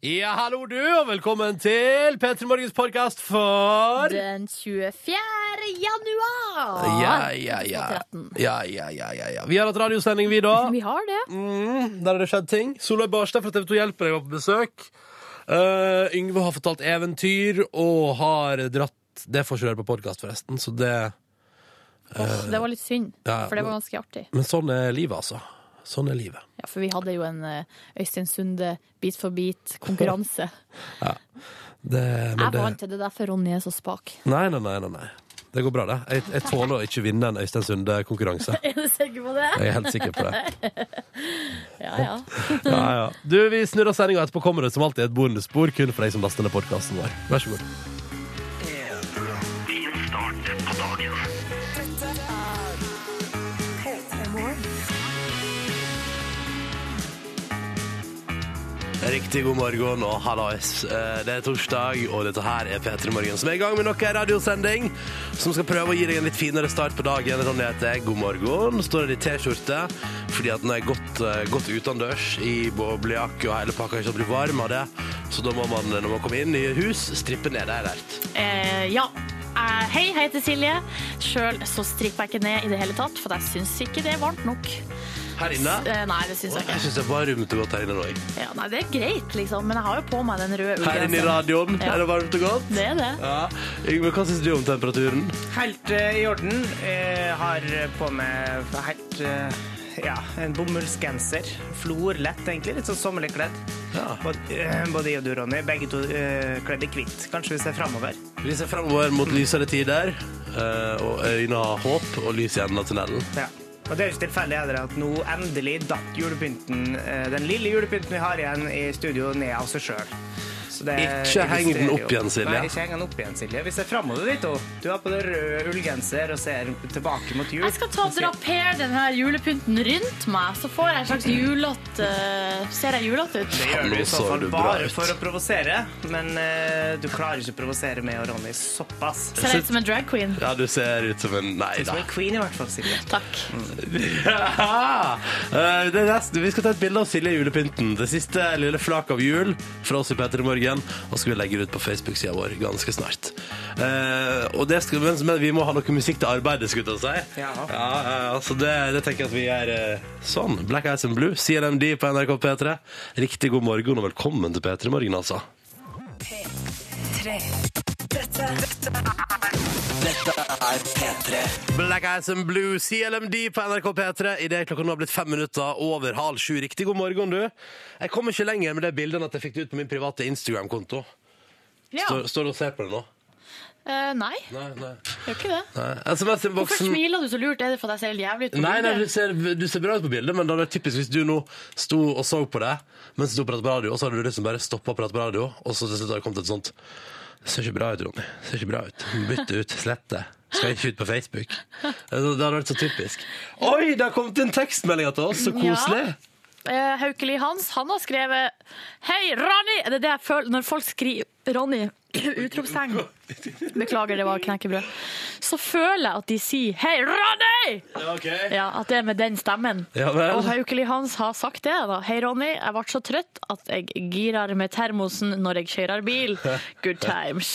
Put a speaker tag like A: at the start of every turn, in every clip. A: Ja, hallo du, og velkommen til P3 Morgens podkast for
B: Den 24. januar!
A: ja, ja, ja.
B: 2013.
A: ja, ja, ja, ja, ja. Vi har hatt radiosending, vi, da.
B: Vi har det.
A: Mm, der har det skjedd ting. Solveig Barstad fra TV 2 Hjelper deg var på besøk. Eh, Yngve har fortalt eventyr og har dratt Det får ikke du høre på podkast, forresten. Så det,
B: Åh, det var litt synd,
A: Eh, ja,
B: for det var ganske artig.
A: men sånn er livet, altså. Sånn er livet.
B: Ja, for vi hadde jo en eh, Øystein Sunde bit for bit-konkurranse.
A: Det, men
B: Jeg
A: det-
B: vant til det der, for Ronny er så spak.
A: Nei, nei, nei, nei, nei. Det går bra, det. Jeg, jeg tåler å ikke vinne en Øystein Sunde-konkurranse.
B: Er du sikker på det?
A: Jeg er helt sikker på det.
B: Ja, ja.
A: Ja, ja. Du, Vi snurrer sendinga etterpå. Kommer det som alltid et bonusspor kun for deg som laster ned podkasten vår. Vær så god. Riktig god morgen og hallois. Eh, Det er torsdag, og dette her er P3 Morgen, som er i gang med nok en radiosending som skal prøve å gi deg en litt finere start på dagen. Ronny heter jeg. God morgen. Står her i T-skjorte fordi at den er godt, eh, godt utendørs i boblejakke og hele pakka, ikke at du blir varm av det. Så da må man, når man kommer inn i hus, strippe ned. Det er lært.
B: Eh, ja. Eh, hei, jeg heter Silje. Sjøl så stripper jeg ikke ned i det hele tatt, for jeg syns ikke det er varmt nok.
A: Her inne
B: Eh, nei, det syns
A: Jeg
B: jeg ikke.
A: syns det er varmt og godt her inne nå. jeg.
B: Ja, nei, det er greit, liksom, men jeg har jo på meg den røde
A: Her inne i
B: ullgenseren.
A: radioen
B: Ja.
A: er det varmt og godt.
B: Det er det.
A: Ja. Yngve, hva syns du om temperaturen?
C: Helt eh, i orden. Eh, har på meg helt eh, ja, en bomullsgenser. Florlett, egentlig. Litt sånn sommerlig kledd.
A: Ja.
C: Både, eh, både jeg og du, Ronny, begge to eh, kledd i hvitt. Kanskje vi ser framover.
A: Vi ser fremover mot lysere tider, eh, og øynene har håp og lys i enden av tunnelen.
C: Ja. Og det er jo ikke tilfeldig heller at nå endelig datt julepynten, eh, den lille julepynten vi har igjen i studio, ned av seg sjøl.
A: Ikke heng den opp igjen, Silje.
C: Nei, ikke heng den opp igjen, Silje. Vi ser framover, vi to. Du har på deg rød ullgenser og ser tilbake mot jul.
B: Jeg skal ta og drapere den her julepynten rundt meg, så får jeg en slags julete Ser jeg julete ut?
C: Det gjør du
A: Nå
C: i så
A: så
C: fall
A: du bra
C: bare
A: ut.
C: for å provosere, men eh, du klarer ikke å provosere meg og Ronny såpass.
B: Ser jeg ut som en drag queen?
A: Ja, du ser ut som en Nei
C: Som
A: da.
C: en queen i hvert fall, Silje.
B: Takk.
A: Eh, det er nesten- vi skal ta et bilde av Silje i julepynten. Det siste lille flak av jul fra oss i P3 Morgen. Og så skal vi legge det ut på Facebook-sida vår ganske snart. Eh, og det skal, men, men vi må ha noe musikk til arbeidet, skulle jeg til å si.
C: Ja.
A: Ja, eh, altså det, det tenker jeg at vi gjør eh, sånn. Black Eyes and Blue, CNMD på NRK P3. Riktig god morgen og velkommen til P3 Morgen, altså. Black Eyes and Blue, CLMD på NRK P3. Idet klokka nå har blitt fem minutter over halv sju. Riktig god morgen, du. Jeg kom ikke lenger med det bildet enn at jeg fikk det ut på min private Instagram-konto.
B: Ja.
A: Står, står du og ser på det nå?
B: Eh, nei,
A: Nei, nei.
B: gjør ikke det.
A: nei.
B: Hvorfor
A: SMS-innboksen
B: smiler du så lurt? Er det fordi jeg ser helt jævlig ut? på
A: Nei, nei, du
B: bildet?
A: ser, du ser bra ut på bildet, men det er typisk hvis du nå sto og så på det mens du sto og pratet på radio, og så hadde du liksom bare stoppa å prate på radio, og så til slutt har det kommet et sånt Det ser ikke bra ut, Ronny. Det ser ikke bra ut. Bytt det ut. Slett det. Skal ikke ut på Facebook. Det hadde vært så typisk. Oi, det har kommet en tekstmelding til oss! Så koselig!
B: Eh, Haukeli Hans han har skrevet Hei, Ronny! Er det det jeg føler når folk skriver Ronny? Utropstegn. Beklager, det var knekkebrød. Så føler jeg at de sier Hei, Ronny!
A: Ja, ok.
B: Ja, At det er med den stemmen.
A: Ja vel.
B: Og Haukeli Hans har sagt det. da Hei, Ronny. Jeg ble så trøtt at jeg girer med termosen når jeg kjører bil. Good times.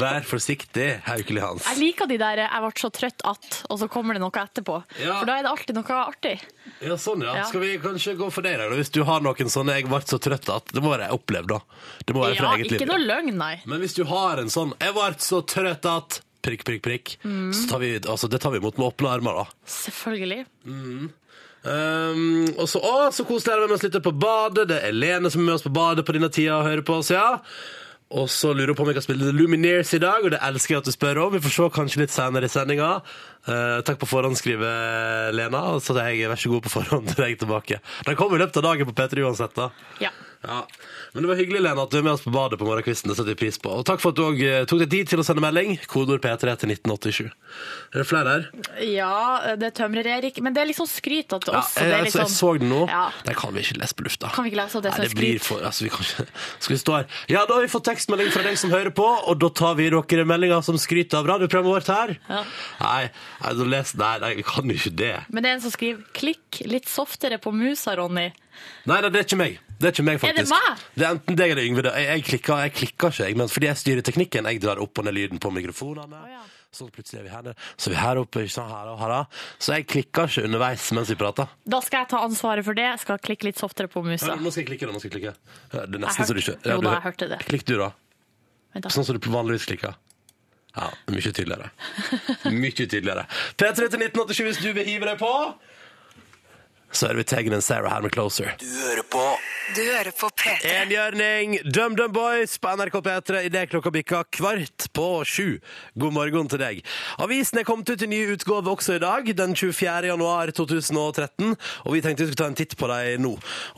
A: Vær forsiktig, Haukeli Hans.
B: Jeg liker de der 'jeg ble så trøtt at', og så kommer det noe etterpå.
A: Ja.
B: For da er det alltid noe artig.
A: Ja, sånn, ja.
B: Ja.
A: Skal vi kanskje gå for deg, da? Hvis du har noen sånne 'jeg ble så trøtt at' Det må være opplevd, da. Det må være fra
B: Ja,
A: eget liv.
B: ikke noe løgn, nei.
A: Men hvis du har en sånn 'jeg ble så trøtt at' prikk, prikk, prikk, så tar vi, altså, det tar vi imot med åpne armer, da.
B: Selvfølgelig.
A: Um, og så, å, så koselig er det med oss litt på badet. Det er Lene som er med oss på badet på denne tida og hører på oss, ja. Og så lurer hun på om jeg kan spille The Lumineers i dag, og det elsker jeg at du spør om. Vi får se kanskje litt senere i sendinga. Eh, takk på forhånd, skriver Lena. Og så sier jeg vær så god på forhånd til deg tilbake. Den kommer i løpet av dagen på P3 uansett, da.
B: Ja.
A: Ja. Men det var hyggelig, Lena, at du er med oss på badet på morgenkvisten. Det setter vi pris på. Og takk for at du òg eh, tok deg tid til å sende melding. Kodeord P3 til 1987. Er det flere her?
B: ja, det tømrer Erik. Men det er litt sånn skryt at
A: Ja,
B: oss. og
A: jeg,
B: det er
A: jeg,
B: litt
A: jeg så
B: sånn-
A: den nå.
B: Ja.
A: Den kan vi ikke lese på lufta.
B: Kan vi ikke lese, og det er
A: Nei,
B: sånn
A: det blir
B: skryt.
A: for, altså, vi kan ikke, Skal vi stå her? Ja, da har vi fått tekstmelding fra deg som hører på, og da tar vi dere meldinger som skryter av radioprogrammet vårt her.
B: Ja.
A: Nei, nei, da les, nei, nei, vi kan jo ikke det.
B: Men det er en som skriver 'klikk litt softere på musa', Ronny.
A: Nei, nei, det er ikke meg. Det er ikke meg,
B: Er
A: faktisk.
B: det meg?
A: Det er enten deg eller Yngve. det. Jeg, jeg, klikker, jeg klikker ikke, jeg, men fordi jeg styrer teknikken. Jeg drar opp og ned lyden på mikrofonene.
B: Å, ja.
A: Så plutselig er vi her nede. Så er vi her oppe, ikke sant, her og her. da. Så jeg klikker ikke underveis mens vi prater.
B: Da skal jeg ta ansvaret for det. Jeg skal klikke litt softere på musa.
A: Hør, nå skal jeg klikke, nå skal jeg klikke. Hør, Det er
B: Jeg
A: nesten så du ikke
B: hørte-
A: du
B: jo da, jeg
A: hør-
B: hørte det.
A: Klikk du, da.
B: Vent da.
A: Sånn som du vanligvis klikker. Ja, mye tydeligere. Mye tydeligere. P3 til 1987 hvis du vil hive deg på. Så er det vi Teggen og Sarah her med Closer.
D: Du hører på P3.
A: Enhjørning, DumDum Boys på NRK P3 idet klokka bikka kvart på sju. God morgen til deg. Avisen er kommet ut i ny utgave også i dag, den 24. januar 2013, og vi tenkte vi skulle ta en titt på dem nå.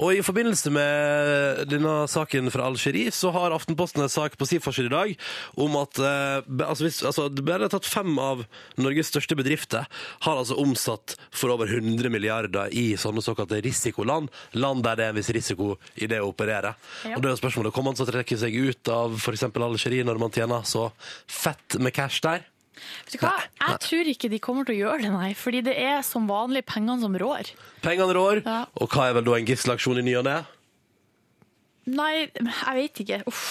A: Og i forbindelse med denne saken fra Algerie, så har Aftenposten en sak på sin forside i dag om at eh, be- altså hvis, altså, det ble tatt fem av Norges største bedrifter har altså omsatt for over 100 milliarder i sånne såkalte risikoland, land der det er en viss risiko i det å operere.
B: Ja.
A: Og da er jo spørsmålet, kommer man så trekke seg ut av f.eks. Algerie når man tjener så fett med cash der?
B: Vet du hva? Jeg tror ikke de kommer til å gjøre det, nei. Fordi det er som vanlig pengene som rår.
A: Pengene rår,
B: Ja.
A: og hva er vel da en gisselaksjon i ny og ne?
B: Nei, jeg vet ikke. Uff.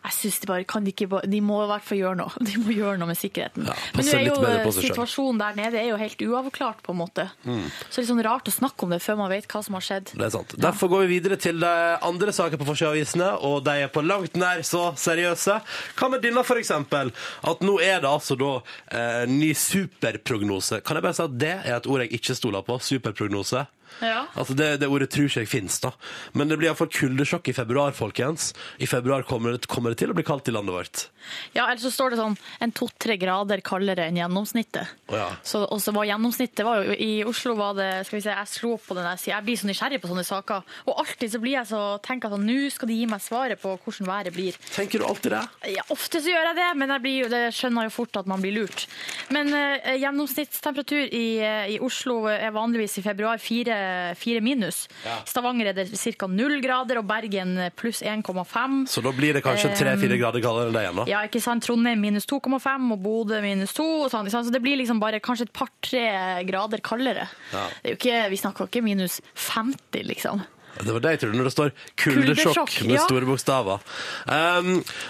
B: Jeg synes de bare kan de ikke bare- De må i hvert fall gjøre noe. De må gjøre noe med sikkerheten.
A: Ja,
B: Men
A: passe
B: nå er
A: litt
B: jo
A: bedre
B: eh,
A: på seg selv. Mm.
B: situasjonen der nede er jo helt uavklart, på en måte. Så det er litt sånn rart å snakke om det før man vet hva som har skjedd.
A: Det er sant. Derfor går vi videre til de andre saker på forsida-avisene, og de er på langt nær så seriøse. Hva med denne, for eksempel? At nå er det altså da eh, ny superprognose. Kan jeg bare si at det er et ord jeg ikke stoler på? Superprognose.
B: Ja.
A: Altså det, det ordet tror ikke jeg finnes, da. Men det blir iallfall kuldesjokk i februar, folkens. I februar kommer det, kommer det til å bli kaldt i landet vårt.
B: Ja, eller så står det sånn en to-tre grader kaldere enn gjennomsnittet.
A: Å ja.
B: Så, og så var gjennomsnittet var jo, I Oslo var det skal vi se, Jeg slo opp på den der siden. Jeg blir så nysgjerrig på sånne saker. Og alltid så blir jeg så tenker jeg sånn Nå skal de gi meg svaret på hvordan været blir.
A: Tenker du alltid det?
B: Ja, ofte så gjør jeg det, men jeg blir, jo- det skjønner jeg jo fort at man blir lurt. Men eh, gjennomsnittstemperatur i, eh, i Oslo er vanligvis i februar fire, fire minus.
A: Ja.
B: Stavanger er det ca. null grader, og Bergen pluss 1,5.
A: Så da blir det kanskje tre-fire grader kaldere enn det igjen, da?
B: Ja, ikke sant? Trondheim minus 2,5 og Bodø minus 2. Og sånn, ikke sant? Så det blir liksom bare kanskje et par-tre grader kaldere.
A: Ja.
B: Det er jo ikke, vi snakker ikke minus 50, liksom.
A: Det var det jeg trodde når det står 'kuldesjokk'
B: Kuldesjokk,
A: med
B: ja.
A: store bokstaver. Um,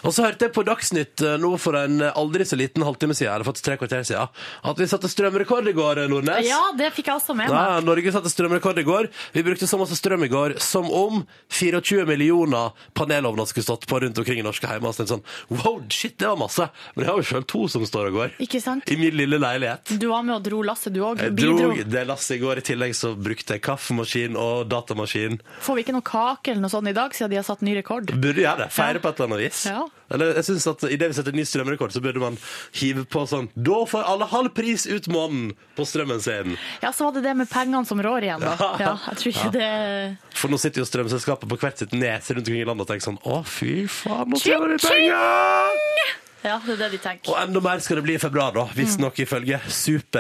A: og så hørte jeg på Dagsnytt eh, nå for en aldri så liten halvtime siden, eller faktisk tre kvarter siden, at vi satte strømrekord i går, eh, Nordnes.
B: Ja, det fikk jeg også med meg.
A: Ja, Norge satte strømrekord i går. Vi brukte så masse strøm i går som om 24 millioner panelovner skulle stått på rundt omkring i norske hjem. Og så tenkte jeg sånn, wow, shit, det var masse. Men jeg har jo selv to som står og går.
B: Ikke sant?
A: I min lille leilighet.
B: Du var med og dro lasset, du òg.
A: Jeg dro det lasset i går. I tillegg så brukte jeg kaffemaskin og datamaskin.
B: Får vi ikke noe kake eller noe sånt i dag, siden de har satt ny rekord?
A: Burde gjøre det. Feire på et eller annet vis.
B: Ja.
A: Eller jeg synes at Idet vi setter ny strømrekord, så burde man hive på sånn Da får alle halv pris ut måneden på strømmen sin!
B: Ja, så var det det med pengene som rår igjen, da. Ja, jeg tror ikke det
A: For nå sitter jo strømselskapet på hvert sitt nes rundt omkring i landet og tenker sånn Å, fy faen, nå
B: Tjing,
A: tjener vi
B: tjing!»
A: penger!
B: Ja, det er det de
A: Og
B: tenker.
A: enda mer skal det bli i februar, da.
B: Mm.
A: Visstnok ifølge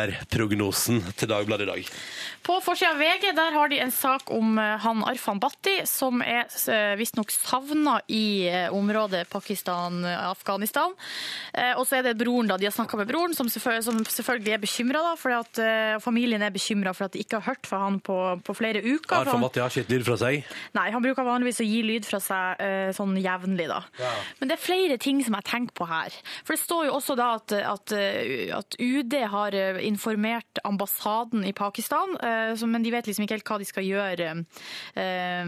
A: superprognosen til Dagbladet i dag.
B: På forsida av VG der har de en sak om eh, han Arfan Bhatti, som er eh, visstnok savna i eh, området Pakistan-Afghanistan. Eh, Og så er det broren, da. De har snakka med broren, som selvfølgelig, som selvfølgelig er bekymra. eh, Familien er bekymra for at de ikke har hørt fra han på, på flere uker. for
A: Arfan
B: han-
A: Matti har sitt lyd fra seg.
B: Nei, han bruker vanligvis å gi lyd fra seg eh, sånn jevnlig, da. Men det er flere ting som jeg tenker på her. For det står jo også da at, at, eh, at UD har eh, informert ambassaden i Pakistan, eh, som- men de vet liksom ikke helt hva de skal gjøre eh, eh,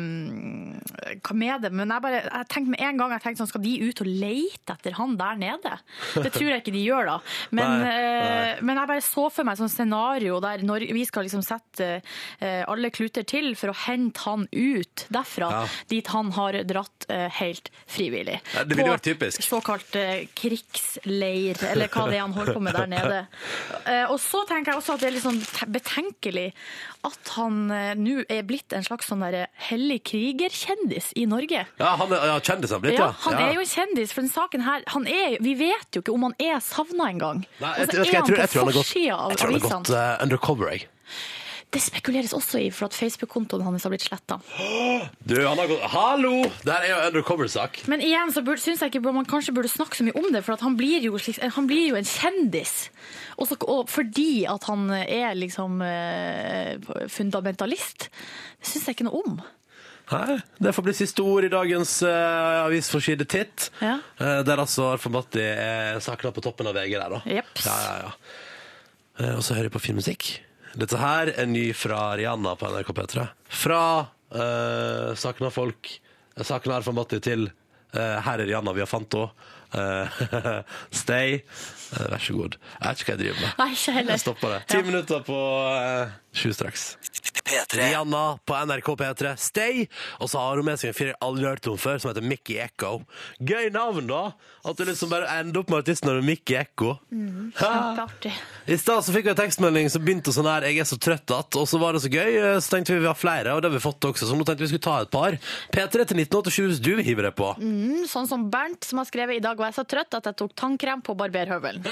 B: hva med det. Men jeg, bare, jeg tenkte med en gang jeg tenkte sånn, skal de ut og leite etter han der nede? Det tror jeg ikke de gjør, da. Men,
A: Nei, nei.
B: eh, men jeg bare så for meg et sånt scenario der Nor- vi skal liksom sette eh, alle kluter til for å hente han ut derfra,
A: Ja.
B: dit han har dratt eh, helt frivillig.
A: Ja, det ville
B: På
A: vært typisk.
B: Såkalt eh, krigsleir, eller hva det er han holder på med der nede. Eh, og så tenker jeg også at det er litt sånn te- betenkelig at han eh, nå er blitt en slags sånn derre hellig krigerkjendis i Norge.
A: Ja, han er ja, kjendis han blitt, ja.
B: Ja, han er jo en kjendis, for den saken her han er, Vi vet jo ikke om han er savna engang.
A: Nei,
B: Og
A: jeg, jeg,
B: så
A: jeg,
B: Altså, er
A: tror- jeg tror
B: han på
A: han har gått,
B: forsida
A: jeg
B: av
A: tror han har gått
B: avisene.
A: eh, undercover, jeg.
B: Det spekuleres også i for at Facebook-kontoen hans har blitt sletta.
A: Du, han har gått Hallo! Det her er jo undercover-sak.
B: Men igjen så burde, synes jeg ikke man kanskje burde snakke så mye om det, for at han, blir jo, slik- eh, han blir jo en kjendis. Og så- og fordi at han eh, er liksom eh, fundamentalist. Det syns jeg ikke noe om.
A: Nei, det får bli siste ord i dagens uh, avisforside Titt.
B: Ja.
A: Eh, der altså Arfan Bhatti er sakna på toppen av VG der, da.
B: Jeps.
A: Ja, ja, ja. Eh, og så hører jeg på filmmusikk. Dette her er ny fra Rihanna på NRK P3. Fra uh, sakna folk eh, Sakna Arfan Bhatti til eh, her er Rihanna, vi har fant henne. Eh, stay. Eh, vær så god. Jeg vet ikke hva jeg driver med.
B: Nei, ikke heller.
A: Jeg stopper det. Ti
B: Ja.
A: minutter på eh, sju straks. Rihanna på NRK P3 Stay, og så har hun med seg en fyr jeg aldri har hørt om før, som heter Mickey Echo. Gøy navn, da! At du liksom bare ender opp med artisten når du er Mickey Echo. Hæ?
B: Kjempeartig.
A: I stad så fikk vi en tekstmelding som begynte sånn her 'Jeg er så trøtt at', og så var det så gøy, eh, så tenkte vi vi har flere, og det har vi fått også, så nå tenkte vi skulle ta et par. P3 til 1987 hvis du vil hive deg på.
B: Sånn som Bernt, som har skrevet 'I dag var jeg så trøtt at jeg tok tannkrem på barberhøvelen'.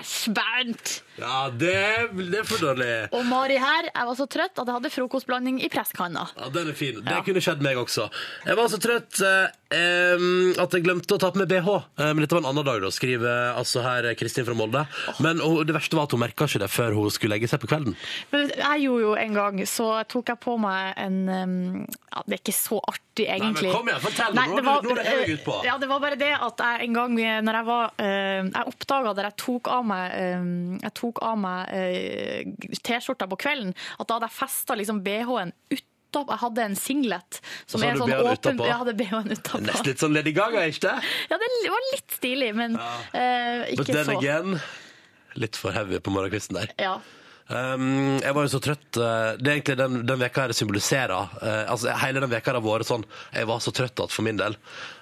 B: Æsj, Bernt!
A: Ja, det, det er for dårlig.
B: Og Mari her, jeg var så trøtt at jeg hadde frokostblanding i presskanna.
A: Ja, den er fin. Det
B: Ja.
A: kunne skjedd meg også. Jeg var så trøtt eh, em, at jeg glemte å ta på meg BH. Eh, men dette var en annen dag, da, skriver altså her Kristin fra Molde. Men og det verste var at hun merka ikke det før hun skulle legge seg på kvelden.
B: Men jeg gjorde jo en gang, så tok jeg på meg en um, ja, Det er ikke så artig,
A: men
B: egentlig.
A: kom igjen, fortell, nå er du- nå er det jeg ut på.
B: eh, Ja, det var bare det at jeg en gang eh, når jeg var eh, Jeg oppdaga da jeg tok av meg eh, Jeg tok av meg eh, T-skjorta på kvelden, at da hadde jeg festa liksom BH-en utapå. Jeg hadde en singlet
A: Og
B: som
A: så
B: er
A: hadde
B: sånn
A: du BH-en
B: åpen
A: utapå?
B: Jeg hadde BH-en utapå.
A: Nesten litt sånn Lady Gaga, ikke det?
B: Ja, det var litt stilig, men eh,
A: But
B: ikke
A: then
B: så.
A: again Litt for heavy på morgenkvisten der.
B: Ja.
A: Um, jeg var jo så trøtt. eh, Det er egentlig den, den veka her symboliserer. eh, altså, hele den veka har vært sånn Jeg var så trøtt at for min del.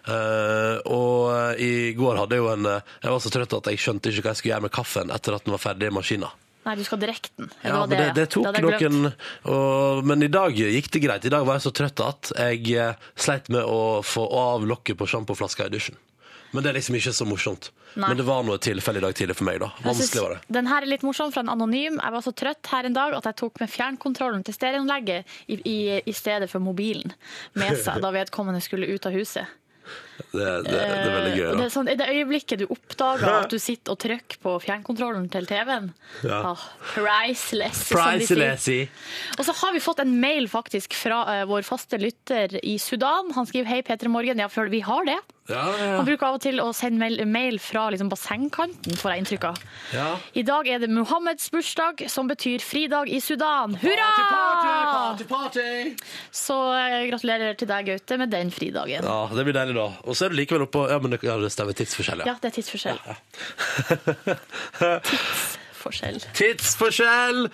A: Eh, og i går hadde jeg jo en eh, Jeg var så trøtt at jeg skjønte ikke hva jeg skulle gjøre med kaffen etter at den var ferdig i maskina.
B: Nei, du skal drikke den. Det
A: Ja,
B: var
A: men det, det tok
B: hadde jeg glemt.
A: noen og, Men i dag gikk det greit. I dag var jeg så trøtt at jeg eh, sleit med å få av lokket på sjampoflaska i dusjen. Men det er liksom ikke så morsomt.
B: Nei.
A: Men det var noe tilfelle i dag tidlig for meg, da.
B: Jeg synes
A: Vanskelig var det.
B: Den her er litt morsom fra en anonym. Jeg var så trøtt her en dag at jeg tok med fjernkontrollen til stereoanlegget i, i, i stedet for mobilen med seg da vedkommende skulle ut av huset.
A: Det, det, det er veldig gøy.
B: Eh, og
A: da.
B: det, er sånn, I det øyeblikket du oppdager at du sitter og trykker på fjernkontrollen til TV-en
A: Ja.
B: ah, Priceless, som de sier.
A: Priceless i
B: Og så har vi fått en mail faktisk fra eh, vår faste lytter i Sudan. Han skriver 'Hei, Peter Morgen'. Ja, for vi har det.
A: Ja, ja,
B: Han bruker av og til å sende mail, mail fra liksom bassengkanten, får jeg inntrykk av.
A: ja.
B: I dag er det Mohammeds bursdag, som betyr fridag i Sudan. Hurra! Så eh, gratulerer til deg, Gaute, med den fridagen.
A: Ja, det blir deilig, da. Og så er du likevel oppå Ja, men det, ja, det stemmer. Tidsforskjell, ja.
B: Ja, det er tidsforskjell. Forskjell.
A: Tidsforskjell!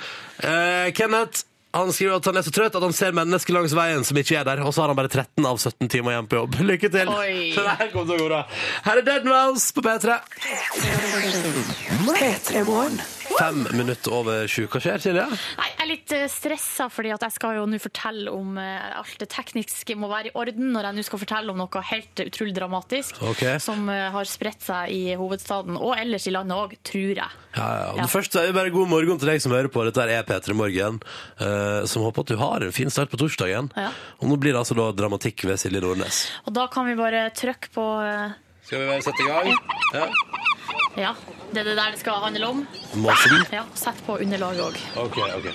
A: Eh, Kenneth han skriver at han er så trøtt at han ser mennesker langs veien som ikke er der, og så har han bare 13 av 17 timer igjen på jobb. Lykke til!
B: Oi.
A: Det her kommer til å gå bra. Her er Dead Mouse på P3. Fem minutter over sju. Hva skjer, Silje?
B: Nei, jeg er litt eh, stressa, fordi at jeg skal jo nå fortelle om eh, alt det tekniske må være i orden når jeg nå skal fortelle om noe helt utrolig dramatisk
A: Ok.
B: som eh, har spredt seg i hovedstaden og ellers i landet òg, tror jeg.
A: Ja, ja. Og
B: Ja.
A: det første er jo bare god morgen til deg som hører på. Dette her er P3 Morgen, eh, som håper at du har en fin start på torsdagen.
B: Ja.
A: Og nå blir det altså da dramatikk ved Silje Nordnes.
B: Og da kan vi bare trykke på eh,
A: Skal vi bare sette i gang? Ja.
B: Ja, det er det der det skal handle om.
A: Måsen?
B: Ja, Sett på underlaget òg.
A: Ok, ok.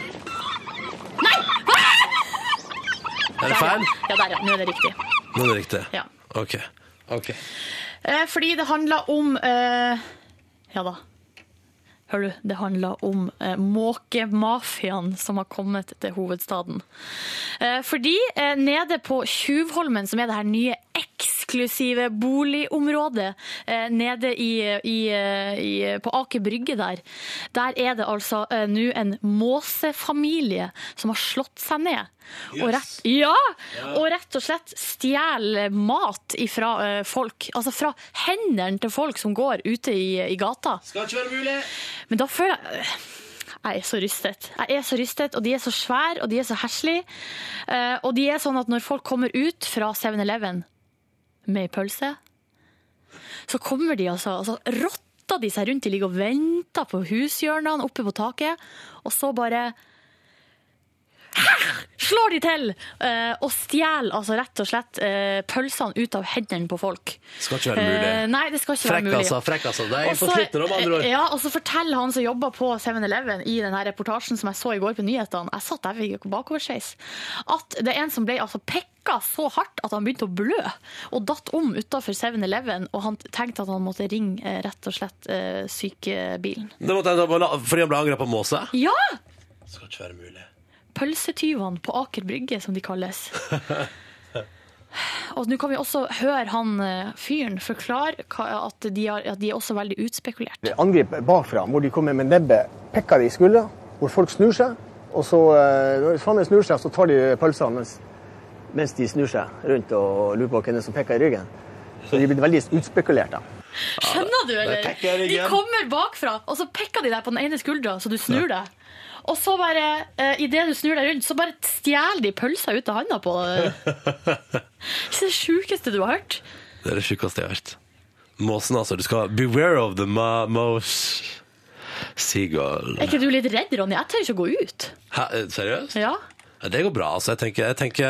A: Er det feil?
B: Ja, der, ja. Nå er det riktig.
A: Nå er det riktig.
B: Ja.
A: Ok. Ok.
B: Eh, fordi det handler om eh, Ja da. Hør du, det handler om eh, måkemafiaen som har kommet til hovedstaden. Eh, fordi eh, nede på Tjuvholmen, som er det her nye eksklusive boligområdet eh, nede i, i, eh, i, på Aker Brygge der, der er det altså eh, nå en måsefamilie som har slått seg ned. Og rett, ja, og rett og slett stjeler mat fra folk. Altså fra hendene til folk som går ute i, i gata.
A: Skal ikke være mulig!
B: Men da føler jeg eh, jeg er så rystet. Jeg er så rystet, Og de er så svære, og de er så heslige. Eh, og de er sånn at når folk kommer ut fra 7-Eleven med ei pølse, så kommer de altså, altså Rotter de seg rundt, de ligger og venter på hushjørnene oppe på taket, og så bare slår de til eh, og stjeler altså rett og slett eh, pølsene ut av hendene på folk.
A: Skal ikke være mulig.
B: Eh, nei, det skal ikke
A: Frekk,
B: være mulig.
A: altså. Frekk, altså. Det er
B: Og
A: på
B: så-
A: slutten om andre år.
B: Ja, og så forteller han som jobber på 7-Eleven i denne reportasjen som jeg så i går på nyhetene, jeg satt der fikk bakoversveis, at det er en som ble altså pekka så hardt at han begynte å blø, og datt om utenfor 7-Eleven, og han tenkte at han måtte ringe eh, rett og slett eh, sykebilen.
A: Det måtte jeg ta på, la- fordi han ble angrepet av måse?
B: Ja!
A: Skal ikke være mulig.
B: Pølsetyvene på Aker Brygge, som de kalles. Og nå kan vi også høre han eh, fyren forklare hva- at de, har, at de er også veldig utspekulert.
E: angrip bakfra, hvor de kommer med nebbet, pekker de i skuldra, hvor folk snur seg. Og så, eh, når svanen snur seg, så tar de pølsene mens, mens de snur seg rundt og lurer på hvem det er som peker i ryggen. Så de er blitt veldig utspekulert. da.
B: Skjønner du,
A: det pekker
B: eller?
A: jeg
B: De
A: igjen.
B: kommer bakfra, og så pekker de deg på den ene skuldra, så du snur deg. Og så bare, eh, i idet du snur deg rundt, så bare stjeler de pølsa ut av handa på deg. Det er det sjukeste du har hørt.
A: Det er det sjukeste jeg har hørt. Måsen, altså. Du skal beware of the ma mouse seagull.
B: Er ikke du litt redd, Ronny? Jeg tør ikke å gå ut.
A: Hæ, eh, seriøst?
B: Ja.
A: Ja, Det går bra, altså. Jeg tenker, jeg tenker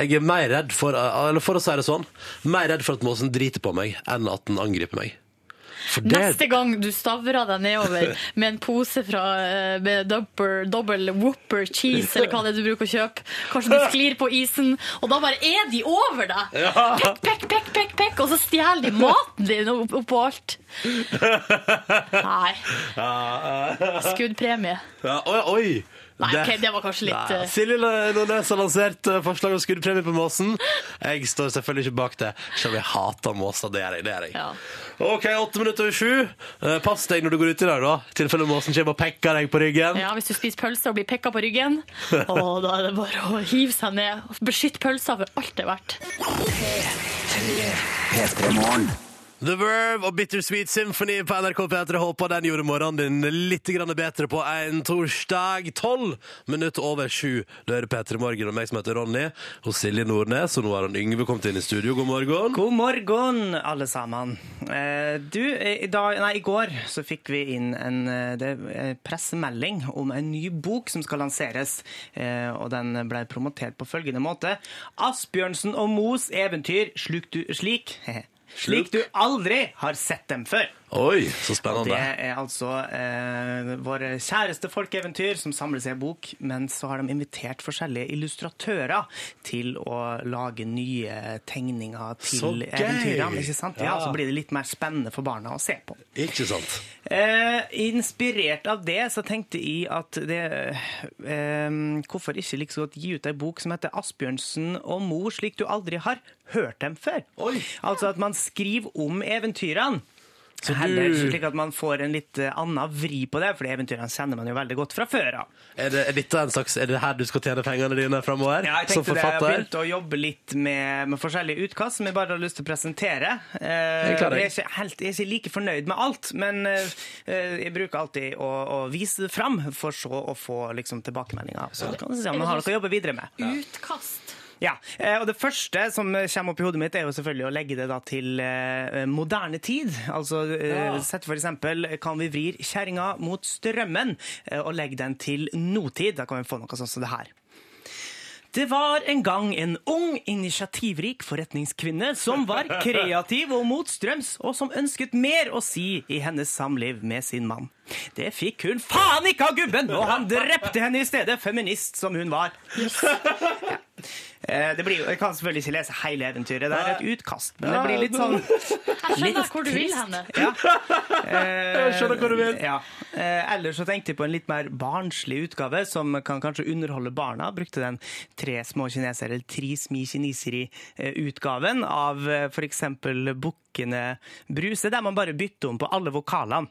A: Jeg er mer redd for Eller for å si det sånn, mer redd for at måsen driter på meg, enn at den angriper meg. For det
B: Neste gang du stavrer deg nedover med en pose fra, eh, med double, double whopper cheese, eller hva det er du bruker å kjøpe, kanskje du sklir på isen, og da bare er de over deg. Pekk, pekk, pekk, pekk, pekk, og så stjeler de maten din opp- oppå alt. Nei, skuddpremie.
A: Ja, oi, oi!
B: Nei, ok, det var kanskje litt,
A: Nei,
B: eh,
A: Silje Nordnes har lansert eh, forslag om skuddpremie på måsen. Jeg står selvfølgelig ikke bak det, selv om jeg hater måser. Det gjør jeg. det gjør jeg.
B: Ja.
A: OK, åtte minutter over sju. Eh, Pass deg når du går uti der, da. I tilfelle måsen kommer og pekker deg på ryggen.
B: Ja, hvis du spiser pølse og blir pekka på ryggen, å, da er det bare å hive seg ned. Beskytt pølsa for alt det er verdt.
A: The Verve og Bittersweet Symphony på NRK P3. Håper den gjorde morgenen din litt grann bedre på en torsdag. Tolv minutter over sju. Du hører P3 Morgen og meg som heter Ronny, og Silje Nordnes. Og nå har han Yngve kommet inn i studio. God morgen.
C: God morgen, alle sammen. Eh, Du, eh, i, dag, nei, i går så fikk vi inn en eh, det, eh, pressemelding om en ny bok som skal lanseres. eh, Og den ble promotert på følgende måte. Asbjørnsen og Moes eventyr slik du, slik, slik du aldri har sett dem før.
A: Oi, så spennende.
C: Det er altså eh, våre kjæreste folkeeventyr som samles i en bok, men så har de invitert forskjellige illustratører til å lage nye tegninger
A: Så
C: til
A: gøy!
C: eventyrene. Ikke sant? Ja,
A: Ja.
C: Så blir det litt mer spennende for barna å se på.
A: Ikke sant?
C: Eh, inspirert av det så tenkte jeg at det eh, Hvorfor ikke like så godt gi ut ei bok som heter 'Asbjørnsen og mor slik du aldri har hørt dem før'?
A: Oi.
C: Altså at man skriver om eventyrene.
A: Så
C: Heller
A: du-
C: slik at man får en litt eh, annen vri på det, for de eventyrene kjenner man jo veldig godt fra før av.
A: Er det, er dette en slags, er det her du skal tjene pengene dine framover?
C: Ja, jeg
A: som
C: tenkte det, jeg
A: forfatter?
C: begynte å jobbe litt med, med forskjellige utkast som jeg bare har lyst til å presentere. Eh,
A: Jeg
C: jeg,
A: klarer det.
C: er ikke helt, jeg er ikke like fornøyd med alt, men eh, eh, jeg bruker alltid å, å vise det fram, for så å få liksom, tilbakemeldinger. Så kan du se om man har noe å jobbe videre med.
B: Utkast.
C: Ja, eh, og Det første som kommer opp i hodet mitt, er jo selvfølgelig å legge det da til eh, moderne tid. Altså, eh, Sett for eksempel Kan vi vri kjerringa mot strømmen eh, og legge den til notid? Da kan vi få noe sånn som det her. Det var en gang en ung, initiativrik forretningskvinne som var kreativ og motstrøms, og som ønsket mer å si i hennes samliv med sin mann. Det fikk hun faen ikke av gubben, og han drepte henne i stedet, feminist som hun var. Eh, Det blir, jo- jeg kan selvfølgelig ikke lese hele eventyret. Det er et utkast. Men det blir litt sånn
B: Jeg skjønner hvor du vil henne.
C: ja. Jeg
A: skjønner hva du vil.
C: Ja. Eh, Ellers så tenkte jeg på en litt mer barnslig utgave, som kan kanskje underholde barna. Brukte den tre små kinesere, eller trismi kineseri-utgaven eh, av eh, for eksempel Bukkene Bruse, der man bare bytter om på alle vokalene.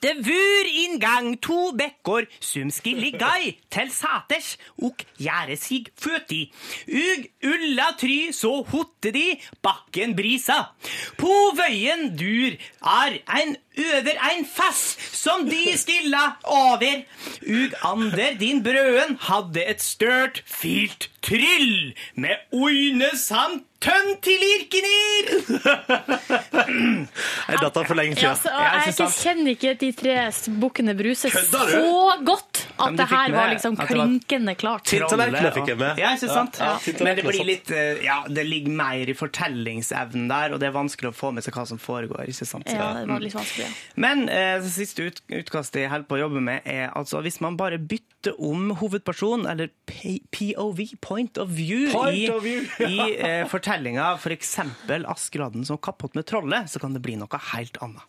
C: Det vur inngang to bekkor sum skilligai til sæters og gjære sig føti. Ug ulla try så hotte de bakken brisa. På vøyen dur er ein øver ein fass som de stilla over. Ug ander din brøen hadde et størt filt tryll med oine samt Tønn til Irkenir!
A: Jeg datt av for lenge
B: Ja,
A: siden.
B: altså,
C: Ja,
B: jeg
C: ikke sant.
B: kjenner ikke de tre bukkene Bruse så
A: Kødder du?
B: godt at
C: men du
B: det
C: fikk
B: her var
C: med
B: liksom
C: at det var-
B: klinkende klart.
A: Til tallerkenen fikk jeg med.
C: Ja, ikke sant?
A: Ja, ja,
C: Men det blir
A: sant.
C: litt eh, Ja, det ligger mer i fortellingsevnen der, og det er vanskelig å få med seg hva som foregår. ikke sant?
B: Ja, det liksom var litt
C: Mm.
B: vanskelig. ja.
C: Men eh, det siste ut, utkastet jeg holder på å jobbe med, er altså hvis man bare bytter om hovedperson, eller P POV, point of view,
A: Point
C: i,
A: of view, ja.
C: i eh, fortellinga, f.eks. Askeladden som kappåt med trollet, så kan det bli noe helt annet.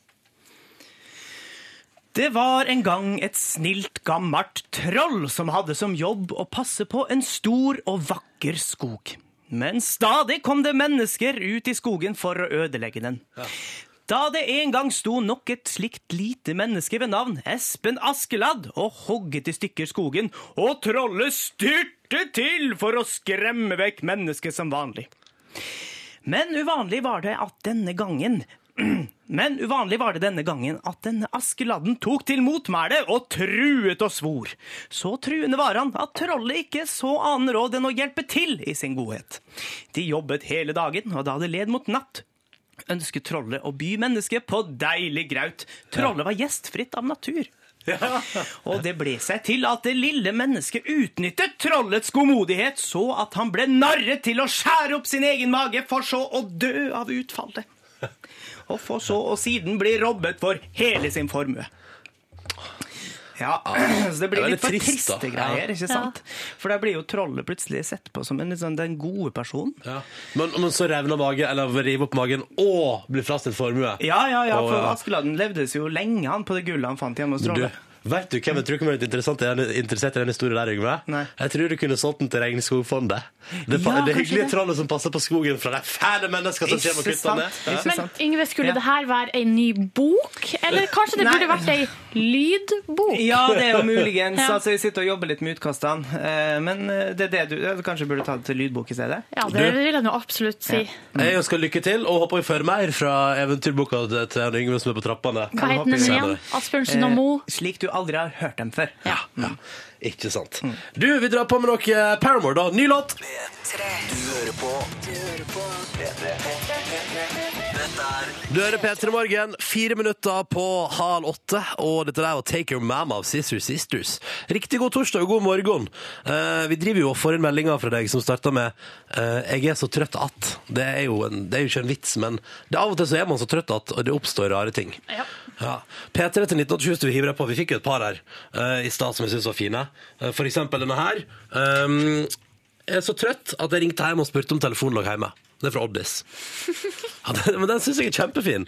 C: Det var en gang et snilt, gammelt troll som hadde som jobb å passe på en stor og vakker skog. Men stadig kom det mennesker ut i skogen for å ødelegge den. Da det en gang sto nok et slikt lite menneske ved navn Espen Askeladd og hogget i stykker skogen, og trollet styrte til for å skremme vekk mennesket som vanlig. Men uvanlig var det at denne gangen Men uvanlig var det denne gangen at denne Askeladden tok til motmæle og truet og svor. Så truende var han at trollet ikke så annen råd enn å hjelpe til i sin godhet. De jobbet hele dagen, og da det led mot natt, ønsket trollet å by mennesket på deilig graut. Trollet var gjestfritt av natur. Og det ble seg til at det lille mennesket utnyttet trollets godmodighet, så at han ble narret til å skjære opp sin egen mage, for så å dø av utfallet. Og for så å siden bli robbet for hele sin formue. Ja, så Det
A: Det
C: blir
A: er
C: litt for
A: veldig trist, da.
C: triste greier, ikke sant? For da blir jo trollet plutselig sett på som en, litt sånn, den gode personen.
A: Ja. Men, men så revner magen, eller river opp magen og blir frastjålet formue.
C: Ja, ja, ja,
A: Å,
C: for
A: ja.
C: Askeladden levdes jo lenge han på det gullet han fant hjemme hos
A: Du,
C: trollet.
A: vet du hvem jeg tror kommer til å være interessant i den- interessert i den historien der, Yngve?
C: Nei.
A: Jeg tror du kunne solgt den til Regnskogfondet. Det, fa-
C: Ja,
A: det
C: kanskje
A: hyggelige
C: det.
A: trollet som passer på skogen fra de fæle menneskene som kommer og
C: Ikke
A: kutter
C: sant?
A: ned. Ja.
C: Ikke
B: Men
C: sant?
B: Yngve, skulle
C: Ja.
B: det her være ei ny bok? Eller kanskje det
C: Nei.
B: burde vært ei lydbok?
C: Ja, det er jo muligens.
B: Ja.
C: Altså, jeg sitter og jobber litt med utkastene. eh, Men eh, det er det du ja, du Kanskje burde ta det til lydbok i stedet?
B: Ja, det vil jeg nå absolutt si.
A: Jeg ønsker lykke til, og håper vi får mer fra eventyrboka til til han Yngve som er på trappene.
B: Hva
C: Ja,
B: heter den
A: håper jeg
B: igjen?
A: det.
B: Asbjørnsen og Moe?
C: Eh, Slik du aldri har hørt dem før.
B: Ja.
A: Ja, ikke sant. Du, vi drar på med noe Paramore, da. Ny låt!
D: P3.
A: Du hører P3 Morgen, fire minutter på halv åtte, og dette der var Take Your Mama av Sisters Sisters. Riktig god torsdag og god morgen. Eh, vi driver jo og får inn meldinger fra deg som starter med eh, 'Jeg er så trøtt at'. Det er, jo en, det er jo ikke en vits, men det er av og til så er man så trøtt at og det oppstår rare ting.
B: Ja.
A: Ja. P3 til 1987 hvis du vil hive deg på. Vi fikk jo et par her eh, i stad som jeg syns var fine. Eh, for eksempel denne her. Um, jeg er så trøtt at jeg ringte hjem og spurte om telefonen lå hjemme. Det er fra Oddis. Ja, den, men den syns jeg er kjempefin.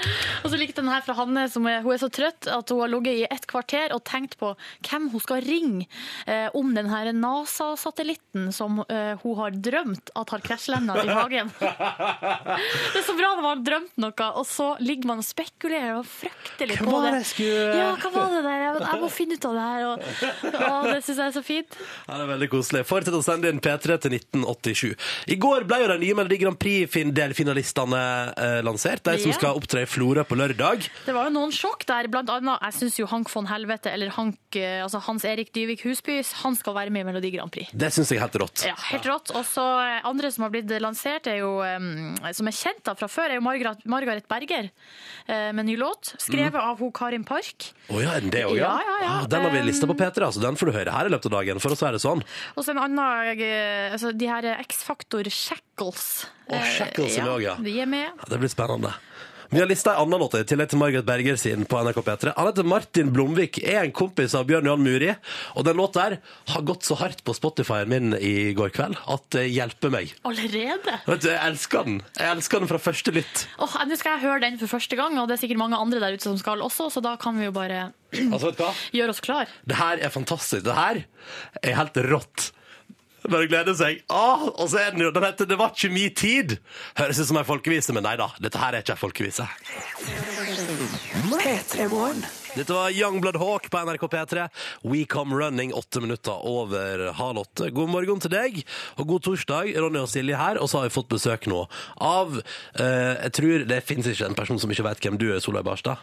B: Og så likte den her fra Hanne, som er, hun er så trøtt at hun har ligget i et kvarter og tenkt på hvem hun skal ringe eh, om den her NASA-satellitten som eh, hun har drømt at har krasjlandet i hagen. det er så bra når man har drømt noe, og så ligger man og spekulerer og frykter litt
C: Hva
B: på
C: var
B: det.
C: det jeg skulle-
B: Ja, hva var det der? Jeg, jeg må finne ut av det her. Og, og det syns jeg er så fint.
A: Ja, det er veldig koselig. Fortsett å sende inn P3 til 1987. I går ble jo de nye Melodi Grand Prix-delfinalistene eh, lansert. De som
B: Ja.
A: skal opptre i Florø på lørdag.
B: Det var jo noen sjokk der, blant annet jeg syns jo Hank von Helvete, eller Hank, eh, altså Hans Erik Dyvik Husby, han skal være med i Melodi Grand Prix.
A: Det syns jeg er helt rått.
B: Ja, helt rått. Og så eh, andre som har blitt lansert, er jo, eh, som er kjent da fra før, er jo Margaret, Margaret Berger eh, med ny låt, skrevet
A: Mm.
B: av ho Karin Park.
A: Å ja, er det òg,
B: Ja, ja, ja. Um,
A: Ah, den har vi lista på P3, altså. Den får du høre her i løpet av dagen, for å si det sånn.
B: Og så en annen, eh, altså de her eh, X-Factor Shackles. eh,
A: Å, Shackles er med også, ja.
B: De er med.
A: Ja, det blir spennende. Vi har lista en annen låt i tillegg til Margaret Berger sin på NRK P3. Han heter Martin Blomvik, er en kompis av Bjørn Johan Muri. Og den låta her har gått så hardt på Spotify-en min i går kveld at det hjelper meg.
B: Allerede?
A: Vet du, Jeg elsker den. Jeg elsker den fra første lytt.
B: Åh, eh, Nå skal jeg høre den for første gang, og det er sikkert mange andre der ute som skal også, så da kan vi jo bare
A: Altså, vet du hva?
B: gjøre oss klar.
A: Det her er fantastisk. Det her er helt rått. Bare gleder seg. Ah, og så er den jo Den heter 'Det var ikke mi tid'. Høres ut som ei folkevise, men nei da. Dette her er ikke ei folkevise. Dette var Youngblood Hawk på NRK P3. We Come Running, åtte minutter over halv åtte. God morgen til deg, og god torsdag. Ronny og Silje her, og så har vi fått besøk nå av eh, Jeg tror det fins ikke en person som ikke vet hvem du er, Solveig Barstad.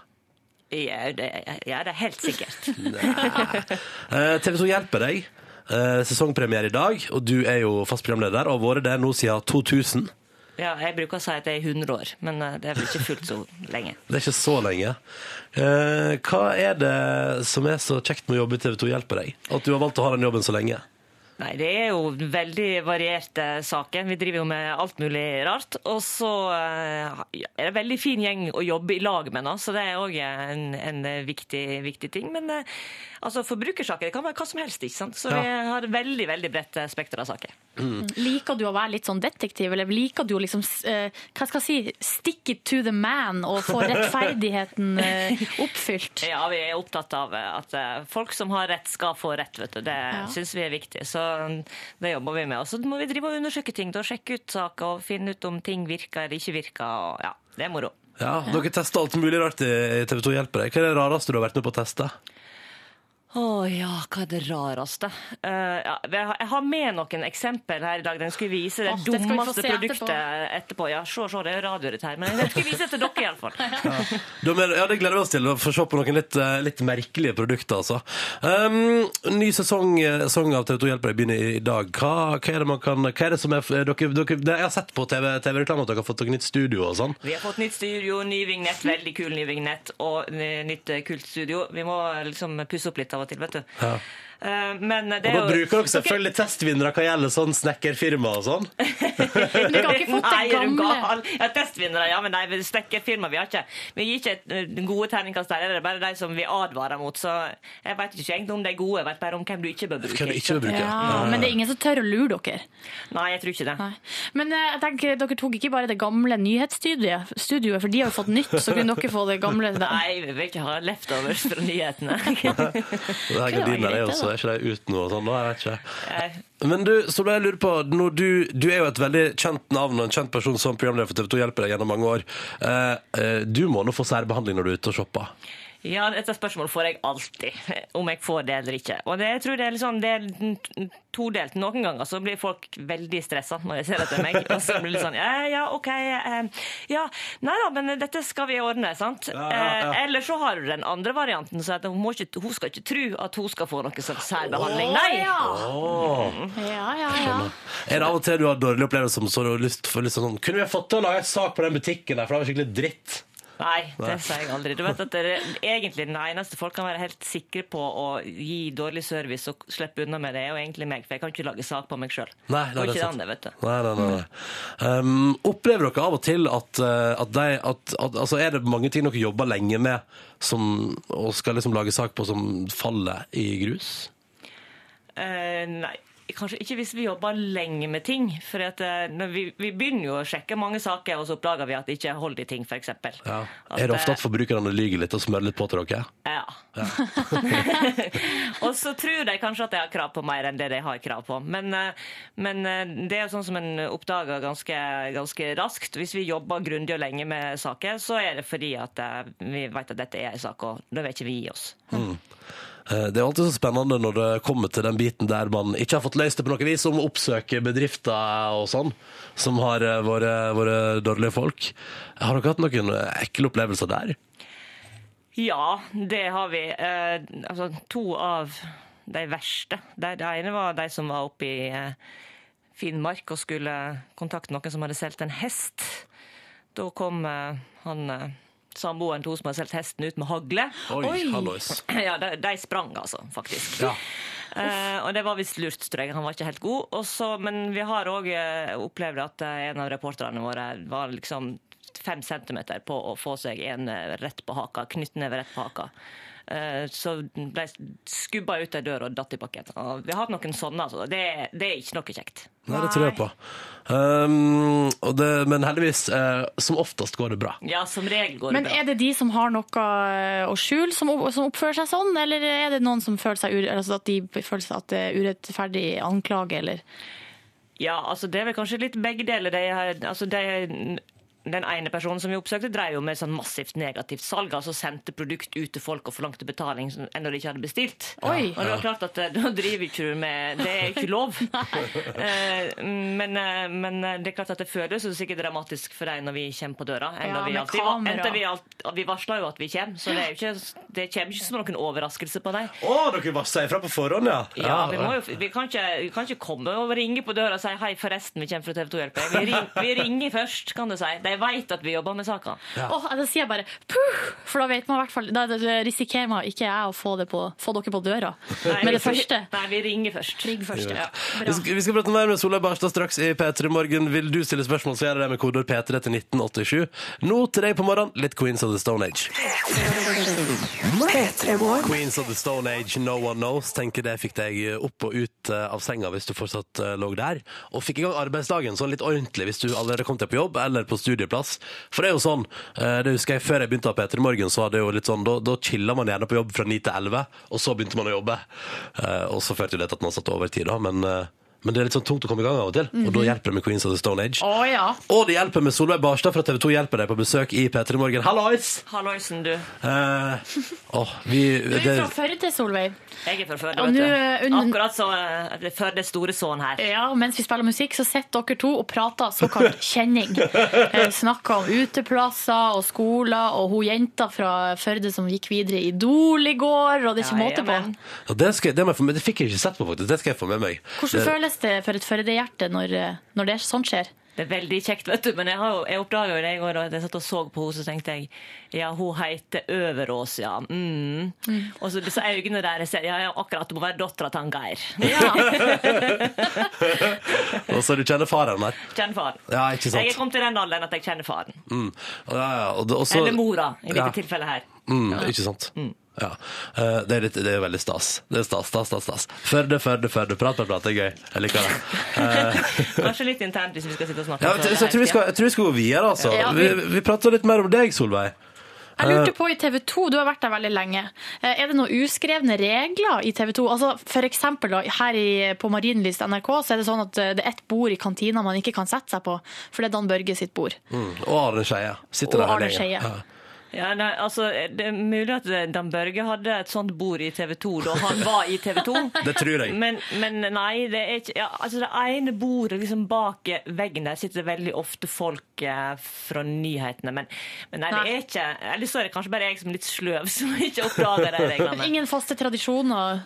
F: Ja, det, ja, det er helt sikkert.
A: TV 2 hjelper deg. Eh, Sesongpremiere i dag, og du er jo fast programleder og har vært det nå siden 2000.
F: Ja, jeg bruker å si at det er 100 år, men eh, det er vel ikke fullt så lenge.
A: Det er ikke så lenge. Eh, hva er det som er så kjekt med å jobbe i TV 2 Hjelper deg? At du har valgt å ha den jobben så lenge?
F: Nei, det er jo veldig varierte saker. Vi driver jo med alt mulig rart. Og så eh, er det veldig fin gjeng å jobbe i lag med, da, så det er òg en, en viktig, viktig ting. Men eh, altså, forbrukersaker det kan være hva som helst, ikke sant? så
A: Ja.
F: vi har et veldig veldig bredt eh, spekter av saker.
B: Liker du å være litt sånn detektiv, eller liker du å liksom, eh, hva skal jeg si, stick it to the man og få rettferdigheten eh, oppfylt?
F: Ja, vi er opptatt av eh, at eh, folk som har rett, skal få rett. vet du. Det synes syns vi er viktig. Så mm, det jobber vi med. Og så må vi drive og undersøke ting. da, Sjekke ut saker og finne ut om ting virker eller ikke virker. Og, ja, det er moro.
A: Ja, Dere tester alt mulig rart i TV 2 Hjelper deg. Hva er det rareste du har vært med på å teste?
F: Å ja, hva er det rareste? Eh, ja, jeg har- jeg har med noen eksempel her i dag. Den skulle vise det
B: Åh, det skal vi få
F: dummeste
B: se
F: produktet etterpå.
B: etterpå.
F: Ja, se, se, det er radio dette her. Men jeg skulle vise det til dere iallfall.
A: Da mener- ja, det gleder vi oss til å få se på noen litt, eh, litt merkelige produkter, altså. Um, ny sesong eh, sesong av TV 2 Hjelper deg begynner i- i dag. Hva, hva er det man kan Hva er det som er f- eh, dere, dere, det Jeg har sett på TV-reklame at dere har fått dere nytt studio og sånn.
F: Vi har fått nytt studio, ny vignett, veldig kul ny vignett, og eh, nytt eh, kult studio. Vi må eh, liksom pusse opp litt av og til, vet du.
A: Ja.
F: Eh, Men eh, det
A: Og da
F: er jo
A: bruker dere selvfølgelig testvinnere hva gjelder sånn snekkerfirma og sånn.
B: Men dere har ikke fått
F: Nei,
B: det
F: er du
B: gamle?
F: gal? Ja, testvinnere, ja, men nei, vi stekker firma, vi har ikke. Vi gir ikke et, eh, gode terningkast der, det er bare de som vi advarer mot, så jeg vet ikke egentlig om de er gode, jeg vet bare om hvem du ikke bør bruke.
A: Hva du ikke vil bruke.
B: Ja, men det er ingen som tør å lure dere.
F: Nei, jeg tror ikke det.
B: Nei. Men eh, jeg tenker, dere tok ikke bare det gamle nyhetsstudioet, studioet, for de har jo fått nytt, så kunne dere få det gamle.
F: Nei, vi vil ikke ha leftovers fra nyhetene.
A: Det her
B: det var
A: gardiner er jo
B: greit, det,
A: så
B: da.
A: er ikke de uten noe og sånn, da? Jeg vet ikke.
F: Nei.
A: Men du, så da jeg lurer på når du, du er jo et veldig kjent navn og en kjent person som programleder for TV 2 hjelper deg gjennom mange år. Eh, eh, du må nå få særbehandling når du er ute og shopper.
F: Ja, dette spørsmålet får jeg alltid, om jeg får det eller ikke. Og det, jeg tror det er, liksom, det er todelt. Noen ganger så blir folk veldig stressa når de ser etter meg. Og så blir det sånn Ja, ja, OK. Eh, ja, nei da, men dette skal vi ordne, sant?
A: ja.
F: Eh, eller så har du den andre varianten, så at hun, må ikke, hun skal ikke tro at hun skal få noe slags særbehandling. Nei!
B: Ja. ja, ja, ja.
A: Er det av og til du har dårlige opplevelser som så du har lyst for liksom sånn Kunne vi fått til å lage en sak på den butikken der, for det var skikkelig dritt?
F: Nei, det sa jeg aldri. Du vet at dere, egentlig Den eneste folk kan være helt sikre på å gi dårlig service og slippe unna med det, er jo egentlig meg, for jeg kan ikke lage sak på meg sjøl.
A: Nei, nei,
F: og
A: det er
F: ikke det
A: sant.
F: andre, vet du.
A: Nei, nei, nei. nei. Um, opplever dere av og til at, eh, at, de, at, at altså Er det mange ting dere jobber lenge med som, og skal liksom lage sak på, som faller i grus?
F: Eh, nei. Kanskje ikke hvis vi jobber lenge med ting. For at, eh, når vi, vi begynner jo å sjekke mange saker, og så oppdager vi at det ikke holder i ting, f.eks.
A: Ja. Er
F: Altså,
A: det ofte at forbrukerne lyver litt og smører litt på til dere?
F: eh, Ja. og så tror de kanskje at de har krav på mer enn det de har krav på. Men, eh, men eh, det er jo sånn som en oppdager ganske, ganske raskt. Hvis vi jobber grundig og lenge med saker, så er det fordi at eh, vi vet at dette er en sak, og da vil ikke vi gi oss.
A: Eh, Det er alltid så spennende når det kommer til den biten der man ikke har fått løst det på noe vis, om å oppsøke bedrifter og sånn, som har eh, våre, våre dårlige folk. Har dere hatt noen eh, ekle opplevelser der?
F: Ja, det har vi. Eh, altså, to av de verste. Det, det ene var de som var oppe i eh, Finnmark og skulle kontakte noen som hadde solgt en hest. Da kom eh, han eh, samboeren til hun som hadde solgt hesten, ut med hagle.
A: Oi,
B: Oi.
A: hallois.
F: Ja, de, de sprang, altså, faktisk.
A: Ja.
F: Eh, og det var visst lurt, tror jeg. Han var ikke helt god. Og så- men vi har òg eh, opplevd at eh, en av reporterne våre var liksom fem centimeter på å få seg en eh, rett på haka. Knyttneve rett på haka. Eh, så ble skubba ut ei dør og datt i bakken. Og vi har hatt noen sånne, altså. Det, det er ikke noe kjekt.
A: Nei, det tror jeg på. Um, og det, men heldigvis, eh, som oftest går det bra.
F: Ja, som regel går det
B: Men
F: bra.
B: er det de som har noe eh, å skjule, som, opp- som oppfører seg sånn, eller er det noen som føler seg, ure- altså at de føler seg at det er urettferdig anklage, eller?
F: Ja, altså det er vel kanskje litt begge deler. De, har- altså de den ene personen som vi oppsøkte, drev jo med sånn massivt negativt salg. Altså sendte produkt ut til folk og forlangte betaling som ennå de ikke hadde bestilt.
B: Oi.
F: Og det var klart at eh, da driver ikke du med Det er ikke lov. Eh, men, eh, men eh, det er klart at det føles jo sikkert dramatisk for deg når vi kommer på døra. enn
B: Ja,
F: da vi
B: med
F: alltid,
B: kamera.
F: enten vi, alt, vi varsler jo at vi kommer, så det, er jo ikke, det kommer ikke som noen overraskelse på deg.
A: Å, dere varsla ifra på forhånd, ja?
F: Ja, vi, må jo, vi, kan ikke, vi kan ikke komme og ringe på døra og si 'hei, forresten, vi kommer fra TV 2 Hjelp'. Vi, ring, vi ringer først, kan du si. De veit at vi jobber med saka.
B: Åh, da sier jeg bare puh, for da vet man i hvert fall Da risikerer man ikke jeg å få, det på, få dere på døra
F: Nei,
B: med det
F: vi-
B: første.
F: Nei, vi ringer først.
B: Ring først. Ja.
A: Vi
B: Bra.
A: skal, vi skal prate mer med Solveig Barstad straks i P3 Morgen. Vil du stille spørsmål, så gjør jeg det med kodeord P3 til 1987. Nå til deg på morgenen, litt Queens of the Stone Age. Queens of the Stone Age, No One Knows. Tenker det fikk deg opp og ut eh, av senga hvis du fortsatt eh, lå der. Og fikk i gang arbeidsdagen sånn litt ordentlig hvis du allerede kom deg på jobb eller på studieplass. For det er jo sånn, eh, det husker jeg før jeg begynte på P3 Morgen, så var det jo litt sånn, da, da chilla man gjerne på jobb fra 9 til 11, og så begynte man å jobbe. Eh, Og så førte jo det til at man satt overtid da, men, eh, men det er litt sånn tungt å komme i gang av og til. Og da hjelper det med Queens of the Stone Age.
B: Å ja.
A: Og det hjelper med Solveig Barstad fra TV 2 hjelper deg på besøk i P3 Morgen. Hallois!
F: Halloisen, du.
A: Eh, åh, vi,
B: Du er
A: det-
B: fra Førde, Solveig.
F: Jeg er fra Førde,
B: Og
F: vet
B: nå,
F: du.
B: under-
F: Akkurat som uh, Førdes store sønn her.
B: eh, Ja, mens vi spiller musikk, så sitter dere to og prater såkalt kjenning. Eh, Snakker om uteplasser og skoler, og hun jenta fra Førde som gikk videre i Idol i går, og det er
F: Ja,
B: ikke måte på.
F: jamen.
A: Ja, det, skal, jeg- det, må jeg få med, det fikk jeg ikke sett på, faktisk. Det skal jeg få med meg.
B: Hvordan føles det for et Førde-hjerte når, eh, når det er sånt skjer?
F: Det er veldig kjekt, vet du. Men jeg, har jo- jeg oppdaga jo det i går, og jeg satt og så på henne, så tenkte jeg ja, hun heter Øverås, ja. Mm. Og så disse øynene der jeg ser, ja, ja, akkurat, det må være dattera til han Geir.
A: Og så du kjenner faren der.
F: Kjenn faren.
A: Ja, ikke sant.
F: Jeg er kommet til den alderen at jeg kjenner faren.
A: Mm. Ja, ja, og det, og så-
F: Eller mora, i dette
A: Ja.
F: tilfellet her.
A: Mm, Ikke sant. Ja. Eh, det, er litt, det er veldig stas. Det er stas, stas, stas. stas. Førde, Førde, Førde. Prat, prat, prat. Det er gøy. Jeg liker det.
F: Kanskje litt internt hvis vi skal sitte og snakke.
A: Ja,
F: om
A: men
F: det
A: så jeg, tror vi
F: her.
A: skal, jeg tror vi skal gå videre, altså.
B: Ja,
A: vi...
B: vi-
A: Vi, prater litt mer om deg, Solveig.
B: Jeg lurte på i TV 2, du har vært der veldig lenge, Eh, er det noen uskrevne regler i TV 2? Altså, for eksempel da, her i, på Marienlyst NRK, så er det sånn at eh, det er ett bord i kantina man ikke kan sette seg på, for det er Dan Børge sitt bord.
A: Mm. Og Arne Skeie. Sitter
B: Og
A: der
B: Arne
A: lenge.
B: Scheie.
A: Ja.
F: Ja, nei, altså, det er mulig at eh, Dan Børge hadde et sånt bord i TV 2 da han var i TV 2.
A: Det tror jeg.
F: Men, men nei, det er ikke ja, altså Det ene bordet liksom bak veggen der sitter veldig ofte folk eh, fra nyhetene. Men, men nei, det
B: Nei.
F: er ikke Eller så er det kanskje bare jeg som er litt sløv som ikke oppdager de reglene.
B: Ingen faste tradisjoner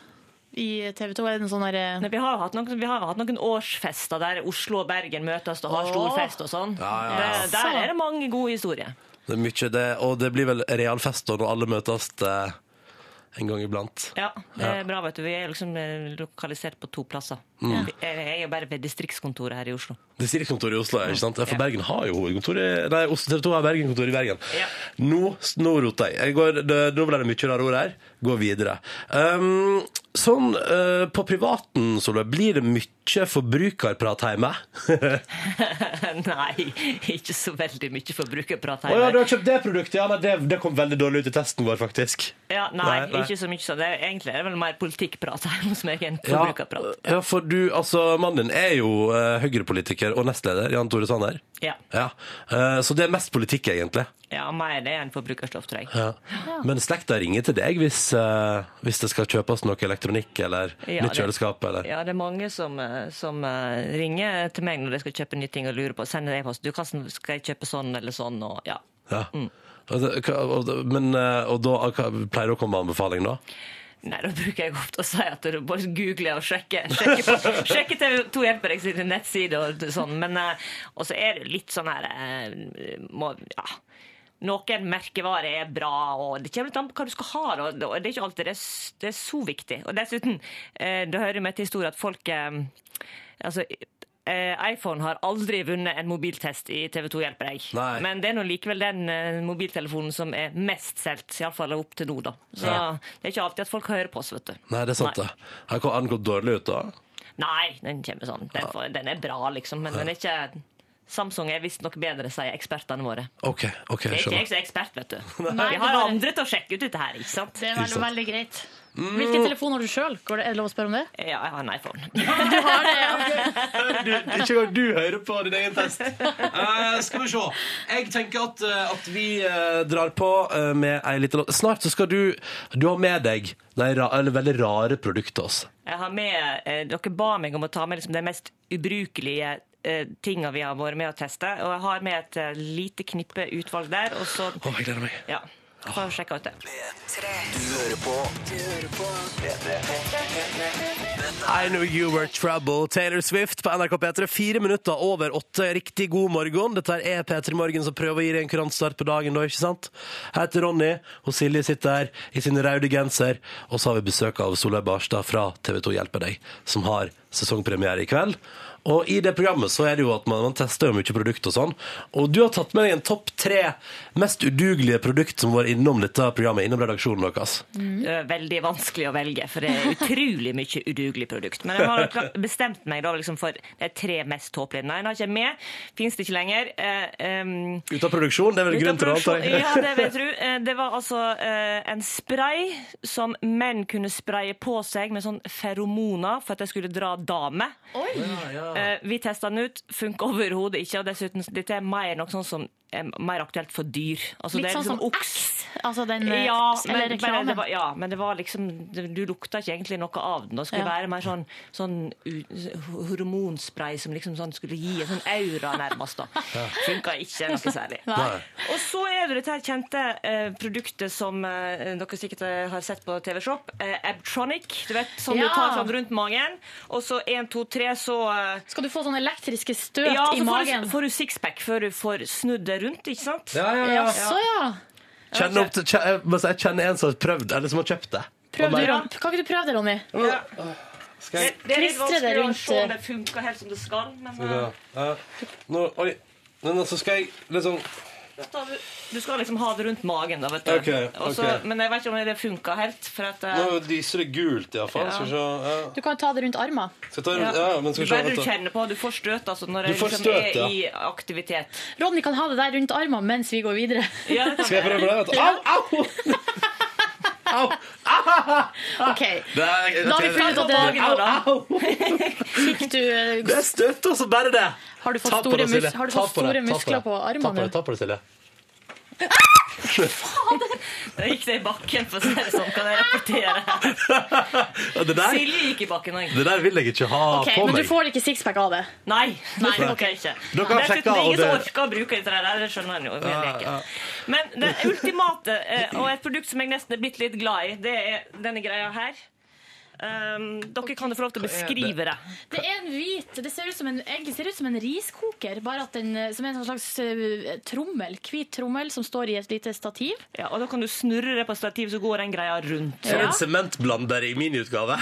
B: i TV 2? Er det noen sånn der, eh,
F: Nei, Vi har, jo hatt noen, vi har jo hatt noen årsfester der Oslo og Bergen møtes og har stor
B: Åh.
F: fest og sånn.
A: Ja, ja, ja.
F: Det- Der er det mange gode historier.
A: Det er mye det, og det blir vel realfest da, når alle møtes eh, en gang iblant.
F: Ja, det er bra, vet du. Vi er liksom eh, lokalisert på to plasser.
A: Mm.
F: Vi- Jeg jeg er jo bare ved distriktskontoret her i Oslo.
A: Distriktskontoret i Oslo, ikke sant? Ja, for Bergen har jo hovedkontor i Nei, Oslo TV 2 har Bergen-kontor i Bergen.
F: Ja.
A: Nå, nå roter jeg. jeg går, det, nå ble det mye rare ord her. Gå videre. Um, sånn eh, på privaten, Solveig, blir det mye forbrukerprat hjemme? Å
F: Nei, ikke så veldig mye forbrukerprat her.
A: ja, du har kjøpt det produktet? Ja, nei, det, det kom veldig dårlig ut i testen vår, faktisk.
F: Ja, nei,
A: Nei, nei.
F: ikke så mye sånn. Det er, egentlig er det vel mer politikkprat her hos meg enn
A: Ja,
F: forbrukerprat.
A: ja, for du, altså, mannen din er jo eh, Høyre-politiker og nestleder, Jan Tore Sanner.
F: Ja.
A: Ja. Eh, så det er mest politikk, egentlig.
F: ja, mer det enn forbrukerstoff, tror jeg.
A: Ja. Men slekta ringer til deg hvis, eh, hvis det skal kjøpes noe elektronikk eller
F: Ja,
A: nytt
F: det-
A: kjøleskap. Eller.
F: Ja, det er mange som, eh, som eh, ringer til meg når de skal kjøpe nye ting og lurer på. Sender e-post. Du, Karsten, skal jeg kjøpe sånn eller sånn? Og, ja.
A: Ja.
F: Mm.
A: Og det- hva- og det- Men, eh, og da hva- pleier det å komme anbefaling, da?
F: Nei, da bruker jeg ofte å si at du bare googler og sjekker. Sjekker, på- sjekker TV 2 hjelper deg sine nettsider og sånn. Men eh, Og så er det litt sånn her eh, må, ja. Noen merkevarer er bra, og det kommer litt an på hva du skal ha. da. Og det er ikke alltid det er, s- det er så viktig. Og dessuten, eh, det hører med til historien at folk eh, Altså, eh, iPhone har aldri vunnet en mobiltest i TV 2 hjelper deg.
A: Nei.
F: Men det er nå likevel den eh, mobiltelefonen som er mest solgt, iallfall opp til nå, da. Så
A: Ja.
F: det er ikke alltid at folk hører på oss, vet du.
A: Nei, det er sant,
F: Nei.
A: det. Her kom den gått dårlig ut, da.
F: Nei, den kommer sånn. Den, får, den er bra, liksom, men den er ikke Samsung er visstnok bedre, sier ekspertene våre.
A: OK, ok,
F: Det er ikke
A: skjønner.
F: jeg som er ekspert, vet du.
B: Nei,
F: Vi
B: det
F: har
B: bare-
F: andre til å sjekke ut dette her, ikke sant?
B: Det er
A: Ikke
B: veldig,
A: sant. Mm.
B: veldig greit. Hvilken telefon har du sjøl? Er det lov å spørre om det?
F: Ja, jeg har en iPhone.
B: Du har det,
A: Du, ikke engang du hører på din egen test. Eh, skal vi se. Jeg tenker at, eh, at vi eh, drar på eh, med ei lita låt. Snart så skal du Du har med deg de ra, eller veldig rare produkter. Altså.
F: Jeg har med, eh, dere ba meg om å ta med liksom, de mest ubrukelige eh, tinga vi har vært med å teste. Og jeg har med et eh, lite knippe utvalg der. Og så
A: Å, jeg gleder meg.
F: ja, får vi sjekke ut det.
D: Tre. Du hører på. Du hører på.
A: I know you were trouble. Taylor Swift på NRK P3. Fire minutter over åtte. Riktig god morgen. Dette er P3 Morgen som prøver å gi deg en kurantstart på dagen, da, ikke sant? Jeg heter Ronny, og Silje sitter her i sin røde genser. Og så har vi besøk av Solveig Barstad fra TV 2 Hjelper deg, som har sesongpremiere i kveld. Og i det programmet så er det jo at man, man tester jo mye produkt og sånn. Og du har tatt med deg en topp tre mest udugelige produkt som var innom dette programmet, innom redaksjonen deres.
F: Eh, Veldig vanskelig å velge, for det er utrolig mye udugelig produkt. Men jeg har kla- bestemt meg da liksom for de tre mest tåpelige. Nei, den har ikke jeg med. Fins det ikke lenger. Eh, um,
A: Ute av produksjon, det er vel grunnen til det, antar jeg.
F: Ja, det vil jeg tro. Eh, Det var altså eh, en spray som menn kunne spraye på seg med sånn feromoner for at de skulle dra damer.
A: Ah.
F: Eh, Vi testa den ut, funka overhodet ikke. Og dessuten, dette er mer noe sånn som er mer aktuelt for dyr. Altså, det
B: Litt
F: er
B: sånn som
F: liksom
B: X. Altså den eh,
F: ja,
B: eller
F: men, bare, det
B: reklamen.
F: var, ja, men det var liksom Du lukta ikke egentlig noe av den. Det skulle
B: Ja.
F: være mer sånn, sånn u- hormonspray som liksom sånn skulle gi en sånn aura, nærmest. da. Funka ikke noe særlig.
A: Nei.
F: Og så er det dette her kjente eh, produktet som eh, dere sikkert eh, har sett på TV Shop. Eh, Abtronic. Du vet, som
B: Ja.
F: du tar fram rundt magen. Og så én, to, tre, så eh,
B: Skal du få sånne elektriske støt
F: Ja,
B: i
F: så får
B: magen?
F: du, får du sixpack før du får snudd det rundt, ikke sant?
A: Ja, ja, ja.
B: Jaså, ja.
A: Kjenner opp til, kjenner, jeg må si, jeg kjenner en som har prøvd, eller som har kjøpt det.
B: Prøv
A: Og
B: du,
A: bare,
B: Ron. Kan ikke du prøve det, Ronny?
A: Skal jeg,
F: Det er litt
B: Klistre det
F: vanskelig å
B: rundt,
F: se om
B: eh,
F: det funker helt som det skal. Men
A: ja,
F: eh,
A: ja. Nå, oi. Men altså skal jeg liksom
F: da, du- du skal liksom ha det rundt magen, da, vet du.
A: Ok,
F: Og så-
A: ok.
F: Men jeg vet ikke om det funker helt. For at, eh,
A: Nå lyser det gult, iallfall. Skal vi se. Ja.
B: Du kan ta det rundt armen.
A: Skal jeg ta
F: ja.
A: rundt? Ja, ja, men skal
F: du
A: vi se.
F: bare du
A: vent da.
F: kjenner på Du får støt altså, når jeg
A: får
F: liksom
A: støt,
F: er
A: ja.
F: i aktivitet.
B: Ronny kan ha det der rundt armen mens vi går videre.
F: Ja, det kan
A: Skal jeg
F: være.
A: prøve det? Vet du. Au, au!
B: Ok,
A: Det er,
B: Da har vi funnet ut at det-
A: Au, au!
B: fikk du
A: Det er støt, altså. Bare det.
B: Har du fått
A: Ta på
B: store,
A: det, Silje.
B: mus har du
A: Ta
B: fått
A: på det,
B: store
A: ta på
B: muskler
A: det. Ta
B: på
A: på
B: armene?
A: det, ta på det, Silje.
F: Da gikk det i bakken, for å si det sånn. Kan jeg rapportere?
A: Ja, Det der,
F: Silje gikk i bakken òg.
A: det der vil jeg ikke ha
B: Ok,
A: på
B: men du
A: meg.
B: får ikke sixpack av det.
F: Nei. nei, det orker jeg ikke.
A: Dere har
F: Dessuten,
A: sjekket,
F: det er
A: og
F: ingen som
A: det-
F: orker å bruke dette der. Det skjønner en jo. med leken. Men det ultimate, eh, og et produkt som jeg nesten er blitt litt glad i, det er denne greia her. Um, dere kan jo få lov til å beskrive det.
B: Det er en hvit Det ser ut som en, egentlig ser ut som en riskoker, bare at den, eh, som er en sånn slags eh, trommel. Hvit trommel som står i et lite stativ.
F: Ja, og da kan du snurre det på stativ, så går den greia rundt.
A: For
B: Ja.
A: en sementblander i min utgave.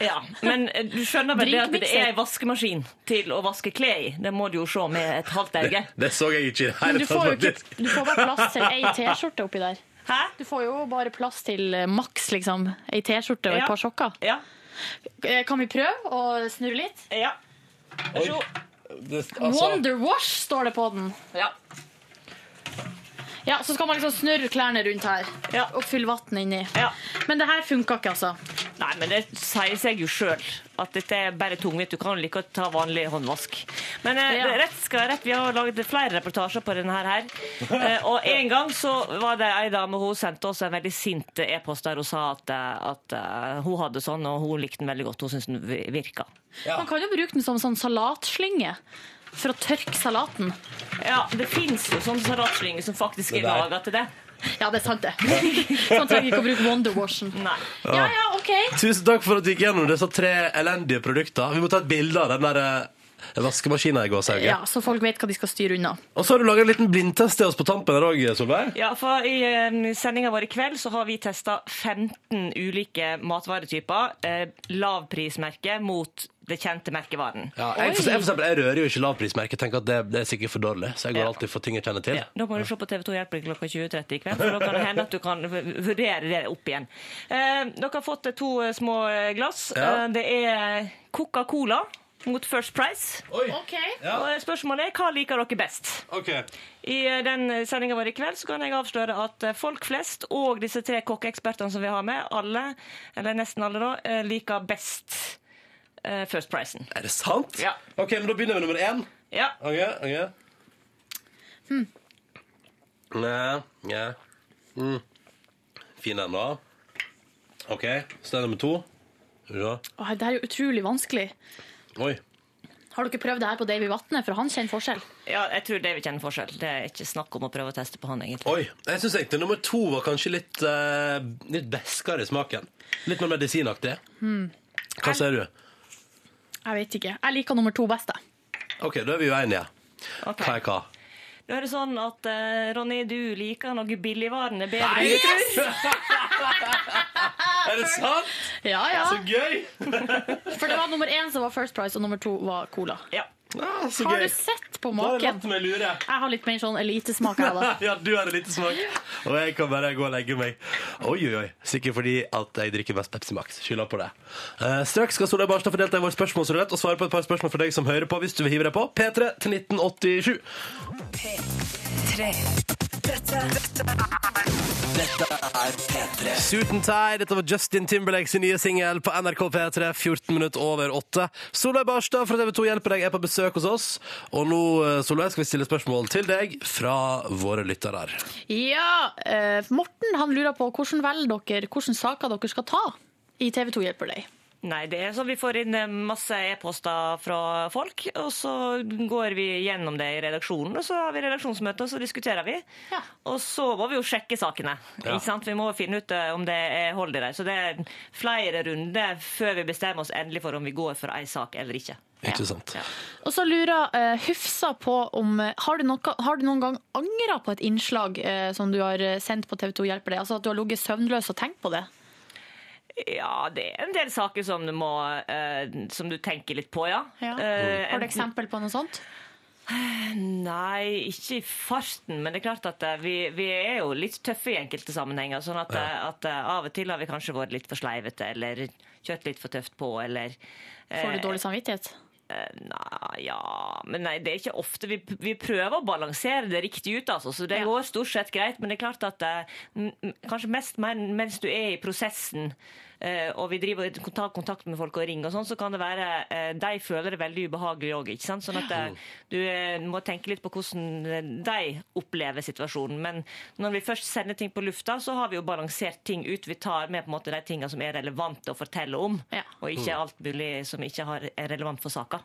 F: Ja, Men eh, du skjønner vel det at det
B: Drinkmikser.
F: er en vaskemaskin til å vaske klær i. Det må du jo se med et halvt øye.
A: Det så jeg ikke i det
B: Men du
A: hele
B: får
A: tatt.
B: jo
A: faktisk.
B: ikke Du får bare plass til ei T-skjorte oppi der.
F: Hæ?
B: Du får jo bare plass til eh, maks, liksom. Ei T-skjorte og et
F: Ja.
B: par sokker.
F: Ja.
B: Eh, Kan vi prøve å snurre litt?
F: ja. Vær så god.
A: Det- altså-
B: Wonder Wash står det på den.
F: Ja.
B: Ja, Så skal man liksom snurre klærne rundt her
F: Ja.
B: og fylle vann inni.
F: Ja.
B: Men det her funka ikke, altså.
F: Nei, men det sier seg jo sjøl at dette er bare tungvint. Du kan jo like godt ta vanlig håndvask. Men eh,
B: Ja.
F: det er rett skal være rett. Vi har laget flere reportasjer på denne her. Eh, og en gang så var det ei dame hun sendte oss en veldig sint e-post der hun sa at, eh, at eh, hun hadde sånn, og hun likte den veldig godt. Hun syntes den vi- virka.
B: Man kan jo bruke den som sånn salatslynge for å tørke salaten.
F: Ja, det fins jo sånne salatslynger som faktisk er
A: der.
F: laga til det.
B: Ja, det er sant, det. sånn trenger vi ikke å bruke Wonder Washen.
F: Nei.
B: Ja, ja, OK.
A: Tusen takk for at du gikk gjennom disse tre elendige produkter. Vi må ta et bilde av den der eh, vaskemaskinen i gåsehauget.
B: Ja, Så folk vet hva de skal styre unna.
A: Og så har du laga en liten blindtest til oss på tampen her òg, Solveig.
F: Ja, for I sendinga vår i kveld så har vi testa 15 ulike matvaretyper. Eh, lavprismerke mot det kjente merkevaren.
A: Ja, jeg, for, jeg, for eksempel, jeg rører jo ikke lavprismerket. Tenker at det, det er sikkert for dårlig. Så jeg går
F: Ja.
A: alltid for ting jeg kjenner til.
F: Ja, Da må du se på TV 2 Hjelper klokka 20.30 i kveld, for da kan det hende at du kan v- vurdere det opp igjen. Ehm, Eh, dere har fått eh, to eh, små eh, glass.
A: Ja.
F: Eh, det er Coca-Cola. mot First Price.
A: Oi.
B: OK.
A: Ja.
F: Og eh, spørsmålet er hva liker dere best?
A: OK.
F: I eh, den sendinga vår i kveld så kan jeg avsløre at eh, folk flest og disse tre kokkeekspertene som vi har med, alle, eller nesten alle, da, eh, liker best eh, First Pricen.
A: Er det sant?
F: Ja.
A: OK, men da begynner vi med nummer én.
F: Ja.
A: OK? ok.
B: Hmm.
A: Nei, ja. Mm. Fin den, da. OK, sted nummer to. Skal vi se.
B: Åh, det her er jo utrolig vanskelig.
A: Oi.
B: Har dere prøvd det her på Davy Vatne? For han kjenner forskjell.
F: ja, jeg tror David kjenner forskjell. Det er ikke snakk om å prøve å teste på han, egentlig.
A: Oi, jeg synes egentlig nummer to var kanskje litt, eh, litt beskere i smaken. Litt mer medisinaktig.
B: Hmm.
A: Hva sier du?
B: Jeg vet ikke. Jeg liker nummer to best, jeg.
A: Ok, da er vi jo enige.
F: Ok.
A: Hva er hva?
F: Nå er det sånn at eh, Ronny, du liker noe billigvarene bedre. enn du tror.
A: Er det sant?
B: Ja, ja.
A: Så gøy!
B: Altså, For det var nummer én som var First Price, og nummer to var Cola.
F: Ja.
A: Ah, så
B: Har
A: gøy.
B: du sett på
A: Da har jeg
B: maken?
A: latt meg lure.
B: Jeg har litt mer sånn elitesmak. jeg, da.
A: Ja, du har en liten smak. Og jeg kan bare gå og legge meg. Oi, oi, oi. Sikkert fordi at jeg drikker mest Pepsi Max. Skylda på det. Eh, straks skal Solveig Barstad få delta i vår spørsmålsrulett og svare på et par spørsmål for deg som hører på, hvis du vil hive deg på. P3 til 1987.
D: Tre. Dette, dette er Dette er P3.
A: Suit and Tie, dette var Justin Timberlakes nye singel på NRK P3, 14 minutter over 8. Solveig Barstad fra TV 2 Hjelper deg er på besøk hos oss, og nå eh, Solveig, skal vi stille spørsmål til deg fra våre lyttere.
B: Ja, eh, Morten han lurer på hvordan velger dere hvilke saker dere skal ta i TV 2 Hjelper deg.
F: Nei, det er sånn vi får inn eh, masse e-poster fra folk, og så går vi gjennom det i redaksjonen, og så har vi redaksjonsmøte, og så diskuterer vi.
B: Ja.
F: Og så må vi jo sjekke sakene.
A: Ja.
F: Ikke sant? Vi må finne ut eh, om det er hold i det. Så det er flere runder før vi bestemmer oss endelig for om vi går for ei sak eller ikke.
A: Ikke sant?
B: Og så lurer eh, Hufsa på om eh, har du, noe, har du noen gang angra på et innslag eh, som du har eh, sendt på TV 2 Hjelper deg? Altså at du har ligget søvnløs og tenkt på det?
F: Ja, det er en del saker som du, må, eh, som du tenker litt på, ja.
B: Ja.
F: Eh,
B: Har du
F: enten-
B: eksempel på noe sånt?
F: Nei, ikke i farten, men det er klart at eh, vi, vi er jo litt tøffe i enkelte sammenhenger. sånn at, eh, at eh, Av og til har vi kanskje vært litt for sleivete eller kjørt litt for tøft på. eller...
B: Får du dårlig samvittighet?
F: Eh, Nei, ja Men nei, det er ikke ofte. Vi, vi prøver å balansere det riktig ut, altså. Så det
B: Ja.
F: går stort sett greit. Men det er klart at eh, m- m- kanskje mest men, mens du er i prosessen, eh, og vi driver og tar kontakt med folk og ringer og sånn, så kan det være eh, De føler det veldig ubehagelig òg, ikke sant. Sånn at eh, du eh, må tenke litt på hvordan eh, de opplever situasjonen. Men når vi først sender ting på lufta, så har vi jo balansert ting ut. Vi tar med på en måte de tinga som er relevante å fortelle om,
B: Ja. Mm.
F: og ikke alt mulig som ikke har, er relevant for saka.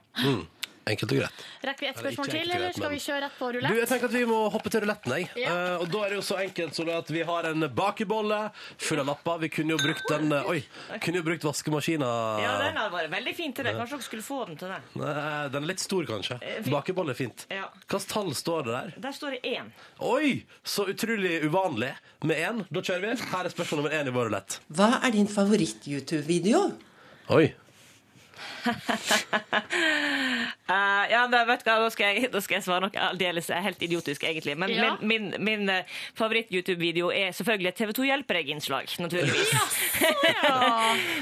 A: Enkelt og greit. Ja,
B: Rekker vi ett
A: det er ikke
B: spørsmål til,
A: enkelt,
B: eller
A: men-
B: skal vi kjøre rett på
A: Du, jeg
B: rulett?
A: tenker at vi må hoppe til ruletten, jeg.
B: Ja.
A: Eh, og da er det jo så enkelt Solveig, at vi har en bakebolle full av lapper. Vi kunne jo brukt den eh, Oi, kunne jo brukt vaskemaskina.
F: Ja, den hadde vært veldig fin til deg. Kanskje dere skulle få den til deg.
A: Nei, Den er litt stor, kanskje.
F: Eh, vi-
A: Bakebolle er fint.
F: Ja.
A: Hvilket tall står det der?
F: Der står det én.
A: Oi, så utrolig uvanlig med én. Da kjører vi. Her er spørsmål nummer én i vår rulett.
G: Hva er din favoritt-YouTube-video?
A: Oi.
F: Eh, ja, men vet du hva, da skal jeg, da skal jeg svare noe aldeles eh, helt idiotisk, egentlig. Men
B: Ja.
F: min, min, min eh, favoritt-YouTube-video er selvfølgelig et TV 2 hjelper deg-innslag, naturligvis.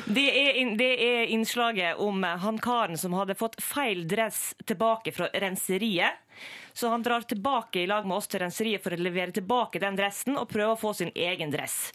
F: det, er, inn- det er innslaget om eh, han karen som hadde fått feil dress tilbake fra renseriet. Så han drar tilbake i lag med oss til renseriet for å levere tilbake den dressen og prøve å få sin egen dress.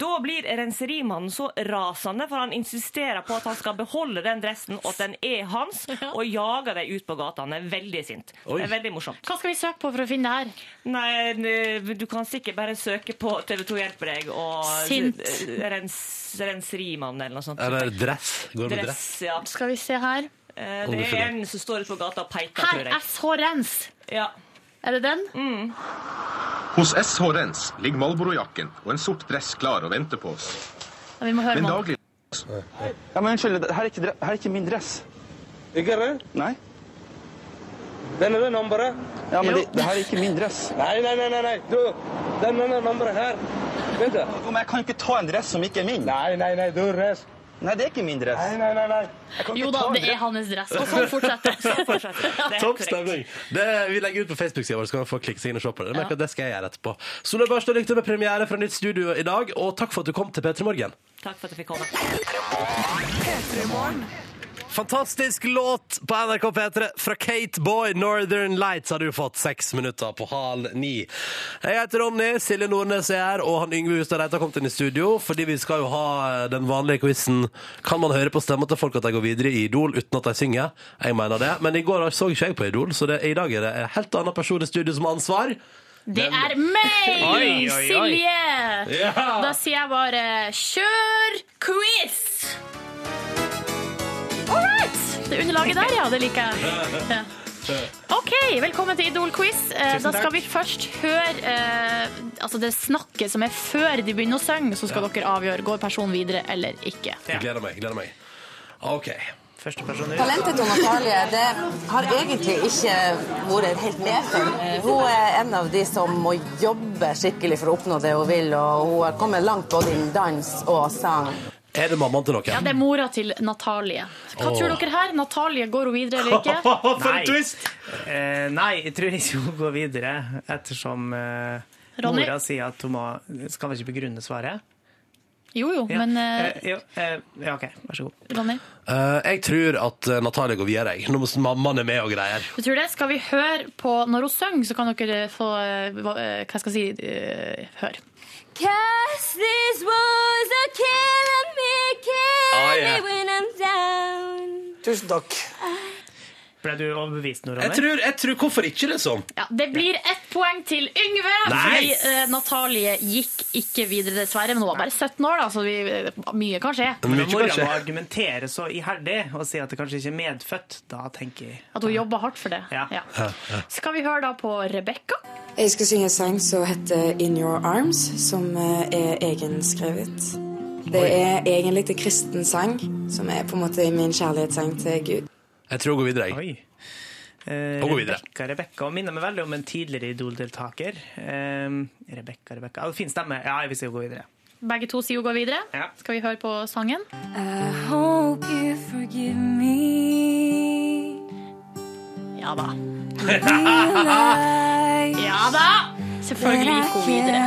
F: Da blir renserimannen så rasende, for han insisterer på at han skal beholde den dressen, og at den er hans, og jager dem ut på gata. Han er veldig sint.
A: Oi.
F: Det er veldig morsomt.
B: Hva skal vi søke på for å finne det her?
F: Nei, n- du kan sikkert bare søke på TV2 hjelper deg og eh,
B: Sint.
F: Rens, renserimannen eller noe sånt.
A: Eller dress. Går det med dress?
F: Dress, ja.
B: Skal vi se her.
F: Eh, Det er en som står ute på gata og peker,
B: Her!
F: tror jeg.
B: SH Rens.
F: Ja.
B: Er det den?
H: Hos SH Rens ligger Malboro-jakken og en sort dress klar og venter på oss.
B: Ja, Vi må høre
H: Men
B: med han.
H: daglig
I: Ja, men unnskyld, det her er ikke, dre- her er ikke min dress.
J: Ikke det?
I: Nei.
J: Denne er nummeret.
I: Ja, men det, det her er ikke min dress.
J: Nei, nei, nei, nei, nei. Du, denne er nummeret her. Vent da.
I: Jo, men jeg kan ikke ta en dress som ikke er min.
J: Nei, nei, nei, du er rest.
I: Nei, det er ikke min dress.
J: Nei, nei, nei, nei.
I: Jeg kan
B: Jo
I: ikke
B: da,
I: ta en
B: det er
I: dress.
B: hans dress. Og sånn fortsetter det.
F: Fortsett. Det er helt
A: Topp
F: korrekt.
A: stemning. Det, vi legger ut på Facebook-sida vår, så kan man få klikke seg inn og se på det. Jeg merker at det skal jeg gjøre etterpå. Solveig Barstad, lykke til med premiere fra nytt studio i dag, og takk for at du kom til P3 Morgen.
F: Takk for at jeg fikk komme.
A: Fantastisk låt på NRK P3 fra Kate Boy, 'Northern Lights', har du fått seks minutter på hal ni. Jeg heter Ronny, Silje Nordnes er her, og han Yngve Hustad Reite har kommet inn i studio fordi vi skal jo ha den vanlige quizen 'Kan man høre på stemma til folk at de går videre i Idol uten at de synger?' Jeg mener det, men i går så ikke jeg på Idol, så det, i dag er det en helt annen person i studio som har ansvar.
B: Det er meg,
A: Oi, oi, oi.
B: Silje!
A: Ja.
B: Da sier jeg bare kjør quiz! All right! Det underlaget der, ja. Det liker jeg. Ja. OK, velkommen til Idol-quiz. Eh,
K: Tusen
B: Da skal
K: takk.
B: vi først høre eh, altså det snakket som er før de begynner å synge, så skal
A: Ja.
B: dere avgjøre går personen videre eller ikke.
A: Jeg gleder meg. jeg gleder meg OK. Første person
L: Talentet til Natalie det har egentlig ikke vært helt medfødt. Hun er en av de som må jobbe skikkelig for å oppnå det hun vil, og hun har kommet langt både innen dans og sang.
A: Er det mammaen til noen?
B: Ja, Det er mora til Natalie. Hva
A: Åh.
B: tror dere her? Natalie, går hun videre eller ikke?
C: Nei. Eh, nei, jeg tror ikke hun går videre, ettersom eh,
B: Ronny?
C: mora sier at hun må Skal vi ikke begrunne svaret?
B: Jo jo,
C: Ja.
B: men eh,
C: Eh, jo, eh, ja, OK, vær så god.
B: Ronny?
A: Eh, jeg tror at eh, Natalie går videre. jeg. Nå må mammaen er med og greier.
B: Du tror det? Skal vi høre på når hun synger, så kan dere få eh, hva eh, hva skal jeg si eh, høre.
K: Cause these walls are killing me, killing
C: Ah, yeah.
K: me when I'm down.
C: Tusen takk. Ble du overbevist nå, Ronny?
A: Jeg tror, jeg tror Hvorfor ikke, liksom?
B: Ja, det blir ett poeng til Yngve, fordi
A: Nice!
B: eh, Natalie gikk ikke videre, dessverre. Men hun var bare 17 år, da, så vi, eh, mye kan skje.
C: Men når mora må
B: At
C: argumentere så iherdig og si at det kanskje ikke er medfødt, da tenker jeg
B: hun jobba hardt for det. Ja. Skal vi høre da på Rebekka?
M: Jeg skal synge en sang som heter In Your Arms, som eh, er egenskrevet. Det er egentlig en kristen sang, som er på en måte min kjærlighetssang til Gud.
A: Jeg tror hun går videre.
C: jeg. Eh,
A: Og gå videre.
C: Rebekka, Rebekka. Hun minner meg veldig om en tidligere Idol-deltaker. Eh, Rebekka, Rebekka. Ja, Fin stemme. Ja, jeg vil si hun går videre.
B: Begge to sier hun går videre. Skal vi høre på sangen?
K: Hope you forgive me.
B: Ja da.
K: Realize
B: Ja da! Selvfølgelig gikk hun videre.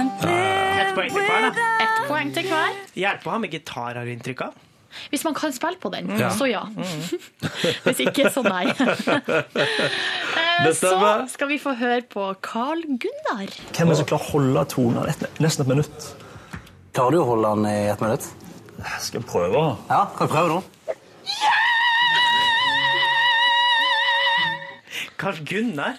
C: Ett poeng til hver, da.
B: Ett poeng til hver.
C: Hjelper å ha med gitar, har du inntrykk av?
B: Hvis man kan spille på den,
C: Ja.
B: så ja. Hvis ikke, så nei. Eh,
N: Det
B: Så
N: stemmer.
B: skal vi få høre på Carl Gunnar.
N: Hvem er det som klarer å holde tonen i et- nesten et minutt? Klarer du å holde den i et minutt? Skal jeg prøve? Ja, kan jeg prøve nå?
C: Carl Gunnar?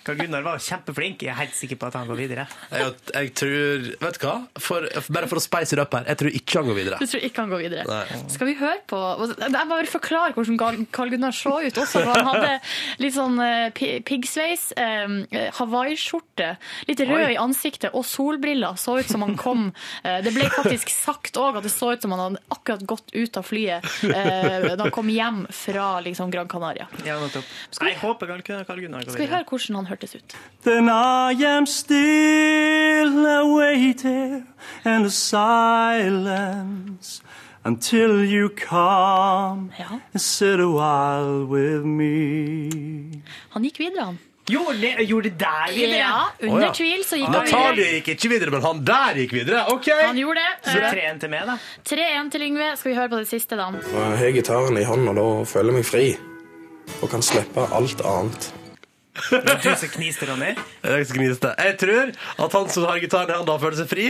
C: Carl Gunnar var kjempeflink. Jeg er helt sikker på at han går videre.
A: Jeg, jeg tror Vet du hva? For, bare for å speise det opp her. Jeg tror ikke han går videre.
B: Du tror ikke han går videre.
A: Nei.
B: Skal vi høre på Jeg må bare forklare hvordan Carl- Carl Gunnar så ut også. For han hadde litt sånn eh, pi- piggsveis, eh, hawaiiskjorte, litt rød
K: Oi.
B: i ansiktet og solbriller. Så ut som han kom eh, Det ble faktisk sagt òg at det så ut som han hadde akkurat gått ut av flyet eh, da han kom hjem fra liksom, Gran Canaria.
C: Ja, nettopp. Jeg håper Carl Gunnar Carl Gunnar går
B: Skal vi
C: videre.
B: høre hvordan han hørtes ut?
O: Then I am still a waiter and the silence until you come and sit a while with me.
B: Han gikk videre, han.
C: Gjorde, gjorde der
B: videre? Ja, under
A: Å, ja.
B: tvil så gikk han
A: Natalie
B: videre.
A: gikk ikke videre, men han der gikk videre. OK!
B: Han gjorde det.
A: Så
B: Eh,
A: tre igjen
C: til meg, da.
B: 3-1 til Yngve. Skal vi høre på det siste, da?
P: Og jeg har gitaren i hånden, og da føler jeg meg fri. Og kan slippe alt annet.
C: Men Du som kniste, Ronny.
A: Jeg skal gnise det. Jeg tror at han som har gitaren i hånda og føler seg fri,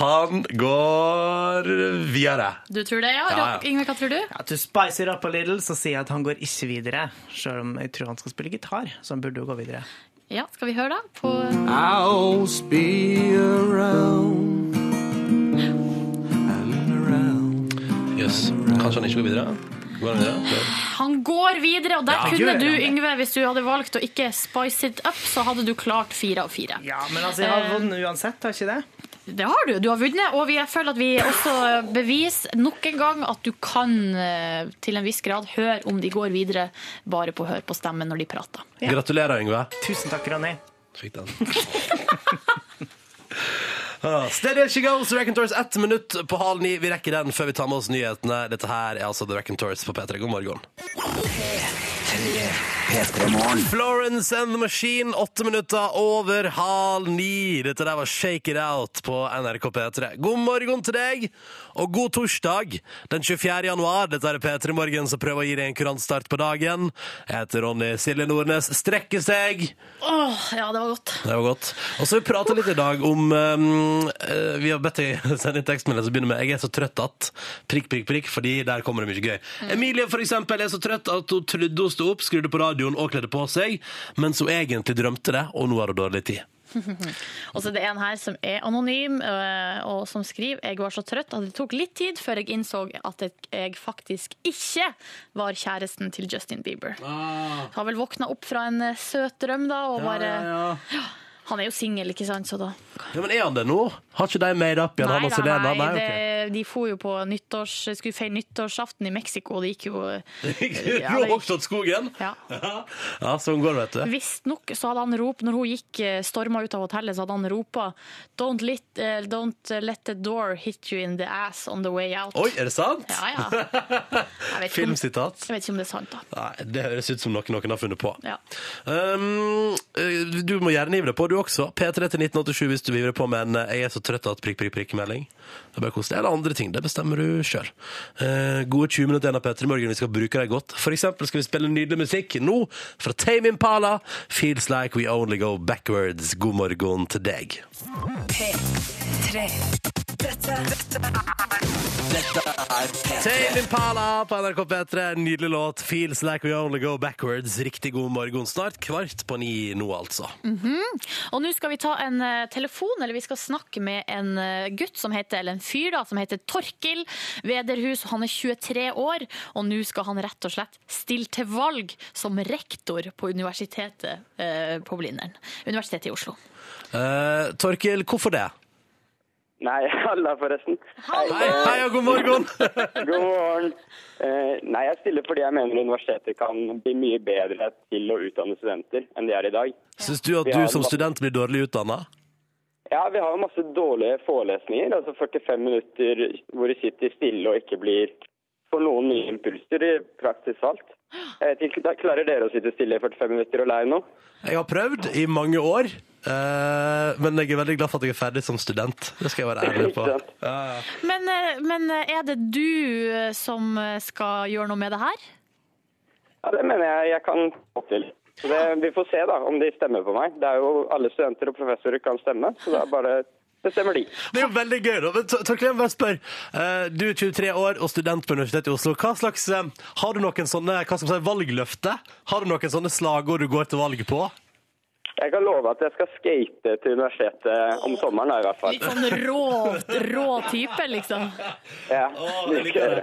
A: han går videre.
B: Du tror det, ja?
C: Ja, ja.
B: Rock, Yngve, hva tror du?
C: At du spicer up a little, så sier jeg at han går ikke videre. Selv om jeg tror han skal spille gitar, så han burde jo gå videre.
B: Ja, skal vi høre, da? På
O: I'll be around.
A: Jøss. Kanskje han ikke går videre? Går han videre?
B: Han går videre, og der
A: Ja,
B: kunne
A: gjør
B: du,
A: han det?
B: Yngve, hvis du hadde valgt å ikke spice it up, så hadde du klart fire av fire.
C: Ja, men altså, jeg har vunnet uansett, har jeg ikke det?
B: Det har du. Du har vunnet, og vi jeg føler at vi også beviser nok en gang at du kan eh, til en viss grad høre om de går videre bare på å høre på stemmen når de prater.
A: Gratulerer, Yngve.
C: Tusen takk, Ronny.
A: Fikk den. Ah, Steady as she goes, Raconteurs. Ett minutt på halv ni. Vi rekker den før vi tar med oss nyhetene. Dette her er altså The Raconteurs på P3. God morgen. Florence and the Machine, åtte minutter over halv ni. Dette der var Shake It Out på NRK P3. God morgen til deg, og god torsdag den 24. januar. Dette er P3 Morgen som prøver å gi deg en kurant start på dagen. Jeg heter Ronny Silje Nordnes. Strekke seg!
B: Åh, ja, det var godt.
A: Det var godt. Og så vil vi prate litt i dag om um, eh, Vi har bedt deg sende inn tekstmelding som begynner med 'Jeg er så trøtt at' prikk, prikk, prikk, fordi der kommer det mye gøy.
B: Mm.
A: Emilie for eksempel, er så trøtt at hun trodde hun sto opp, skrudde på radioen og kledde på seg, mens hun egentlig drømte det, og nå har hun dårlig tid.
B: Og så er Altså, det en her som er anonym, øh, og som skriver Jeg var så trøtt at det tok litt tid før jeg innså at jeg faktisk ikke var kjæresten til Justin Bieber. Har vel våkna opp fra en øh, søt drøm, da, og
A: Ah. Ja,
B: bare
A: ja,
B: Ja, Han er jo singel, ikke sant, så da
A: Ja, men er han det nå? Har ikke de made up igjen, han og
B: da,
A: Selena? Nei,
B: det,
A: ok.
B: de for jo på nyttårs, skulle feire nyttårsaften i Mexico, og det gikk jo ja, det gikk-
A: Rått åt skogen?
B: Ja.
A: ja, sånn går det, vet du.
B: Visstnok så hadde han rop Når hun gikk eh, storma ut av hotellet, så hadde han ropa don't, lit- eh, don't let the door hit you in the ass on the way out.
A: Oi, er det sant?
B: Ja, ja. Jeg vet ikke om-
A: Filmsitat.
B: Jeg vet ikke om det er sant, da.
A: Nei, det høres ut som noe noen har funnet på.
B: Ja.
A: Um, eh, du må gjerne hive deg på, du også. P3 til 1987 hvis du hiver deg på med en eh, 'jeg er så trøtt at prikk, prikk, prikk'-melding. Det er bare koselig. Eller andre ting. Det bestemmer du sjøl. Eh, gode 20 minutter igjen av P3 Morgen. Vi skal bruke dem godt. For eksempel skal vi spille nydelig musikk nå fra Tame Impala. 'Feels Like We Only Go Backwards'. God morgen til deg.
D: P3. Dette, dette er
A: Tame Impala på NRK P3, nydelig låt. 'Feels Like We Only Go Backwards'. Riktig god morgen snart. Kvart på ni nå, altså.
B: Mhm. Og nå skal vi ta en eh, telefon, eller vi skal snakke med en eh, gutt som heter, eller en fyr da, som heter Torkil Vederhus. Han er 23 år, og nå skal han rett og slett stille til valg som rektor på universitetet eh, på Blindern. Universitetet i Oslo.
A: Eh, Torkil, hvorfor det?
Q: Nei, halla forresten. Hei,
A: hei og god morgen.
Q: god morgen. Eh, nei, jeg stiller fordi jeg mener universitetet kan bli mye bedre til å utdanne studenter enn de er i dag.
A: Syns du at
Q: Vi har
A: du som
Q: en-
A: student blir dårlig utdanna?
Q: Ja, vi har jo masse dårlige forelesninger, altså 45 minutter hvor du sitter stille og ikke blir får noen nye impulser, i praktisk talt. Jeg vet ikke, da klarer dere å sitte stille i 45 minutter og lære noe?
A: Jeg har prøvd i mange år, eh, men jeg er veldig glad for at jeg er ferdig som student. Det skal jeg være ærlig på.
Q: Ikke sant?
A: Ja, ja.
B: Men, eh, men eh, er det du eh, som eh, skal gjøre noe med det her?
Q: Ja, det mener jeg jeg kan få til. Så det, vi får se da om de stemmer på meg. Det er jo Alle studenter og professorer kan stemme, så det er bare bestemmer de.
A: Det er jo veldig gøy. da. Men Tor- Torkil, jeg må bare spør. Eh, Du er 23 år og student på Universitetet i Oslo. Hva slags, eh, har du noen sånne hva skal man si, valgløfte? Har du noen sånne slagord du går til valg på?
Q: Jeg kan love at jeg skal skate til universitetet om sommeren, da, i hvert fall.
B: Litt sånn rå, rå type, liksom.
Q: Ja,
A: jeg liker det.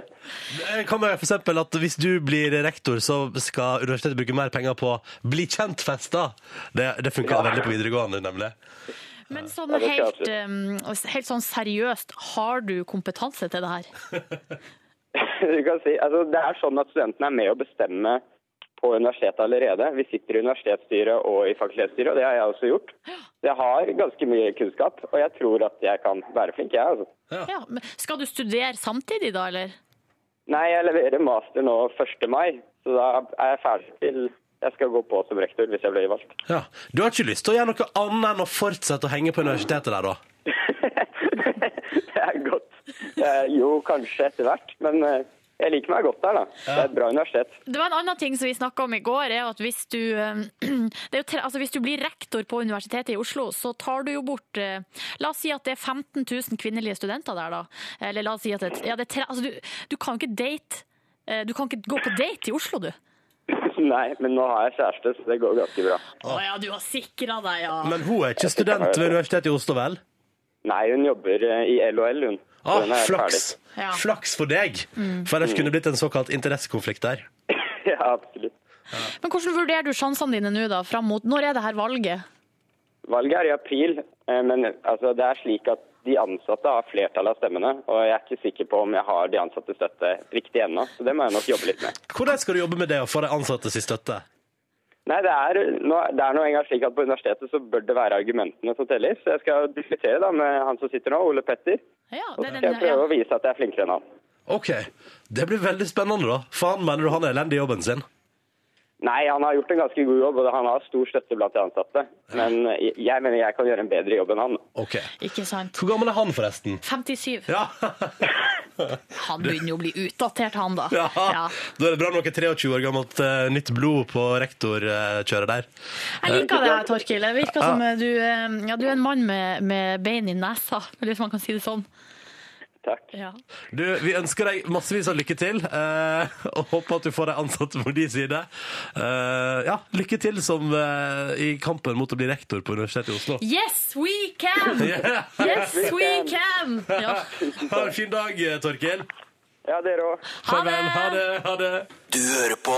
A: Eh, Kan være for eksempel at Hvis du blir rektor, så skal universitetet bruke mer penger på Bli kjent-fester. Det, det funka veldig på videregående, nemlig.
B: Men
A: Ja,
B: sånn
A: det skal jeg
B: helt, eh, helt sånn seriøst, har du kompetanse til det her?
Q: Du kan si, altså, det er sånn at studentene er med å bestemme på universitetet allerede. Vi sitter i universitetsstyret og i fakultetsstyret, og det har jeg også gjort. Så jeg har ganske mye kunnskap, og jeg tror at jeg kan være flink, jeg. altså.
B: Ja, men skal du studere samtidig da, eller?
Q: Nei, jeg leverer master nå 1. mai, så da er jeg ferdig til jeg skal gå på som rektor hvis jeg blir valgt.
A: Ja. Du har ikke lyst til å gjøre noe annet enn å fortsette å henge på universitetet der, da?
Q: Det er godt. Eh, jo, kanskje etter hvert, men eh, jeg liker meg godt der, da. Det er et bra universitet.
B: Det var en annen ting som vi snakka om i går, er at hvis du, eh, det er jo, tre- altså hvis du blir rektor på Universitetet i Oslo, så tar du jo bort eh, La oss si at det er 15 000 kvinnelige studenter der, da. Eller la oss si at det, ja, det er tre, altså du, du kan ikke date eh, Du kan ikke gå på date i Oslo, du.
Q: Nei, men nå har jeg kjæreste, så det går ganske bra.
B: Å ja, du har sikra deg, ja.
A: Men hun er ikke student ved Universitetet i Oslo, vel?
Q: Nei, hun jobber eh, i LHL, hun. Så
A: Ah,
Q: hun er
A: flaks.
Q: ferdig.
A: Flaks for deg!
B: Mm.
A: For ellers
Q: Mm.
A: kunne det blitt en såkalt interessekonflikt der.
Q: ja, absolutt.
B: Men hvordan vurderer du sjansene dine nå, da? Fram mot Når er det her valget?
Q: Valget er i april, eh, men altså, det er slik at de ansatte har flertallet av stemmene, og jeg er ikke sikker på om jeg har de ansatte støtte riktig ennå, så det må jeg nok jobbe litt med.
A: Hvordan skal du jobbe med det å få de ansatte sin støtte?
Q: Nei, det er, nå, det er nå engang slik at på universitetet så bør det være argumentene som teller. Så jeg skal diskutere da med han som sitter nå, Ole Petter. og så
B: den-
Q: skal jeg prøve å vise at jeg er flinkere enn han.
A: OK. Det blir veldig spennende, da. Faen, mener du han er elendig i jobben sin?
Q: Nei, han har gjort en ganske god jobb, og han har stor støtte blant de ansatte. Men jeg jeg mener jeg kan gjøre en bedre jobb enn han.
A: Ok.
B: Ikke sant.
A: Hvor gammel er han, forresten?
B: 57.
A: Ja.
B: Han begynner jo å bli utdatert, han da.
A: Ja.
B: Ja.
A: Da er det bra noe 23 år gammelt eh, nytt blod på rektorkjøret der.
B: Jeg liker det, Torkil. Det virker
A: Ja.
B: som eh, du, eh, ja, du er en mann med, med bein i nesa, hvis man kan si det sånn.
Q: Takk.
B: Ja.
A: Du, vi ønsker deg massevis av lykke til, eh, og håper at du får deg ansatt på din side. Eh, ja, lykke til som eh, i kampen mot å bli rektor på Universitetet i Oslo.
B: Yes, we can!
A: Yeah.
B: Yes, we can! Ja.
A: Ha en fin dag, eh, Torkil.
Q: Ja, dere òg.
A: Ha det. Ha det. Ha det. Du hører på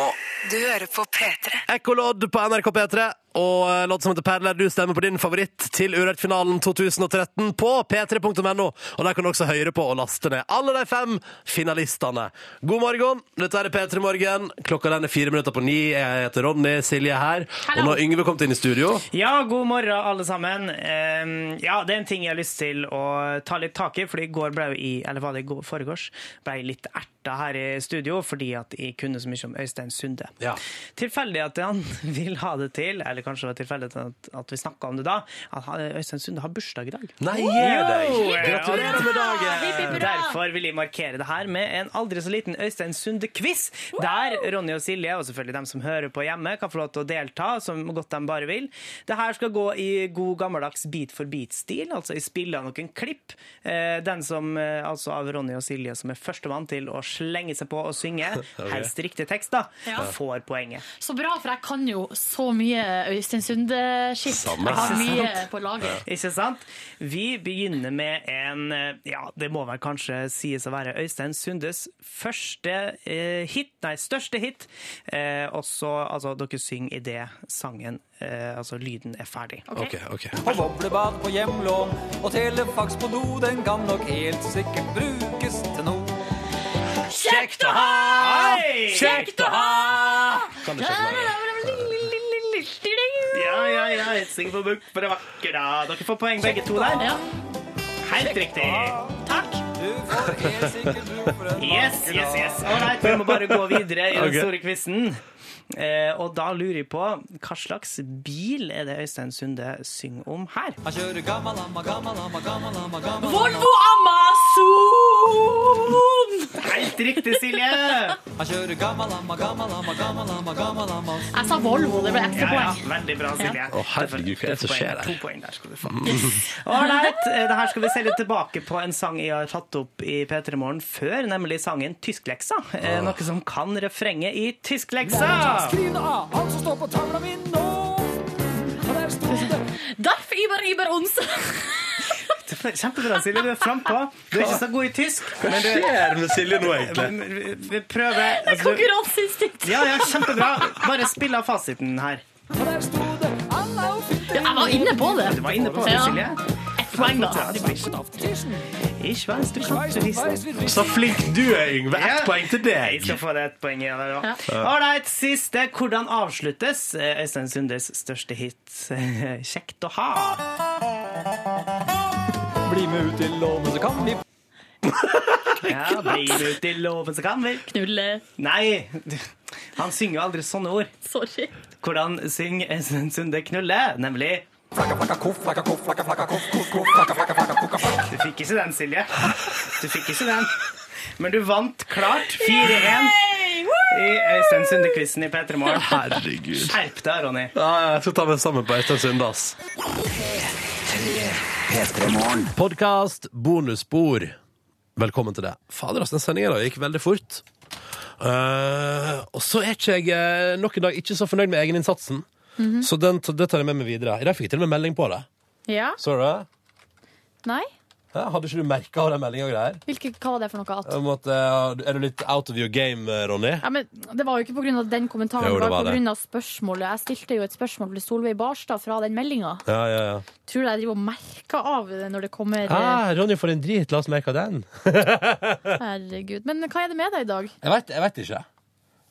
D: Du hører på P3.
A: Ekkolodd på NRK P3 og eh, låt som heter Perler. Du stemmer på din favoritt til Urørt-finalen 2013 på p3.no. Og der kan du også høre på og laste ned alle de fem finalistene. God morgen, dette er P3 Morgen. Klokka den er fire minutter på ni. Jeg heter Ronny, Silje er her. Og nå har Yngve kommet inn i studio.
C: Ja, god morgen, alle sammen. Ehm, ja, det er en ting jeg har lyst til å ta litt tak i, for i går ble jo i, eller var det i går, foregårs, ble jeg litt erta her i studio fordi at jeg kunne så mye om Øystein Sunde. Tilfeldig at han vil ha det til, eller kanskje det var tilfeldig at, at vi snakka om det da, at han- Øystein Sunde har bursdag i dag.
A: Nei,
C: Jo!
A: gi deg.
C: Ja,
A: Gratulerer med dagen. Hipp, hipp, hurra!
C: Derfor vil jeg markere det her med en aldri så liten Øystein Sunde-quiz, der Ronny og Silje, og selvfølgelig dem som hører på hjemme, kan få lov til å delta som godt de bare vil. Det her skal gå i god gammeldags beat for beat-stil, altså i spill av noen klipp. Eh, Den som, eh, altså av Ronny og Silje, som er førstemann til å slenge seg på og synge,
B: Ok.
C: helst riktig tekst, da,
B: Ja.
C: får poenget.
B: Så bra, for jeg kan jo så mye Øystein Sunde-skitt. Jeg har mye på lager.
C: Ikke sant? Vi begynner med en eh, Ja, det må vel kanskje sies å være Øystein Sundes første eh, hit, nei, største hit. Eh, og så, altså, dere synger idet sangen, eh, altså lyden, er ferdig.
A: Ok, ok.
R: Og boblebad på hjemlån og telefax på do, den kan nok helt sikkert brukes til noe.
B: Kjekt å
R: ha!
B: Kjekt å ha!
R: Kan
A: det
C: Ja, ja, ja, syng på bukk for det vakre. da. Dere får poeng begge to der. Helt riktig. Takk. Yes, yes, yes. Ålreit, vi må bare gå videre i den
R: Ok.
C: store quizen. Eh, og da lurer jeg på hva slags bil er det Øystein Sunde synger om her?
R: Han kjører gammal amma, gammal amma, gammal amma, gammal
B: Volvo Amazon!
C: Helt riktig, Silje!
R: Han kjører gammal amma, gammal amma, gammal amma, gammal amma.
B: Jeg sa Volvo, det ble
C: Ja,
B: ekstra
C: ja,
B: poeng.
C: veldig bra, Silje.
A: Å, herregud, hva er det som skjer der?
C: To poeng der skal du få. Ålreit, eh, det her skal vi se litt tilbake på en sang jeg har tatt opp i P3 Morgen før, nemlig sangen Tyskleksa.
A: Ah.
C: Eh, noe som kan refrenget i Tyskleksa.
R: Skriv nå av alt som står på tavla mi nå. Og der sto det
B: Darf Ibar Ibar Onze.
C: Kjempebra, Silje. Du er frampå. Du er ikke så god i tysk.
A: Hva
C: men du-
A: skjer med Silje nå, egentlig?
C: Men vi- Vi prøver altså, du-
B: Konkurranseinstinkt.
C: Ja, ja, kjempebra. Bare spill av fasiten her.
B: Ja, jeg var inne på det.
C: Du var inne på det,
B: Ja.
C: Silje.
B: Ett poeng, da.
C: Ich weiß, du kan ikke wissen.
A: Så flink du er, Yngve. Ett
C: Ja.
A: poeng til
C: Jeg skal
A: deg.
C: få deg ett poeng igjen. der også.
A: Ja.
C: Ålreit, siste. Hvordan avsluttes eh, Øystein Sundes største hit? Kjekt å ha.
R: Bli med ut i låven, så kan vi
C: Ja, blir du ut i loven, så kan vi
B: Knulle.
C: Nei, du- han synger jo aldri sånne ord.
B: Sorry.
C: Hvordan synger Øystein Sunde 'knulle'? Nemlig Du fikk ikke den, Silje. Du fikk ikke den. Men du vant klart 4-1 i Øystein Sunde-quizen i P3 Morgen.
A: Herregud.
C: Skjerp deg, Ronny.
A: Ja, jeg skal ta meg sammen på Øystein Sunde, ass. Podkast bonusspor. Velkommen til det. Fader, altså, den sendinga gikk veldig fort. Eh, og så er ikke jeg eh, nok en dag ikke så fornøyd med egeninnsatsen,
B: Mhm.
A: så den, det tar jeg med meg videre. I dag fikk jeg til og med melding på det.
B: Ja?
A: Så du det?
B: Nei?
A: Hæ? Hadde ikke du merka av den meldinga og greier?
B: Hvilke, hva var det for noe? At?
A: Om at, eh, er du litt out of your game, eh, Ronny?
B: Ja, men det var jo ikke pga. den kommentaren,
A: Jo,
B: det
A: det
B: var
A: var det.
B: pga. spørsmålet. Jeg stilte jo et spørsmål til Solveig Barstad fra den meldinga.
A: Ja, ja, ja.
B: Tror du jeg driver og merker av det når det kommer eh,
A: Ah, Ronny, for en drit. La oss merke av den.
B: Herregud. Men hva er det med deg i dag?
A: Jeg vet, jeg vet ikke.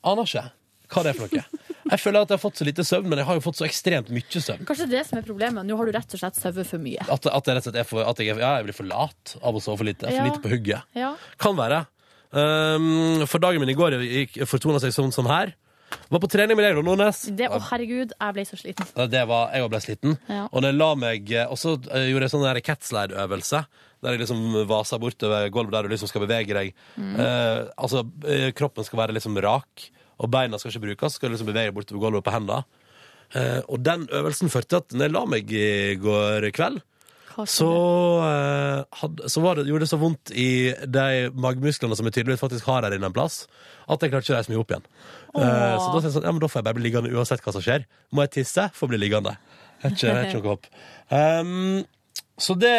A: Aner ikke hva det er for noe. Jeg føler at jeg har fått så lite søvn, men jeg har jo fått så ekstremt mye søvn.
B: Kanskje det er det som er problemet. Nå har du rett og slett sovet for mye.
A: At, at jeg rett og slett er for, at jeg, er- ja, jeg blir for lat av å sove for lite. Jeg er For
B: Ja.
A: lite på hugget. Ehm,
B: Ja.
A: Kan være. Um, for dagen min i går gikk- fortona seg sånn som her. Var på trening med deg, da, Nordnes.
B: Det, å herregud, jeg ble så sliten.
A: Ja, Det var, jeg ble sliten.
B: Ja.
A: Og når jeg la meg, og så eh, gjorde jeg sånn der cat slide-øvelse, der jeg liksom vasa bortover gulvet der du liksom skal bevege deg.
B: Mm.
A: Eh, altså, eh, kroppen skal være liksom rak, og beina skal ikke brukes, skal liksom bevege bortover gulvet på hendene. Eh, og den øvelsen førte til at når jeg la meg i går kveld, så, eh, hadde, så var det, gjorde det så vondt i de magemusklene som jeg tydeligvis faktisk har her inne en plass, at jeg klarte ikke å reise meg opp igjen. Eh,
S: Åh.
A: så da tenkte jeg sånn, ja, men da får jeg bare bli liggende uansett hva som skjer. Må jeg tisse, får bli liggende. Jeg har ikke, jeg har ikke noe håp. Ehm, så det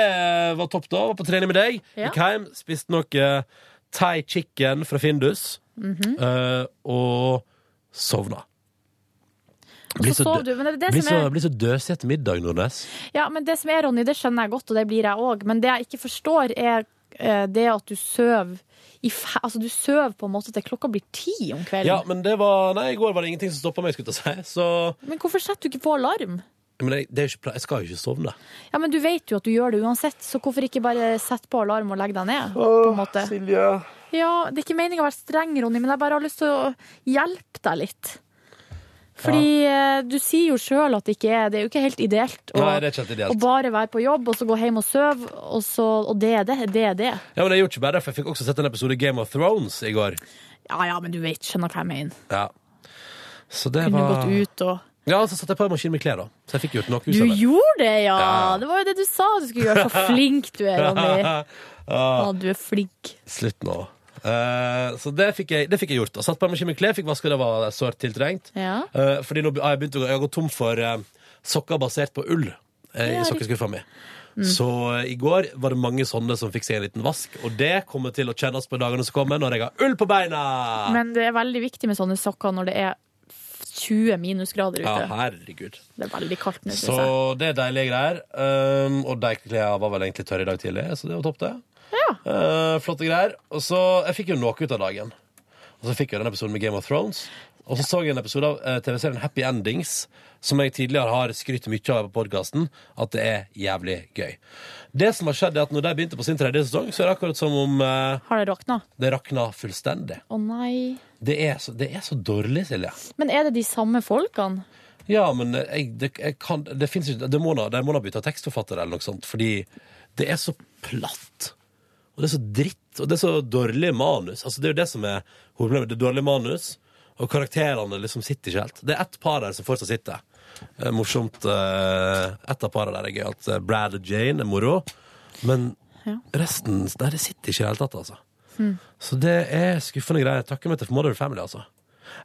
A: var topp da. Var på trening med deg.
B: Ja.
A: Gikk hjem, spiste noe thai chicken fra Findus,
B: Mhm.
A: eh, og sovna. Blir
B: så
A: så,
B: sov
A: dø-
B: du, men det er det
A: blir
B: som
A: så,
B: er-
A: blir så døsig etter middag, Nordnes.
B: Ja, men det som er, Ronny, det skjønner jeg godt, og det blir jeg òg. Men det jeg ikke forstår, er eh, det at du sover i fe- Altså, du sover på en måte til klokka blir ti om kvelden.
A: Ja, men det var Nei, i går var det ingenting som stoppa meg, skulle jeg til å si. Så
B: men... hvorfor setter du ikke på alarm?
A: men jeg, det er jo ikke, pla- jeg skal jo ikke sovne.
B: Ja, men du vet jo at du gjør det uansett, så hvorfor ikke bare sette på alarm og legge deg ned? på en måte?
A: Silje.
B: Ja, det er ikke meningen å være streng, Ronny, men jeg bare har lyst til å hjelpe deg litt. Fordi eh, du sier jo sjøl at det ikke er Det er jo ikke helt ideelt å,
A: Nei, det er ikke helt ideelt.
B: å bare være på jobb, og så gå hjem og sove, og, så, og det er det. Det er det.
A: Ja, men jeg gjorde ikke bare det, for jeg fikk også sett en episode Game of Thrones i går.
B: Ja ja, men du vet, skjønner hva jeg mener.
A: Ja. Så det
B: Kunne
A: var
B: gått ut og
A: Ja, så satte jeg på en maskin med klær, da. Så jeg fikk gjort noe
B: Du
A: utover.
B: gjorde det, ja!
A: Ja.
B: Det var jo det du sa du skulle gjøre. Så flink du er, Ronny. Ja,
A: Ja.
B: du er flink.
A: Slutt nå. Eh, så det fikk, jeg, det fikk jeg gjort. Og satt på en maskin med klær, fikk vaska, det var sårt tiltrengt.
B: Ja.
A: Eh, fordi nå be- har jeg begynt å gå- jeg har gått tom for eh, sokker basert på ull eh,
B: Ja,
A: i
B: riktig.
A: sokkeskuffa mi.
B: Mm.
A: Så eh, i går var det mange sånne som fikk seg en liten vask, og det kommer til å kjennes på dagene som kommer, når jeg har ull på beina!
B: Men det er veldig viktig med sånne sokker når det er 20 minusgrader
A: ja,
B: ute.
A: herregud.
B: Det er veldig kaldt nå,
A: Så
B: syns jeg.
A: det er deilige greier. Um, og de klærne var vel egentlig tørre i dag tidlig, så det var topp, det. Uh, flotte greier. Og så Jeg fikk jo noe ut av dagen. Og så fikk jeg den episoden med Game of Thrones. Og så så jeg en episode av eh, TV-serien Happy Endings, som jeg tidligere har skrytt mye av på podkasten, at det er jævlig gøy. Det som har skjedd, er at når de begynte på sin tredje sesong, så er det akkurat som om eh,
B: Har det rakna?
A: det rakna fullstendig.
B: Å nei.
A: Det er så, det er så dårlig, Silje.
B: Men er det de samme folkene?
A: Ja, men eh, jeg, det, jeg kan, det finnes ikke Det må da det må da bytte tekstforfatter eller noe sånt, fordi det er så platt. Og det er så dritt, og det er så dårlig manus. Altså, det er jo det som er hovedproblemet. Det er dårlig manus, og karakterene liksom sitter ikke helt. Det er ett par der som fortsatt sitter. Eh, morsomt. Eh, ett av parene der er gøyalt. Eh, Brad og Jane er moro. Men
B: Ja.
A: resten Nei, det sitter ikke i det hele tatt, altså.
B: Hmm.
A: Så det er skuffende greier. Takker meg til Modern Family, altså.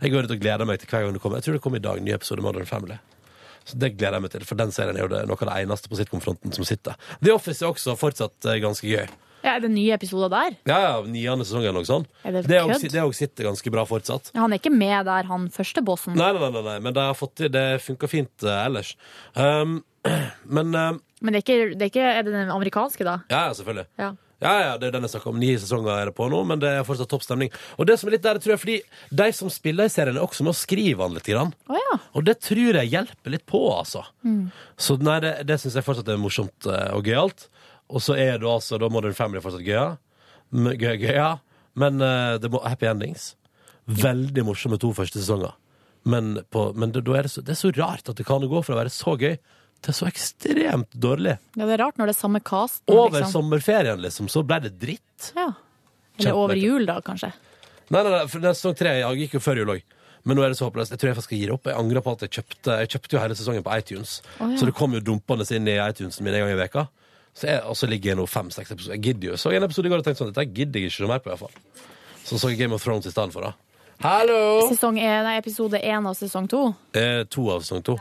A: Jeg går ut og gleder meg til hver gang det kommer. Jeg tror det kommer i dag en ny episode av Modern Family. Så det gleder jeg meg til, for den serien er jo det, noe av det eneste på sitcom-fronten som sitter. The Office er også fortsatt eh, ganske gøy.
B: Ja, er det nye episoder der?
A: Ja, ja, niende sesong eller noe sånt.
B: Er det
A: Det er også-
B: kødd?
A: det er også sitter ganske bra fortsatt.
B: Han er ikke med der, han første bossen.
A: Nei, nei, nei, nei, nei. men det, har fått til, det funker fint eh, ellers. Um, men eh,
B: Men det er, ikke, det er ikke Er det den amerikanske, da?
A: Ja, ja, selvfølgelig.
B: Ja.
A: Ja, ja, det er den jeg snakker om. Ni sesonger er det på nå, men det er fortsatt topp stemning. Og det som er litt der, tror jeg, fordi de som spiller i serien, er også med å skrive den litt. Grann. Og det tror jeg hjelper litt på, altså.
S: Mm.
A: Så nei, det, det syns jeg fortsatt er morsomt eh, og gøyalt. Og så er det altså da Modern Family fortsatt gøya. M- Gøy, gøya. Men eh, det må happy endings. Veldig morsomme to første sesonger. Men, på, men det, da er det, så, det er så rart at det kan gå fra å være så gøy til så ekstremt dårlig.
B: Ja, det er rart når det er samme cast.
A: Over
B: liksom.
A: sommerferien, liksom, så ble det dritt.
B: Ja. Eller over jul, da, kanskje.
A: Nei, nei, nei, for den sesong tre jeg gikk jo før jul òg. Men nå er det så håpløst. Jeg tror jeg faktisk skal gi det opp. Jeg angrer på at jeg kjøpte Jeg kjøpte jo hele sesongen på iTunes.
S: Å, ja.
A: Så det kom jo dumpende inn i iTunes min en gang i veka. Så jeg, og så ligger jeg nå fem-seks episoder. Jeg gidder jo. Så en episode i går og tenkte sånn Dette gidder jeg ikke noe mer på, iallfall. Så så jeg Game of Thrones i stedet for, da. Hallo!
B: Sesong en, nei, episode én av sesong to.
A: Eh, to av sesong to.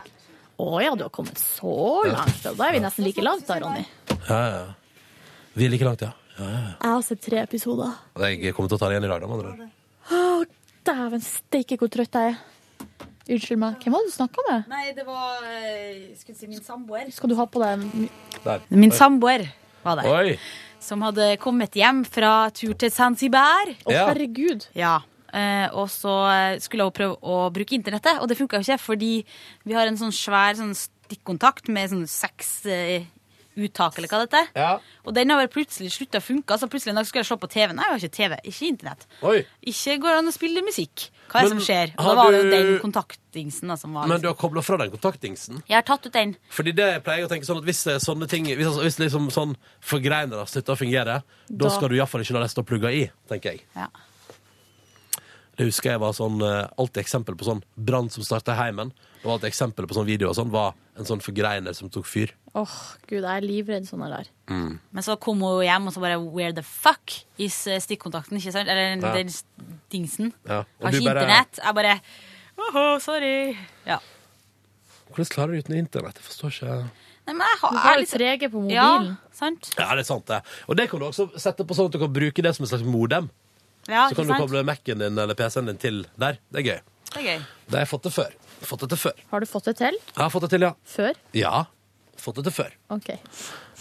B: Å ja, du har kommet så langt. Da er vi nesten like langt da, Ronny.
A: Ja, ja. ja. Vi er like langt, ja. ja, ja.
B: Jeg har sett tre episoder.
A: ja. Jeg kommer til å ta det igjen i dag, da, med andre ord.
B: Å, dæven steike hvor trøtt jeg er. Unnskyld meg. Hvem var det du snakka med?
T: Nei, det var eh, jeg Skulle si min samboer.
B: Skal du ha på deg
A: Der.
T: Min samboer var der.
A: Oi!
T: Som hadde kommet hjem fra tur til Zanzibar.
A: Å, Ja.
B: herregud.
T: Ja. Eh, og så eh, skulle hun prøve å bruke internettet, og det funka jo ikke, fordi vi har en sånn svær sånn stikkontakt med sånn seks eh, uttak, eller hva det heter.
A: Ja.
T: Og den har bare plutselig slutta å funke. Altså plutselig en dag skulle jeg se på TV. Nei, jeg har ikke TV, ikke Internett.
A: Oi.
T: Ikke går det an å spille musikk. Hva er det
A: Men
T: som skjer? Og
A: har
T: da var det jo
A: du-
T: den kontaktingsen da, som var
A: Eh, Men du
T: liksom.
A: har kobla fra den kontaktdingsen?
T: Jeg har tatt ut den.
A: Fordi det pleier jeg å tenke sånn at hvis det er sånne ting Hvis, altså, hvis liksom sånn forgreinere slutter å fungere, da
T: Da-
A: skal du iallfall ikke la det stå plugga i, tenker jeg.
T: Ja.
A: Det husker jeg var sånn eh, Alt eksempel på sånn brann som starta i heimen, og alt eksempel på sånn video og sånn, var en sånn forgreiner som tok fyr.
T: Åh, gud, jeg er livredd sånne der.
A: Mm.
T: Men så kom hun hjem, og så bare Where the fuck is eh, stikkontakten? ikke sant? Eller
A: Ja.
T: den s- dingsen.
A: Ja.
T: Mm. Har ikke internett. Jeg bare Åhå, sorry. Ja.
A: Hvordan klarer du uten internett? Jeg forstår ikke
T: Nei, men jeg har,
B: Du
T: jeg
B: var
T: er
B: litt trege på mobilen.
T: Ja, sant?
A: Ja, det er sant, det. Og det kan du også sette på sånn at du kan bruke det som et slags modem. så
T: Ja, Ah, ikke
A: kan du
T: sant?
A: koble Mac-en din eller PC-en din til der. Det er gøy.
T: Det er gøy.
A: Det har jeg fått det før. Fått det til før.
B: Har du fått det til?
A: Jeg har fått det til, ja.
B: Før?
A: Ja. Fått det til før.
B: OK.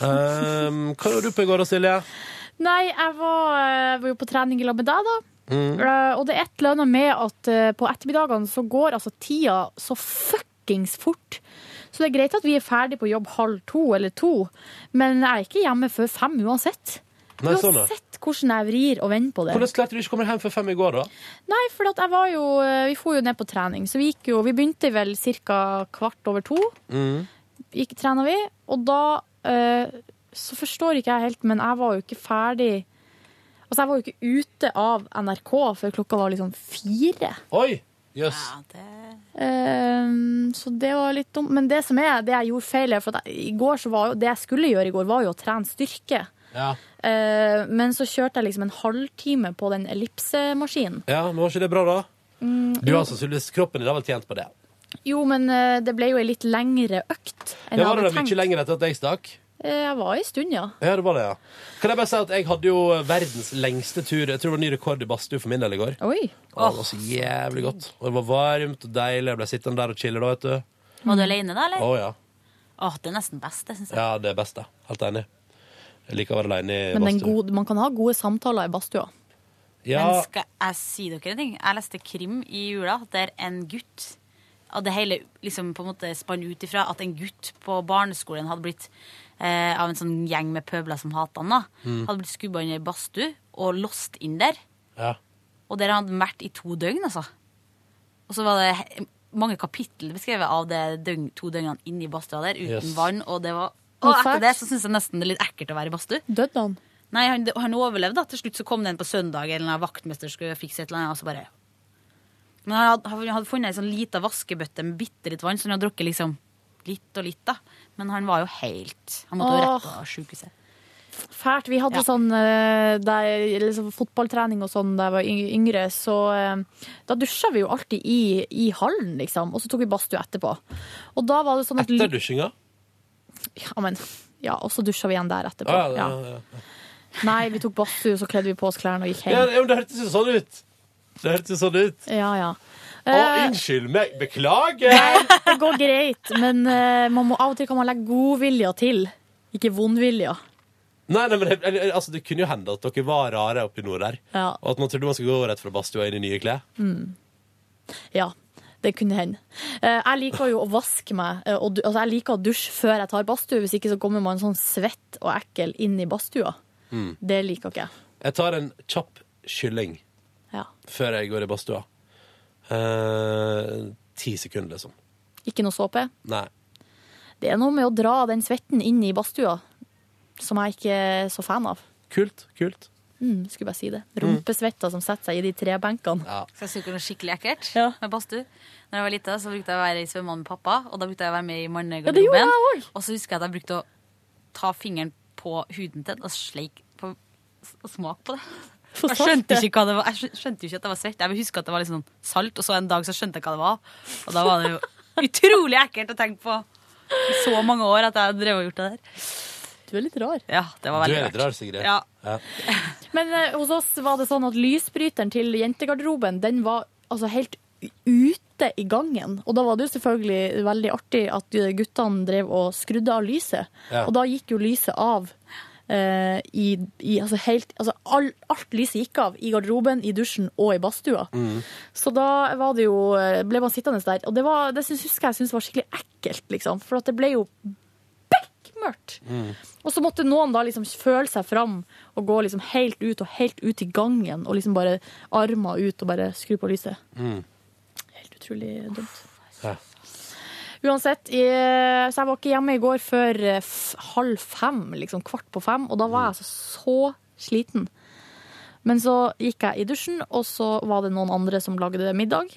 A: Ehm, hva gjorde du på i går, da, Silje?
B: Nei, jeg var, eh, var jo på trening i lag med deg, da.
A: Mm.
B: Eh, Og det er et eller annet med at eh, på ettermiddagene så går altså tida så fuckings fort. Så det er greit at vi er ferdig på jobb halv to eller to, men jeg er ikke hjemme før fem uansett.
A: Nei, sånn, ja.
B: uansett hvordan jeg vrir og vender på det.
A: Hvordan klarte du ikke å komme hjem før fem i går, da?
B: Nei, for at jeg var jo, eh, vi for jo ned på trening, så vi gikk jo, vi begynte vel cirka kvart over to, gikk, trenet vi, og da, eh, så forstår ikke jeg helt, men jeg var jo ikke ferdig, altså jeg var jo ikke ute av NRK før klokka var liksom fire.
A: Oi! Jøss.
B: Ehm, så det var litt dumt. Men det som er, det jeg gjorde feil, er for at jeg, i går så var jo, det jeg skulle gjøre i går, var jo å trene styrke.
A: Ja.
B: Eh, men så kjørte jeg liksom en halvtime på den ellipsemaskinen.
A: ja, men var ikke det bra, da?
B: Mm,
A: Du
B: jo,
A: har sannsynligvis kroppen din har vel tjent på det.
B: jo, men eh, det ble jo ei litt lengre økt enn
A: Det
B: jeg
A: var
B: hadde
A: det da
B: tenkt.
A: mye lenger etter at jeg stakk.
B: Eh, jeg var en stund, ja.
A: Ja, det var det, ja. Kan jeg bare si at jeg hadde jo eh, verdens lengste tur. Jeg tror det var ny rekord i badstue for min del i går.
B: Oi.
A: Og det var så jævlig godt. Og det var varmt og deilig. Jeg ble sittende der og chille da, vet du.
T: Var du alene da,
A: Å
T: eller?
A: ja.
T: Åh, det er nesten best, det syns jeg.
A: Ja, det er best, det. Helt enig. Jeg liker å være aleine i
B: Men den
A: badstue.
B: gode, man kan ha gode samtaler i badstua.
A: Ja,
T: Men skal jeg si dere en ting? Jeg leste krim i jula der en gutt Og det hele liksom på en måte spann ut ifra at en gutt på barneskolen hadde blitt eh, av en sånn gjeng med pøbler som hatet han, da.
F: Mm.
T: Hadde blitt skubba inn i ei badstue og låst inn der.
A: Ja.
T: Og der hadde han vært i to døgn, altså. Og så var det he- mange kapittel beskrevet av det døgn, to døgnene inne i badstua der, uten
B: Yes.
T: vann, og det var og
B: Nå fælt.
T: etter det så syns jeg nesten det er litt ekkelt å være i badstue.
B: Døde han?
T: Nei, han, han overlevde. da. Til slutt så kom det en på søndag, eller en eller annen vaktmester skulle fikse et eller annet. og så bare... Men han hadde, han hadde funnet ei sånn lita vaskebøtte med bitte litt vann, så han hadde drukket liksom litt og litt. da. Men han var jo helt Han måtte jo
B: Åh.
T: rett på sjukehuset.
B: Fælt. Vi hadde
T: Ja.
B: sånn eh, der, liksom, fotballtrening og sånn da jeg var yng- yngre, så eh, da dusja vi jo alltid i, i hallen, liksom. Og så tok vi badstue etterpå. Og da var det sånn at
A: etter dusjinga.
B: Ja, men, ja, og så dusja vi igjen der etterpå.
A: Ja, ja,
B: Ja.
A: ja, ja.
B: Nei, vi tok badstue, så kledde vi på oss klærne og gikk
A: ja,
B: hjem.
A: men det hørtes jo sånn ut. Det hørtes jo sånn ut.
B: Ja, ja.
A: Å,
B: Eh,
A: unnskyld meg. Beklager.
B: det går greit, men eh, man må, av og til kan man legge godvilja til, ikke vondvilja.
A: Nei, nei, men jeg- eller, altså, Det kunne jo hende at dere var rare oppi nord der.
B: Ja.
A: Og at man trodde man skulle gå rett fra badstua inn i nye klær.
B: Mm. ja. Det kunne hende. Eh, jeg liker jo å vaske meg, eh, og du, altså, jeg liker å dusje før jeg tar badstue, hvis ikke så kommer man sånn svett og ekkel inn i badstua.
A: Mm.
B: Det liker ikke jeg.
A: Jeg tar en kjapp kylling
B: Ja.
A: før jeg går i badstua. Eh, Ti sekunder, liksom.
B: Ikke noe såpe.
A: Nei.
B: Det er noe med å dra den svetten inn i badstua, som jeg ikke er så fan av.
A: Kult. kult.
B: Mm, skulle bare si det. Rumpesvetter som setter seg i de tre benkene.
T: Skal jeg si dere noe skikkelig ekkelt? Med badstue. Når jeg var lita, så brukte jeg å være i svømmehallen med pappa, og da brukte jeg å være med i
B: Ja, det
T: mannegarderoben.
B: gjorde
T: og så husker jeg at jeg brukte å ta fingeren på huden til den og sleik på og smak på det.
B: For
T: Jeg
B: salt,
T: skjønte,
B: det.
T: ikke hva det var. jeg skjø- skjønte jo ikke at det var svett. Jeg vil huske at det var litt sånn salt, og så en dag så skjønte jeg hva det var. Og da var det jo utrolig ekkelt å tenke på i så mange år at jeg drev og gjort det der.
B: Du er litt rar.
T: Ja, det var
A: Du
T: veldig
A: er litt rar, Sigrid.
T: Ja.
A: Ja.
B: Men eh, hos oss var det sånn at lysbryteren til jentegarderoben, den var altså helt ute i gangen. Og da var det jo selvfølgelig veldig artig at guttene drev og skrudde av lyset.
T: Ja.
B: Og da gikk jo lyset av. eh, i, i, altså helt, altså all, alt lyset gikk av i garderoben, i dusjen og i badstua. Så da var det jo, eh, ble man sittende der. Og det, var, det syns- husker jeg synes var skikkelig ekkelt, liksom. For at det ble jo bekk travelt. Og så måtte noen da liksom føle seg fram og gå liksom helt ut og helt ut i gangen og liksom bare armer ut og bare skru på lyset.
A: Mm.
B: Helt utrolig dumt.
A: Ja.
B: Uansett, i- så jeg var ikke hjemme i går før eh, f- halv fem, liksom kvart på fem, og da var jeg altså så sliten. Men så gikk jeg i dusjen, og så var det noen andre som lagde middag.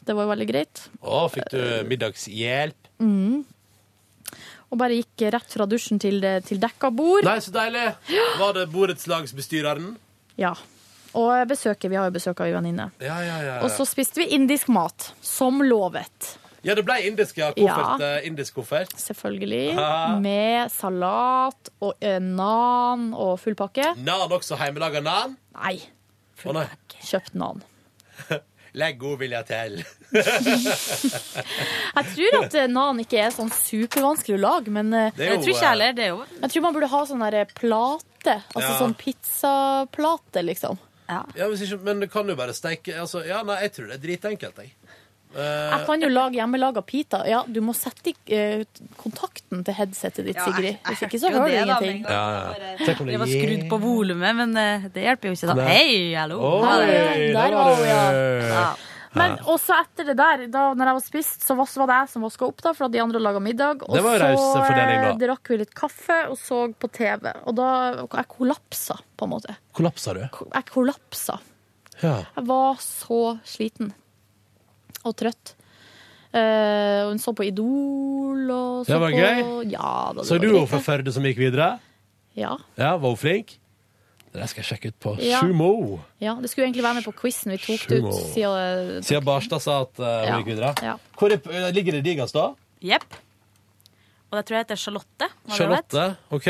B: Det var jo veldig greit.
A: Å, fikk du middagshjelp?
B: Mm. Og bare gikk rett fra dusjen til, det, til dekka bord.
A: Nei, så deilig! Var det borettslagsbestyreren?
B: Ja. Og besøket, vi har jo besøk av ei venninne.
A: Ja, ja, ja. ja.
B: Og så spiste vi indisk mat, som lovet.
A: ja, det ble indisk, ja. Koffert. eh, Indisk koffert.
B: Selvfølgelig.
A: Ah.
B: Med salat og eh, nan og full pakke.
A: Nan også. Hjemmelaga nan.
B: Nei.
A: Å nei.
B: Kjøpt nan.
A: Legg godvilja til.
B: Jeg tror at eh, nan ikke er sånn supervanskelig å lage, men eh,
A: Det er jo, Jeg tror ikke jeg heller,
T: det er jo.
B: Jeg tror man burde ha sånn der eh, plate. Altså
A: Ja.
B: sånn pizzaplate, liksom.
A: Ja, hvis ikke, men det kan jo bare steike altså, Ja, nei, jeg tror det er dritenkelt, jeg. Eh,
B: Jeg kan jo lage hjemmelaga pita. Ja, du må sette i eh, kontakten til headsetet ditt,
T: Ja, jeg-
B: Sigrid. Hvis
T: jeg
B: ikke så
T: hørte jo
B: hører du
T: det da,
B: ingenting.
A: ja, ja. Tenk om det
T: Det var
A: gir-
T: skrudd på volumet, men eh, det hjelper jo ikke. da
A: Nei.
T: Hei, hallo!
A: Oi,
T: Ha det.
B: der
A: der
B: var
A: var
B: hun,
A: det.
B: ja. Men også etter det der, da når jeg var spist, så vas- var det jeg som vaska opp, da, for at de andre laga middag. Og
A: Det var jo raus
B: så
A: fordeling, da.
B: eh, drakk vi litt kaffe og så på TV. Og da Jeg kollapsa, på en måte.
A: Kollapsa du?
B: Jeg kollapsa.
A: Ja.
B: Jeg var så sliten. Og trøtt. Eh, og hun så på Idol og så
A: Det var
B: på
A: gøy.
B: Ja, da, det
A: Så
B: var
A: du
B: greit,
A: henne fra
B: det.
A: Førde som gikk videre?
B: Ja.
A: Ja, Var hun flink? Det der skal jeg sjekke ut på
B: Ja.
A: Sumo.
B: ja. Det skulle egentlig være med på quizen vi tok det
A: Sjumo.
B: ut siden eh,
A: Siden Barstad sa at eh, hun
B: Ja.
A: gikk videre.
B: Ja.
A: Hvor er, eh, ligger det diggast, da?
T: Jepp. Og det tror jeg heter Charlotte. hva det vet.
A: Charlotte? OK.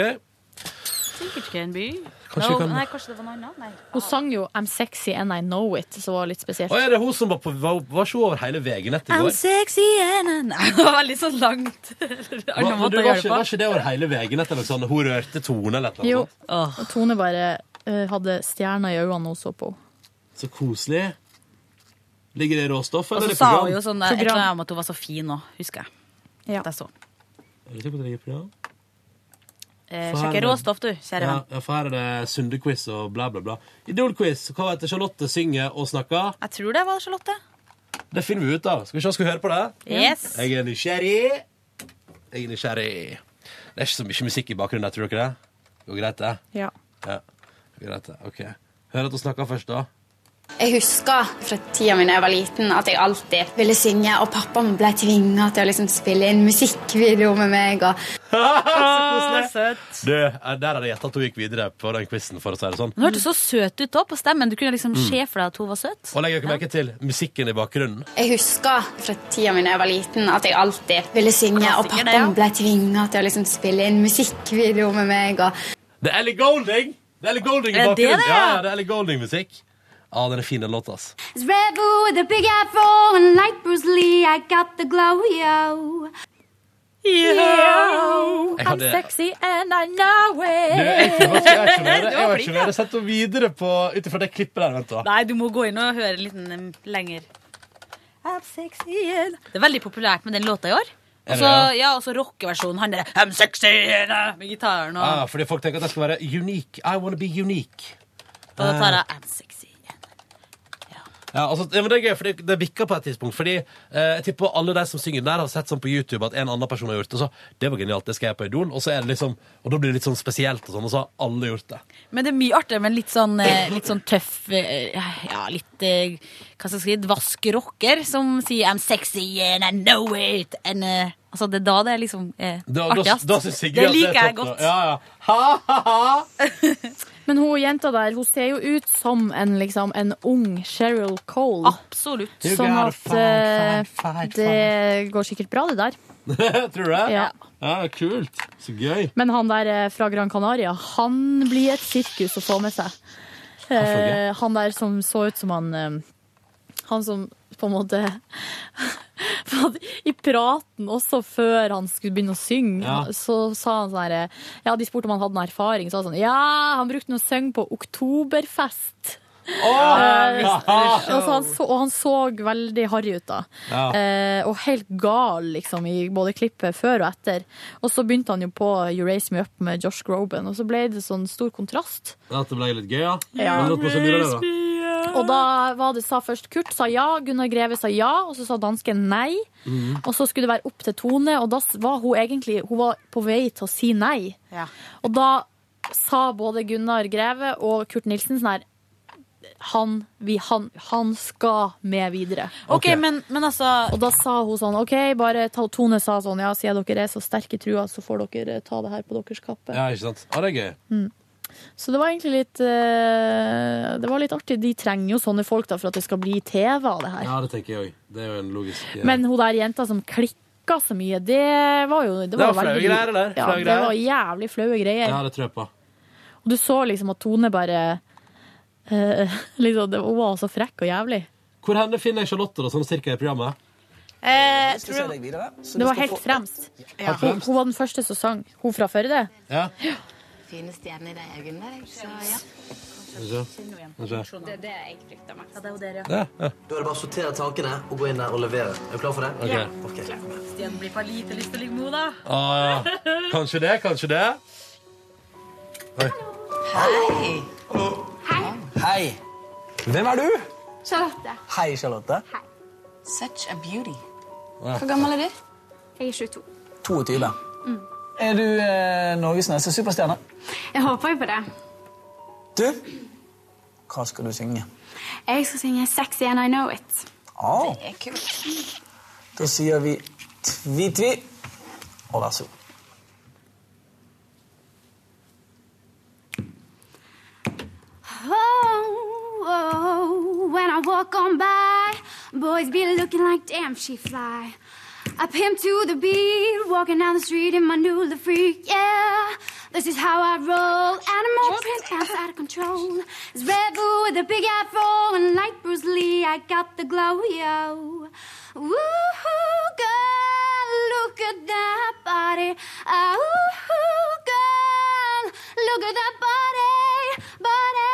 T: Sikkert ikke en by.
A: Kanskje
T: no,
A: vi kan-
T: Nei, kanskje det var noe annet? Nei.
B: Hun sang jo 'I'm sexy and I know it', som var litt spesielt.
A: Og er det hun som var på var, var ikke hun over hele veien etter i
T: I'm
A: går?
T: sexy and I- Nei, det var veldig så langt.
A: Var,
T: Annen
A: men
T: måte
A: du,
T: å
A: var,
T: gjøre
A: ikke,
T: det
A: var
T: på.
A: ikke det over hele veien etter noe sånn Hun rørte tone eller noe
B: Jo.
A: sånt?
B: Og Tone bare eh, hadde stjerner i øynene da hun så på henne.
A: Så koselig. Ligger det i råstoff,
T: Og
A: eller er
T: så
A: det
T: sa
A: program?
T: hun jo sånn der, et
B: Program.
T: eller annet om at hun var så fin òg, husker jeg.
B: Ja.
T: Det er sånn.
A: Er du sikker på at det ligger i program?
T: Eh,
A: For her
T: Sjekker
A: er-
T: råstoff, du, kjære
A: Ja,
T: venn.
A: ja, for her er det Sunde-quiz og bla, bla, bla. Idol-quiz. Hva heter Charlotte synger og snakker?
T: Jeg tror det var Charlotte.
A: Det finner vi ut av. Skal vi se, skal vi høre på det?
T: Yes.
A: Jeg er nysgjerrig. Jeg er nysgjerrig. Det er ikke så mye musikk i bakgrunnen, der, tror dere det? Går greit, det?
B: Ja.
A: Ja. Går greit, det. OK. Hør at hun snakker først, da.
S: Jeg husker fra tida mi da jeg var liten, at jeg alltid ville synge, og pappa ble tvinga til å liksom spille inn musikkvideo med meg. Og...
A: Du, eh, der hadde jeg gjettet at hun gikk videre på den quizen, for å si det sånn.
T: Hun hørtes så søt ut da på stemmen. Du kunne liksom
A: Mm.
T: se for deg at hun var søt.
A: Og legger dere merke til musikken i bakgrunnen?
S: Jeg husker fra tida mi da jeg var liten, at jeg alltid ville synge, og
T: Klassiker,
S: pappa
T: det, ja.
S: ble tvinga til å liksom spille inn musikkvideo med meg. Og...
A: Det er Ellie Golding! Det er Ellie Golding i
S: Er det det,
A: bakgrunnen.
S: ja?
A: ja, ja, det er Ellie Golding-musikk. Ja, den er fin, den låta, ass.
K: It's Rebel with a big afro and like Bruce Lee, I got the glow, yo.
B: Yo,
A: Jeg
B: I'm
A: hadde-
B: sexy and I know it.
A: Du, jeg kunne godt- jeg kunne
T: Du var
A: være- jeg var
T: flink,
A: ikke med. Sett henne videre på, ut ifra det klippet der. Vent, da.
T: Nei, du må gå inn og høre en liten em, lenger. I'm sexy and Det er veldig populært med den låta i år.
A: Er det
T: Og så
A: det?
T: ja, og så rockeversjonen. Han der I'm sexy and I- med gitaren og
A: Ah, fordi folk tenker at jeg skal være unique. I wanna be unique.
T: Og da
A: ah.
T: tar jeg I'm sexy.
A: Ja, altså, ja, men Det er gøy, for det, det vikker på et tidspunkt. Fordi eh, jeg tipper alle de som synger den der, har sett sånn på YouTube at en annen person har gjort det. Så det var genialt, det skal jeg på Idol. Og, så er det liksom, og da blir det litt sånn spesielt, og sånn, og så har alle gjort det.
T: Men det er mye artigere med en litt sånn, eh, litt sånn tøff eh, Ja, litt eh, Hva skal jeg si dvask rocker som sier 'I'm sexy and I know it'. And, eh, altså, det er da det er liksom eh,
A: Da, da,
T: artigst.
A: da synes Sigrid
T: det
A: at
T: liker
A: er
T: jeg
A: topp, da.
T: godt.
A: Ja, ja. Ha, ha, ha.
B: Men hun jenta der hun ser jo ut som en, liksom, en ung Cheryl Cole.
A: Ah.
T: Absolutt.
A: You
B: Sånn
A: gotta
B: at
A: fight,
B: eh,
A: fight, fight,
B: det går sikkert bra, det der.
A: Tror du det?
B: Ja.
A: ja, kult. Så gøy.
B: Men han der eh, fra Gran Canaria, han blir et sirkus å få med seg. Eh, han der som så ut som han eh, Han som på en måte for at I praten også før han skulle begynne å synge,
T: Ja.
B: så sa han sånn her eh, Ja, de spurte om han hadde noen erfaring. Så sa han sånn Ja, han brukte noe å synge på Oktoberfest. Eh,
A: Mr. Show.
B: altså, han så, og han så veldig harry ut, da.
A: Ja.
B: Eh, og helt gal, liksom, i både klippet før og etter. Og så begynte han jo på You Raise Me Up med Josh Groban, og så ble det sånn stor kontrast.
A: At det ble litt gøy, ja?
B: Ja.
A: Men det var prosedyrer, det, da.
B: Og da var det, sa først Kurt sa ja, Gunnar Greve sa ja, og så sa dansken nei.
A: Mhm.
B: Og så skulle det være opp til Tone, og da s- var hun egentlig hun var på vei til å si nei. Og da sa både Gunnar Greve og Kurt Nilsen sånn her han, vi, han, han skal med videre.
T: Ok, Ok. men- altså
B: Og da sa hun sånn OK, bare ta Tone sa sånn ja, siden dere er så sterke i trua, så får dere eh, ta det her på deres kappe.
A: Ja, ikke sant? Ja, det er gøy.
B: Mm. Så det var egentlig litt eh, Det var litt artig. De trenger jo sånne folk da for at det skal bli TV av det her.
A: Ja, det tenker jeg òg. Det er jo en logisk eh,
B: Men hun der jenta som klikka så mye, det var jo
A: Det
B: var jo
A: var flaue
B: veldig-
A: greier, eller?
B: Ja,
A: Flaue
B: det
A: greier.
B: var jævlig flaue greier.
A: Ja, det tror jeg på.
B: Og du så liksom at Tone bare eh, liksom, det, Hun var så frekk og jævlig.
A: Hvor henne finner jeg Charlotte, da, sånn cirka i programmet?
B: Det var helt fremst.
A: Ja.
B: Hun, hun var den første som sang. Hun fra Førde.
A: Ja.
S: Fine stjerner i de øynene der, så ja.
A: Skal vi se. Skal vi se.
S: Det er det jeg frykter mest. Ja, det er jo
T: dere,
A: Ja, ja.
E: Da er det bare å sortere takene og gå inn der og levere. Er du klar for det?
A: Ok. Ja.
E: Ok.
T: Stian blir på lite lyst til å ligge med henne, da.
A: Ah, ja. Kanskje det, kanskje det.
E: Hei! Hei. Hvem er du?
S: Charlotte.
E: Hei, Charlotte.
S: Such a beauty.
E: Ja.
S: Hvor gammel er du? Jeg er Mm. 22.
E: 22. Er du eh, Norges neste superstjerne?
S: Jeg håper jo på det.
E: Du, hva skal du synge?
S: Jeg skal synge 'Sexy and I Know It'.
E: Au.
S: Det er kult.
E: Da sier vi tvi-tvi, og vær så god.
K: Oh, oh, when I walk on by, boys be looking like damn she fly. I pimp to the beat, walking down the street in my new the freak, yeah. This is how I roll. Animal print pants out of control. It's Red Bull with a big afro and like Bruce Lee, I got the glow, yo. Woohoo, girl, look at that body. Ah, woohoo, girl, look at that body, body.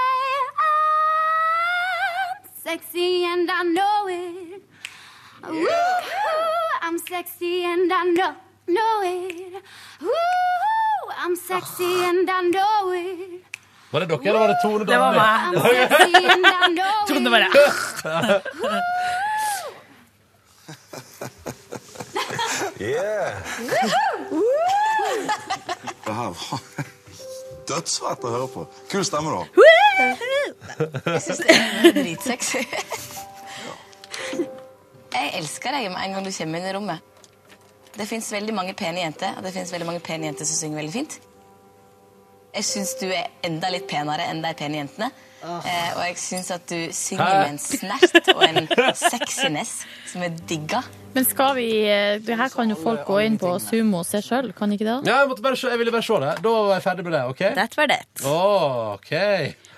K: I'm sexy and I know it. Woo, I'm sexy and I know, know it. Woo, I'm sexy
D: Ah.
K: and I know it.
A: Var det dere, eller var det Tone?
K: Det var meg. I'm sexy and I know it.
T: Tone bare.
O: Yeah.
K: Woohoo!
O: Det her var dødsfett å høre på. Kul stemme, da.
D: Jeg syns det er dritsexy.
S: Jeg elsker deg med en gang du kommer inn i rommet.
D: Det fins veldig mange pene jenter, og det fins veldig mange pene jenter som synger veldig fint. Jeg syns du er enda litt penere enn de pene jentene. Eh, og jeg syns at du synger
B: Hæ?
D: med en snert og en sexiness som jeg digger.
B: Men skal vi eh, Det her kan jo folk gå inn på Sumo og se sjøl, kan ikke det?
A: Ja, jeg, måtte bare se, jeg ville bare se det. Da var jeg ferdig med det. OK?
T: That var det.
A: Å, OK.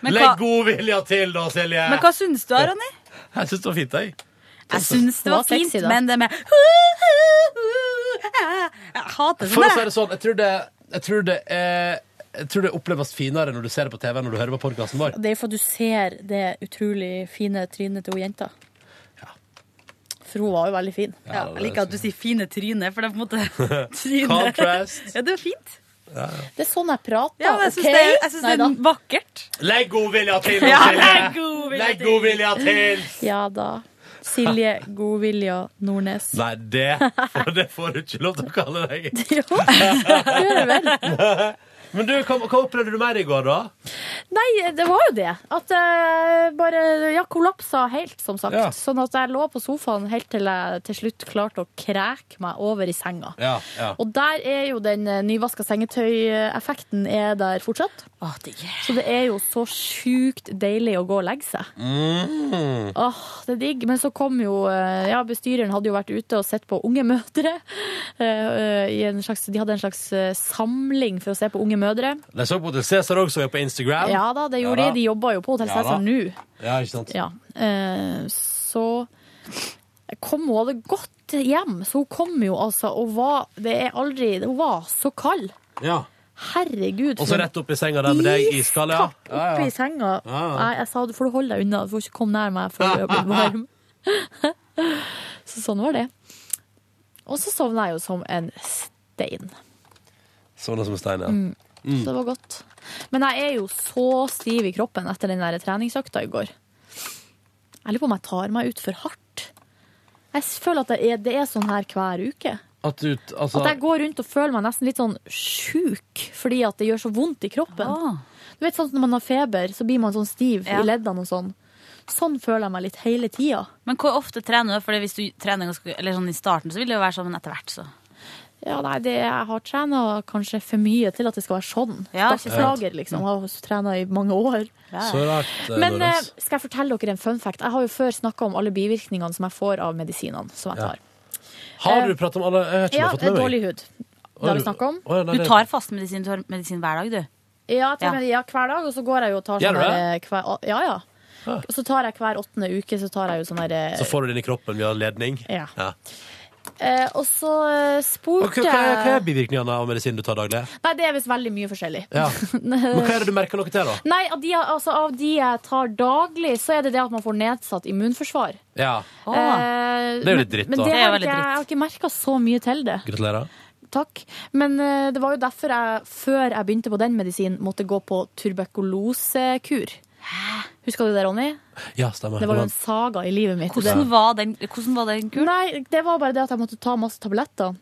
T: Men
A: Legg
T: hva-
A: god vilje til, da, Silje.
T: Men hva syns du, Ronny?
A: Jeg syns det var fint, jeg.
T: Jeg syns det var
A: Hun var
T: fint,
A: sexy, da.
T: men det med Jeg hater
A: For å
T: sånn
A: si
T: der.
A: det sånn, jeg tror det, jeg tror det er jeg tror det oppleves finere når du ser det på TV enn når du hører på podkasten vår.
B: Det er for at du ser det utrolig fine trynet til hun jenta. For hun var jo veldig fin.
A: Ja,
T: Jeg liker at du sier 'fine tryne', for det er på en måte tryne.
A: Contrast.
T: Ja, det var fint.
B: Det er sånn jeg prater.
T: Ja, men jeg syns
B: ok?
T: det er- jeg syns
B: Nei
T: det er
B: da.
A: Legg god vilje til, da,
T: Ja,
A: Silje!
T: legg god vilje
A: Legg god vilje til!
B: Ja da. Silje Godvilja Nordnes.
A: Nei, det, for det får du ikke lov til å kalle deg.
B: Jo, gjør det vel.
A: Men du, hva, hva opplevde du mer i går, da?
B: Nei, det var jo det. At jeg bare ja, kollapsa helt, som sagt.
A: Ja.
B: Sånn at jeg lå på sofaen helt til jeg til slutt klarte å kreke meg over i senga.
A: Ja, ja.
B: Og der er jo den nyvaska sengetøy-effekten er der fortsatt. Så det er jo så sjukt deilig å gå og legge seg.
A: Mm.
B: Åh, det er digg. Men så kom jo eh, Ja, bestyreren hadde jo vært ute og sett på unge mødre. eh, eh, I en slags, de hadde en slags eh, samling for å se på unge mødre.
A: De så på Hotel Cæsar også, jeg på Instagram.
B: Ja da, det
A: Ja
B: gjorde
A: da.
B: de. De jobber jo på Hotell
A: Ja
B: Cæsar
A: da.
B: nå.
A: Ja, ikke sant?
B: Ja. Eh, så kom hun hadde gått hjem, så hun kom jo altså og var Det er aldri Hun var så kald.
A: Ja.
B: Herregud.
A: Og så rett opp i senga der med deg i skall, ja. Ja,
B: opp
A: ja.
B: i senga.
A: Ja, ja.
B: Nei, jeg sa du får holde deg unna, du får ikke komme nær meg for å bli varm. så sånn var det. Og så sovna jeg jo som en stein.
A: Sånn som en stein, ja.
B: Mm.
A: Mm.
B: Så det var godt. Men jeg er jo så stiv i kroppen etter den der treningsøkta i går. Jeg lurer på om jeg tar meg ut for hardt. Jeg føler at det er, det er sånn her hver uke.
A: At du altså,
B: At jeg går rundt og føler meg nesten litt sånn sjuk fordi at det gjør så vondt i kroppen. Du vet sånn at Når man har feber, så blir man sånn stiv
T: Ah. Ja.
B: i leddene og sånn. Sånn føler jeg meg litt hele tida.
T: Men hvor ofte trener du? Fordi hvis du trener ganske, eller sånn i starten, så vil det jo være sånn, men etter hvert, så.
B: Ja, nei, det, jeg har trena kanskje for mye til at det skal være sånn.
T: Ja, ikke sant.
B: Dagsplager, liksom. Har trena i mange år.
A: Så rart. eh,
B: Men eh,
A: Nordnes.
B: skal jeg fortelle dere en fun fact? Jeg har jo før snakka om alle bivirkningene som jeg får av medisinene som jeg
A: Ja.
B: tar.
A: Har du pratet om alle Jeg vet ikke om jeg
B: eh, Ja,
A: har fått med meg.
B: dårlig hud. Det har vi snakket om. eh,
A: Å, ja, nei,
T: Du
A: det-
T: tar fast medisin, du tar medisin hver dag, du.
B: Ja, jeg tar
T: Ja.
B: med- ja, hver dag, og så går jeg jo og tar
A: Gjør du
B: sånn der, eh, hver, Ja, ja.
A: Ah.
B: Og så tar jeg hver åttende uke, så tar jeg jo sånn derre
A: Så får du den i kroppen via ledning.
B: Ja.
A: ja.
B: eh, Og så eh,
A: Og
B: spurte
A: hva, hva, er, hva
B: jeg
A: er bivirkningene av medisinen du tar daglig?
B: Nei, det er visst veldig mye forskjellig.
A: Ja. Men hva er det du merker noe til, da?
B: Nei, av de, altså, av de jeg tar daglig, så er det det at man får nedsatt immunforsvar.
A: Ja.
B: Eh,
A: Det er jo litt dritt,
B: men,
A: da.
B: Men det
A: Det er
B: har
A: veldig
B: ikke, jeg har ikke merka så mye til det.
A: Gratulerer.
B: Takk. Men eh, det var jo derfor jeg, før jeg begynte på den medisinen, måtte gå på tuberkulosekur. Husker du det, Ronny?
A: Ja, stemmer.
B: Det var jo en saga i livet mitt.
A: Hvordan
B: var den, kuren? Nei, det var bare det at jeg måtte ta masse tabletter.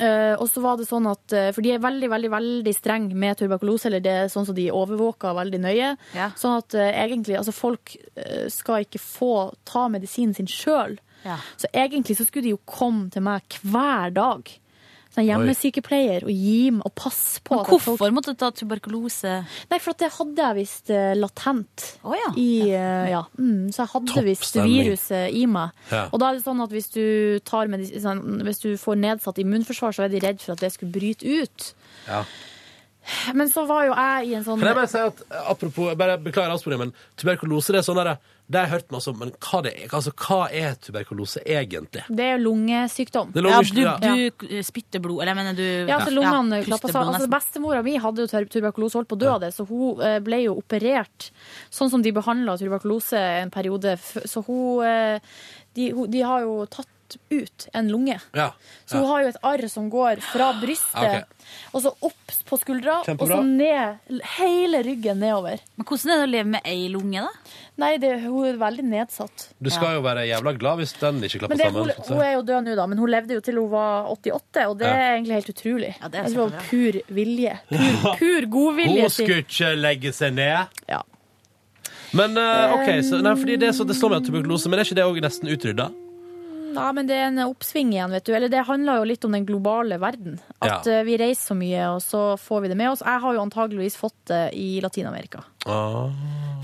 B: Eh, og så var det sånn at, eh, For de er veldig veldig, veldig strenge med tuberkulose, eller det er sånn som de overvåker veldig nøye. Sånn at eh, egentlig, altså folk eh, skal ikke få ta medisinen sin sjøl.
T: Ja.
B: Så egentlig så skulle de jo komme til meg hver dag. Sånn hjemmesykepleier og gi meg og passe på. at
T: Men hvorfor
B: folk-
T: måtte du ta tuberkulose?
B: Nei, for at det hadde jeg visst eh, latent. I, eh, ja. Mm, så jeg hadde
T: Topp
B: visst
T: stemning.
B: viruset i meg.
T: Ja.
B: Og da er det sånn at hvis du, tar medis- sånn, hvis du får nedsatt immunforsvar, så er de redd for at det skulle bryte ut.
A: Ja.
B: Men så var jo jeg i en sånn
A: Kan jeg bare si at, eh, apropos, jeg bare beklager avsporingen, men tuberkulose det er sånn der, det har jeg hørt masse om, men hva, det er, altså, hva er tuberkulose egentlig?
B: Det er jo lungesykdom.
A: Det er lungesykdom, Ja, du-
T: Du eh, spytter blod, eller jeg mener du
B: Ja, altså lungene klappa
T: puster
B: seg.
T: blod
B: Altså,
T: nesten.
B: bestemora mi hadde jo tur- tuberkulose, holdt på å dø av det, så hun eh, ble jo operert sånn som de behandla tuberkulose en periode. f- Så hun eh, de, hun- de har jo tatt ut en lunge.
A: Ja. Ah,
B: Så hun har jo et arr som går fra brystet
T: Ok.
B: og så opp på skuldra, og
T: Kjempebra.
B: så ned hele ryggen nedover.
T: Men hvordan er det å leve med ei lunge, da?
B: Nei, det, hun er veldig nedsatt.
A: Du skal jo være jævla glad hvis den ikke klapper
B: Men det,
A: sammen.
B: hun,
A: så å si.
B: hun er jo død nå, da, men hun levde jo til hun var 88, og det
A: Ja.
B: er egentlig helt utrolig. det,
T: er
B: det var pur vilje. Pur, pur godvilje.
A: Hun skulle ikke legge seg ned.
B: Ja.
A: Men eh, OK, så, nei, fordi det, er så, det slår meg at tuberkulose, men er ikke det òg nesten utrydda?
B: Nei, men det er en oppsving igjen, vet du. Eller det handler jo litt om den globale verden. At
A: Ja.
B: eh, vi reiser så mye, og så får vi det med oss. Jeg har jo antageligvis fått det i Latin-Amerika.
A: Ah,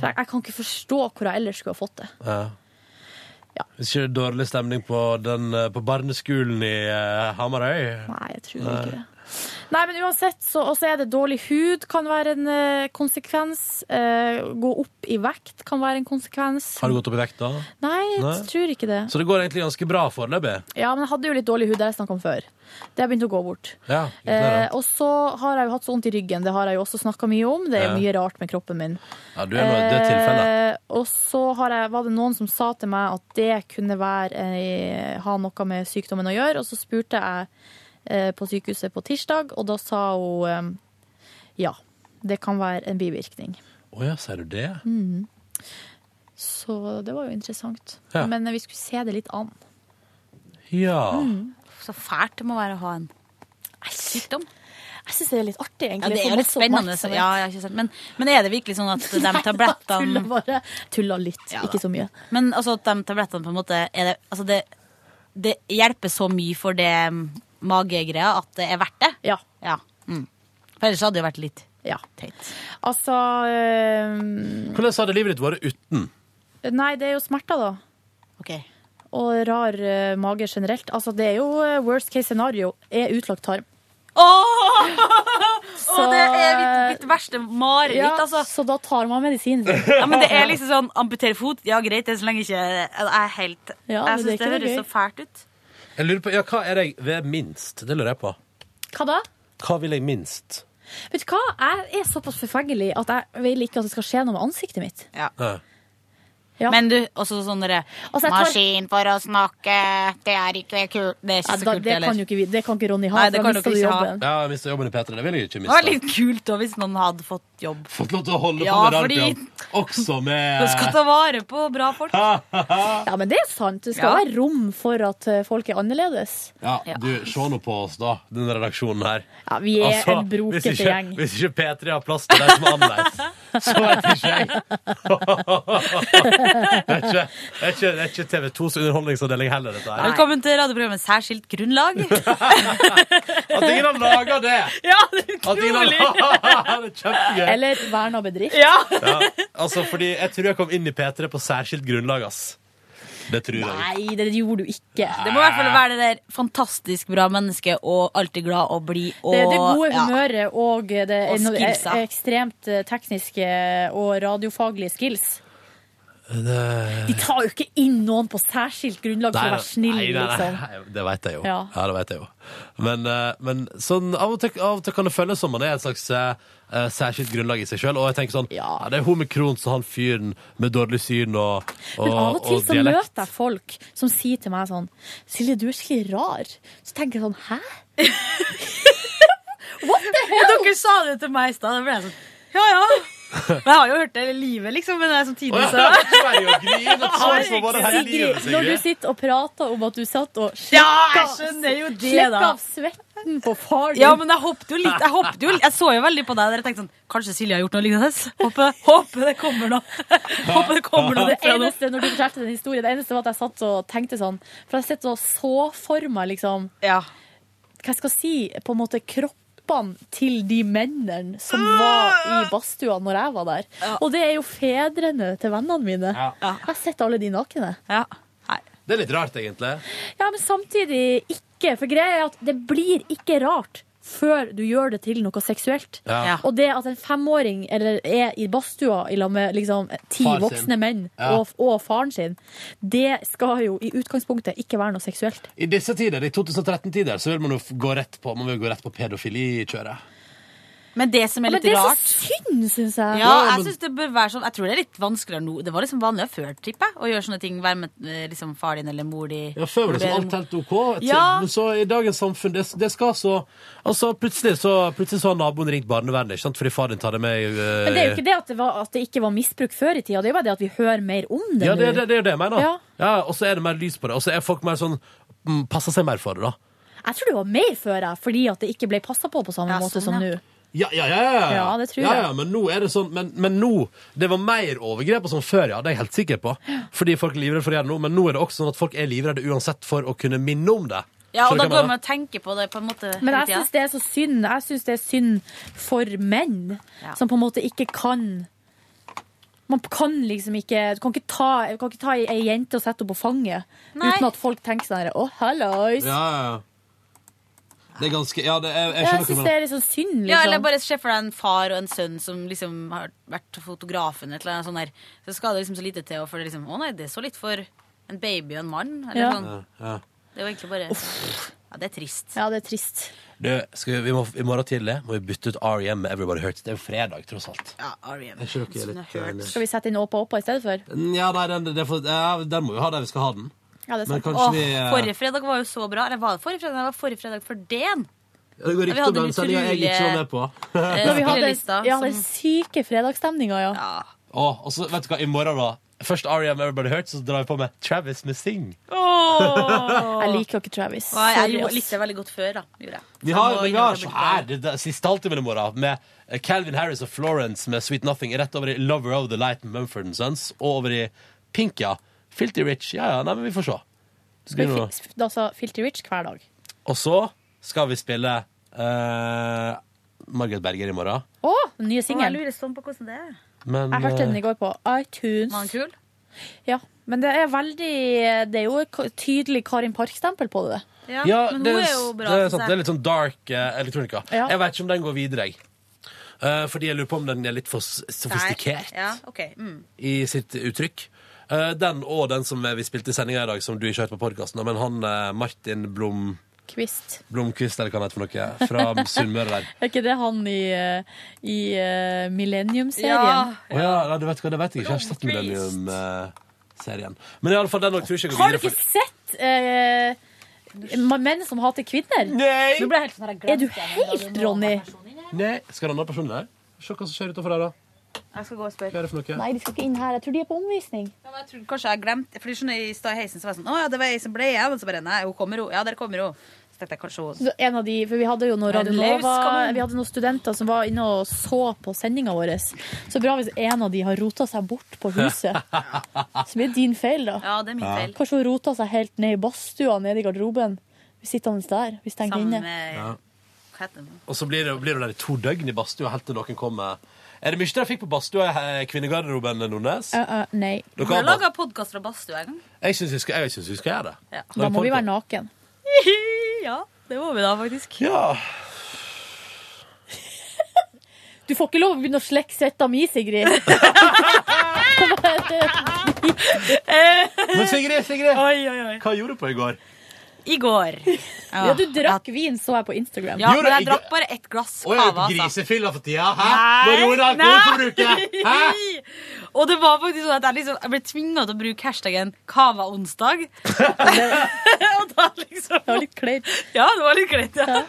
B: For jeg, jeg kan ikke forstå hvor jeg ellers skulle ha fått det.
A: ja. Hvis ikke det er dårlig stemning på, den, eh, på barneskolen i eh, Hamarøy?
B: Nei, jeg tror ikke det. Nei, men uansett, så og så er det dårlig hud kan være en eh, konsekvens. Eh, gå opp i vekt kan være en konsekvens.
A: Har du gått opp i vekt da?
B: Nei, jeg
A: Nei.
B: tror ikke det.
A: Så det går egentlig ganske bra foreløpig?
B: Ja, men jeg hadde jo litt dårlig hud, det har jeg snakka om før. Det har begynt å gå bort.
A: Ja,
B: Eh,
A: gratulerer.
B: og så har jeg jo hatt så vondt i ryggen, det har jeg jo også snakka mye om. Det er
A: Ja.
B: jo mye rart med kroppen min.
A: ja, du er nå det er tilfellet.
B: Eh, og så har jeg, var det noen som sa til meg at det kunne være, eh, ha noe med sykdommen å gjøre, og så spurte jeg eh, på sykehuset på tirsdag, og da sa hun eh, ja, det kan være en bivirkning.
A: Å ja, sier du det?
B: Mhm. Så det var jo interessant.
A: Ja.
B: Men eh, vi skulle se det litt an.
A: Ja.
B: Mhm.
T: Så fælt det må være å ha en sykdom.
B: Jeg syns det er litt artig,
T: Ja,
B: egentlig.
T: det
B: Jeg får
T: er jo litt
B: masse
T: spennende.
B: oppmerksomhet.
T: Ja, ja, ikke sant. Men, men er det virkelig sånn at de tablettene
B: Tulla bare. Tulla litt,
T: Ja, da.
B: ikke så mye.
T: Men altså at de tablettene på en måte er det, altså det, det hjelper så mye for det mm, magegreia at det er verdt det?
B: Ja.
T: Mm. For ellers hadde det jo vært litt
B: Ja.
T: teit.
B: Altså eh,
A: Hvordan hadde livet ditt vært uten?
B: Nei, det er jo smerter, da.
T: Ok.
B: Og rar eh, mage generelt. Altså, det er jo eh, worst case scenario er utlagt tarm.
T: Å, det er mitt, mitt verste mareritt,
B: Ja,
T: altså.
B: Så da tar man medisin.
T: Ja, men det er liksom sånn amputere fot, ja greit, det er så lenge ikke Jeg er helt
B: Ja, men det
T: Jeg
B: er
T: syns det
B: ikke noe
T: høres
B: gøy.
T: så fælt ut.
A: Jeg lurer på, ja, Hva er jeg ved minst? Det lurer jeg på.
B: Hva da?
A: Hva vil jeg minst?
B: Vet du hva, jeg er såpass forfengelig at jeg vil ikke at det skal skje noe med ansiktet mitt.
T: Men du, også sånn derre
B: jeg tar-
T: Maskin for å snakke, det er ikke kult. Det er ikke
B: Ja,
T: så
B: da,
T: kult,
B: det, kan jo ikke, vi- det kan ikke Ronny ha,
T: Nei,
B: for
T: det
B: da
T: kan
B: mister du
T: dere ikke ha.
B: jobben.
A: Ja, jeg mista jobben i P3. Det vil jeg ikke
T: Det var
A: miste.
T: litt kult da, hvis noen hadde fått jobb.
A: Fått lov til å holde
T: Ja,
A: på med
T: fordi-
A: radioprogram. Også med
T: Du skal ta vare på bra folk.
B: Ja, men det er sant. Det skal
A: Ja.
B: være rom for at eh, folk er annerledes.
A: Ja, du, se nå på oss, da, denne redaksjonen her.
B: Ja, vi er en
A: Altså,
B: brokete
A: hvis ikke,
B: gjeng.
A: Hvis ikke P3 har plass til deg som er annerledes, så vet ikke jeg. det er ikke, det er ikke, det er ikke TV2s underholdningsavdeling heller, dette her.
T: Velkommen til radioprogrammet Særskilt grunnlag.
A: At ingen har laga det!
T: Ja, det er
A: At ingen har- det er kjempegøy.
B: Eller verna bedrift.
A: Ja, altså, fordi jeg tror jeg kom inn i P3 på særskilt grunnlag, ass. Det tror jeg.
B: Nei, det gjorde du ikke.
T: Det må i hvert fall være det der fantastisk bra menneske og alltid glad og blid og
B: det, det gode
T: ja.
B: humøret og det
T: Og
B: er noe-
T: skillsa.
B: er ekstremt eh, tekniske og radiofaglige skills. De tar jo ikke inn noen på særskilt grunnlag for å være snill,
A: nei, nei, nei,
B: liksom.
A: nei, det vet jeg jo. Ja.
B: Ja.
A: det vet jeg jo. Men, eh, men sånn, av, og til, av og til kan det føles som man er et slags eh, eh, særskilt grunnlag i seg sjøl. Og jeg tenker sånn, ja. det er hun med krons og han fyren med dårlig syn og, og,
B: Men av og
A: og
B: til så
A: dialekt.
B: møter jeg folk som sier til meg sånn Silje, du er skikkelig rar. Så tenker jeg sånn Hæ? What the hell?
T: Dere sa det til meg i stad. Da ble jeg sånn Ja ja. Men jeg har jo hørt det hele livet, liksom. Men det er samtidig så
A: sånn,
B: Sigrid, når du sitter og prater om at du satt og
T: Ja, jeg skjønner jo det,
B: slekka
T: da.
B: av svetten på far din
T: Ja, men jeg håpet jo litt. Jeg, håpet jo, litt- jeg så jo veldig på deg der jeg tenkte sånn Kanskje Silje har gjort noe lignende? Håper, håper det kommer noe. Håper det kommer noe
B: Det
T: fra noe.
B: eneste når du fortalte den historien, det eneste var at jeg satt og tenkte sånn For jeg sitter og så for meg liksom Hva jeg skal si, på en måte kroppene til de mennene som var i badstua når jeg var der. Og det er jo fedrene til vennene mine. Jeg har sett alle de nakne.
T: Ja.
A: Det er litt rart, egentlig.
B: men samtidig ikke. For greia er at det blir ikke rart. Før du gjør det til noe seksuelt.
A: Ja. Ja.
B: Og det at en femåring eller, er i badstua i lag med liksom, ti
A: Far sin.
B: voksne menn
A: Ja.
B: og, og faren sin, det skal jo i utgangspunktet ikke være noe seksuelt.
A: I disse tider, i 2013-tider, så vil man jo f- gå rett på, man vil jo gå rett på pedofilikjøret.
T: Men det som er
B: Men
T: litt
B: det er så
T: rart
B: synd, syns jeg.
T: Ja, jeg synes det bør være sånn Jeg tror det er litt vanskeligere nå. Det var liksom vanligere før, tipper jeg, å gjøre sånne ting. Være med eh, liksom, far din eller mor di.
A: Ja, før var det sånn alt helt OK. til-
T: Ja.
A: Men så i dagens samfunn, det, det skal så Altså, plutselig så, plutselig så har naboen ringt barnevernet, ikke sant, fordi far din tar det med i eh,
B: Men det er jo ikke det at det, var, at det ikke var misbruk før i tida, det er jo bare det at vi hører mer om det
A: Ja, det,
B: nå.
A: det, det er jo det jeg mener. Ja.
B: Ja.
A: og så er det mer lys på det. Og så er folk mer sånn mm, Passer seg mer for det, da.
B: Jeg tror det var mer før, jeg, fordi at det ikke ble passa på på samme måte
T: sånn,
B: som nå.
A: Ja, ja, ja, ja.
B: Ja, det tror
A: ja,
B: jeg.
A: ja, men nå er det sånn Men, men nå Det var mer overgrep og sånn før, ja. Det er jeg helt sikker på. Fordi folk er livredde for det nå, men nå er det også sånn at folk er livredde uansett for å kunne minne om det.
T: Ja,
A: Skjønner du
T: og
A: hva
T: da
A: jeg mener?
T: går man og tenker på det på en måte
B: Men
T: hele
B: jeg
T: tida.
B: syns det er så synd. Jeg syns det er synd for menn
T: Ja.
B: som på en måte ikke kan Man kan liksom ikke Du kan ikke ta, du kan ikke ta ei- ei jente og sette henne på fanget
T: Nei.
B: uten at folk tenker sånn her Å, hallois.
A: Ja, ja, ja. Det er ganske Ja, det, jeg, jeg
B: jeg
A: skjønner
B: syns
A: hva
B: det
A: du
B: er
A: mener.
B: litt sånn synd, liksom.
T: Ja, eller bare se for deg en far og en sønn som liksom har vært fotografen et eller annet sånt der. Så skal det liksom så lite til, og for det liksom Å nei, det er så litt for en baby og en mann. Eller
B: Ja.
T: sånn.
A: Ja, ja.
T: Det er jo egentlig bare Ja, det er trist.
B: Ja, det er trist.
A: Du, skal vi, vi må, I morgen tidlig må vi bytte ut R.E.M. med Everybody Hurts. Det er jo fredag, tross alt.
T: Ja, E R.E.M.
A: Er ikke dere litt, eh, litt-
B: Skal vi sette inn Åpa Åpa i stedet for?
A: Ja, nei, den, den, får- ja, den må vi ha der vi skal ha den.
B: Ja, det er
A: Men
B: sant.
A: kanskje
T: Åh,
A: vi eh,
T: Forrige fredag var jo så bra. Eller var det forrige fredag? Det var forrige fredag for den.
A: ja, Det går
T: vi
A: rykter
T: hadde
A: om den
T: litt
A: sendinga jeg ikke var med på.
T: eh,
B: Når vi hadde
T: spillelista
B: ja,
T: som-
B: den syke fredagsstemninga, ja.
A: Åh, og så, vet du hva, i morgen, da. Først R.E.M. Everybody Hurts, så drar vi på med Travis med Sing.
T: Åh.
B: Jeg liker jo ikke Travis.
T: Nei, jeg
B: Sorry,
T: gjorde-
B: ass.
T: likte det veldig godt før, da. Gjorde jeg.
A: Vi har, vi har så her, det, det, siste halvtimen i morgen med eh, Calvin Harris og Florence med Sweet Nothing. Rett over i Lover of the Light med Mumford Sons. Og over i Pink, ja. Filty Rich. Ja, ja, nei, men vi får se.
B: Skal
A: Skal vi
B: vi
A: nå-
B: fi- altså, Filty Rich hver dag.
A: Og så skal vi spille eh, Margaret Berger i morgen.
B: Å, den nye
T: Åh, jeg
B: singelen.
T: lurer sånn på hvordan det er.
A: Men
B: Jeg hørte den
A: eh,
B: i går på iTunes.
T: Var den kul?
B: Ja, men det er veldig Det er jo et k- tydelig Karin Park-stempel på det.
T: Ja,
A: det, det, er sant, det er litt sånn dark eh, elektronika. Jeg vet ikke om den går videre, jeg. Eh, fordi jeg lurer på om den er litt for s- sofistikert
T: Ja, ok. Mm.
A: i sitt uttrykk. Eh, den og den som vi spilte i sendinga i dag, som du ikke hørte på podkasten, men han eh, Martin Blom
B: Blomkvist.
A: Blomkvist, eller hva han heter for noe, fra Sunnmøre der.
B: Er ikke det han i, eh, i eh,
A: Ja.
B: Millennium-serien?
A: Å ja, nei, du vet hva, det vet jeg ikke. Jeg har ikke sett Millennium-serien. Men i alle fall, den nok tror jeg ikke jeg
B: Har
A: går
B: du ikke
A: videre for.
B: sett eh, Menn som hater kvinner?
A: Nei!
B: Du ble helt sånn, er du helt, Ronny?
A: Nei, skal den andre personen der? Se hva som skjer utenfor der, da.
T: Jeg skal gå og spørre.
A: Hva er det for noe?
B: Nei, de skal ikke inn her. Jeg tror de er på omvisning.
T: Ja, men jeg tror kanskje jeg glemte For du skjønner, I stad i heisen så var jeg sånn Å ja, det var ei som ble igjen. Men så bare Nei, hun kommer, hun. Ja, der kommer hun. Så tenkte jeg kanskje hun
B: Så en av de, for Vi hadde jo noen Radio
T: Laus,
B: Nova,
T: kom.
B: vi hadde noen studenter som var inne og så på sendinga vår. Så bra hvis en av de har rota seg bort på huset. Så blir det din feil, da.
T: Ja, det er min Ja. feil.
B: Kanskje hun rota seg helt ned i badstua, nede i garderoben. Vi sitter hans der, vi stenger
T: Sammen
B: inne.
T: med
A: Ja.
T: Hva heter den?
A: Og så blir det- blir du der i to døgn i badstua helt til noen kommer. Er det mye dere fikk på badstua i eh, kvinnegarderoben, Nordnes?
B: Eh, eh, nei.
T: Du
A: Dere
T: har
A: har
T: laga podkast fra badstua en gang.
A: Jeg syns vi, skal- jeg synes vi skal gjøre det.
T: Ja.
B: Da må vi være naken.
T: ja, det må vi da, faktisk.
A: Ja.
B: Du får ikke lov å begynne å slekke svetta mi, Sigrid. Men
A: Men Sigrid, Sigrid,
T: oi, oi, oi.
A: hva gjorde du på i går?
T: I går.
B: Ja, du drakk vin, så jeg på Instagram.
T: Ja,
A: Gjorde
T: men jeg
A: jeg-
T: drakk bare ett glass
A: Å, er du
T: cava.
A: på
T: altså.
A: grisefylla for tida? Hæ? Må roe ned alkoholforbruket! Hæ?
T: Nei. Og det var faktisk sånn at jeg, liksom, jeg ble tvinga til å bruke hashtaggen 'Cava onsdag'. og da liksom Det
B: var litt kleint.
T: Ja, det var litt kleint, ja.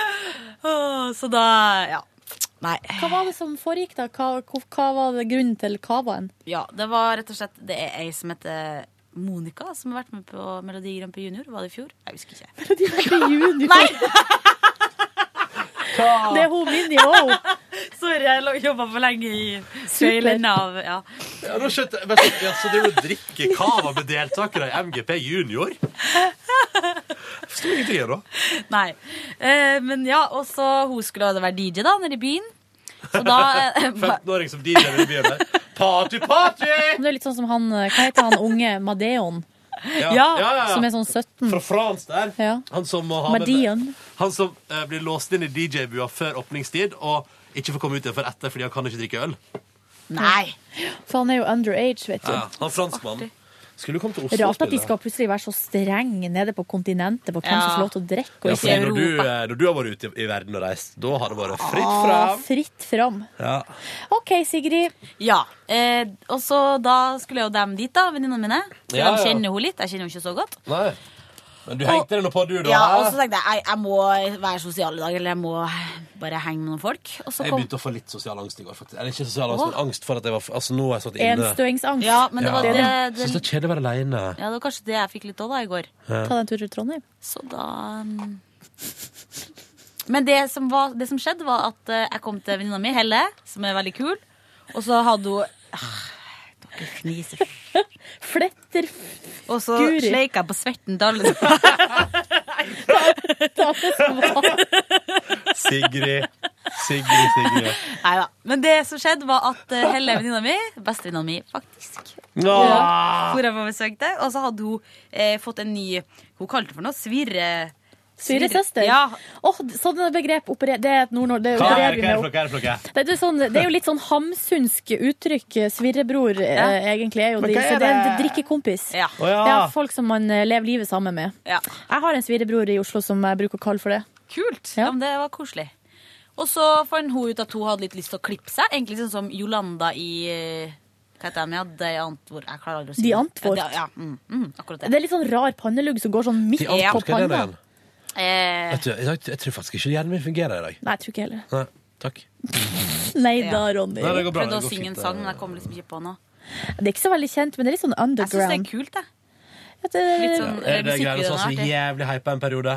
T: Åh, Så da Ja. Nei.
B: Hva var det som foregikk, da? Hva, hvor- hva var det grunnen til cavaen?
T: Ja, det var rett og slett Det er ei som heter Monica, som har vært med på Melodi Grand Prix Junior. Var det i fjor? Jeg husker ikke.
B: Melodi Grand Prix Junior?
T: Nei!
B: Det er hun Vinni òg.
T: Sorry, jeg jobba for lenge i
B: Super.
T: feilen av ja.
A: Ja, nå skjønte jeg. Vent litt, ja, Så driver du og drikker cava med deltakere i MGP junior? Jeg forstår ingenting her, da.
T: Nei. Eh, men ja, og så hun skulle også være DJ da, nede i byen. Så da eh,
A: 15-åring som DJ i byen der. Party, party!
B: Det er litt sånn som han Hva heter han unge Madeon?
A: Ja, ja, ja, ja.
B: Som er sånn 17.
A: Fra France der. Han som, må ha med-
B: Madian.
A: han som eh, blir låst inn i DJ-bua før åpningstid og ikke får komme ut igjen før etter fordi han kan ikke drikke øl.
T: Nei!
B: For han er jo underage, vet du.
A: Ja, han franskmannen. Skulle du komme til Oslo og
B: Rart at de
A: spille?
B: skal plutselig være så strenge nede på kontinentet på hvem
A: Ja.
B: som får lov til å drikke. og
A: Ja,
B: ikke.
A: fordi når du, eh, når du har vært ute i, i verden og reist, da har det vært fritt
B: Ah,
A: fram.
B: fritt fram.
A: Ja.
B: OK, Sigrid.
T: Ja. Eh, og så da skulle jo dem dit, da, venninnene mine. For
A: Ja,
T: de
A: ja.
T: kjenner hun litt. Jeg kjenner henne ikke så godt.
A: Nei. Men du hengte deg nå på, du, da.
T: Ja, og
A: hæ?
T: så tenkte jeg jeg, jeg må være sosial i dag, eller jeg må bare henge med noen folk. Og så
A: Jeg
T: kom
A: begynte å få litt sosial angst i går. faktisk. Eller ikke sosial angst,
T: Åh.
A: men angst for at jeg var Altså, nå har jeg satt inne.
B: Enstøingsangst.
T: Ja, men det var det,
A: Jeg
T: det,
A: Syns det er kjedelig å være aleine.
T: ja, det var kanskje det jeg fikk litt av da i går.
A: Ja.
B: Ta deg en tur til Trondheim.
T: Så da mm. Men det som, var, det som skjedde, var at eh, jeg kom til venninna mi, Helle, som er veldig kul, og så hadde hun Ah, Dere fniser.
B: Fletter
T: Og så
B: Guri.
T: sleika jeg på svetten til alle.
A: Sigrid. Sigrid, Sigrid.
T: Neida. Men det som skjedde, var at eh, Helle, venninna mi, bestevenninna mi, faktisk
A: Nå.
T: Ja, hvor jeg var besøkt der. Og så hadde hun eh, fått en ny Hun kalte det for noe svirre...
B: Sviresøster.
T: Ja.
B: Åh, sånne begrep operer Det er et nord det
A: Hva er
B: opererer
A: det,
B: vi
A: hva er det,
B: med.
A: for noe, hva er det, for noe?
B: Det er, jo sånn, det er jo litt sånn hamsunsk uttrykk. Svirrebror, eh, egentlig. Er jo
T: Men
B: de,
T: hva er
B: så det er en
T: det?
B: drikkekompis.
T: Ja. Å,
B: Det
T: ja.
B: er folk som man eh, lever livet sammen med.
T: Ja.
B: Jeg har en svirrebror i Oslo som jeg bruker å kalle for det.
T: Kult. Ja. men det var koselig. Og så fant hun ut at hun hadde litt lyst til å klippe seg. Egentlig sånn som Jolanda i eh, Hva heter den? Ja, De Antwoord. Jeg klarer aldri å si
B: De
T: det.
B: Antwoord.
T: Ja, det- ja, mm, mm, akkurat det.
B: Det er litt sånn rar pannelugg som går sånn midt
A: De Antwoord,
B: på
A: hva er det
B: panna.
A: igjen?
T: Eh,
A: Vet du, jeg, jeg tror faktisk ikke hjernen min fungerer i dag.
B: Nei, jeg tror ikke heller.
A: Nei, takk.
B: Nei
T: ja.
B: da, Ronny.
A: Nei, det går bra,
T: Prøvde
A: det
T: å
A: går
T: synge en
A: fint, eh,
T: sang, men
A: det.
T: jeg kom liksom ikke på noe.
B: Det er ikke så veldig kjent, men det er litt sånn
T: Jeg syns det er
B: underground.
T: kult, jeg.
B: At eh, det-
T: Litt sånn
A: Er Eh, det greier som var så
T: musikkvideoen
A: jævlig hypa en periode?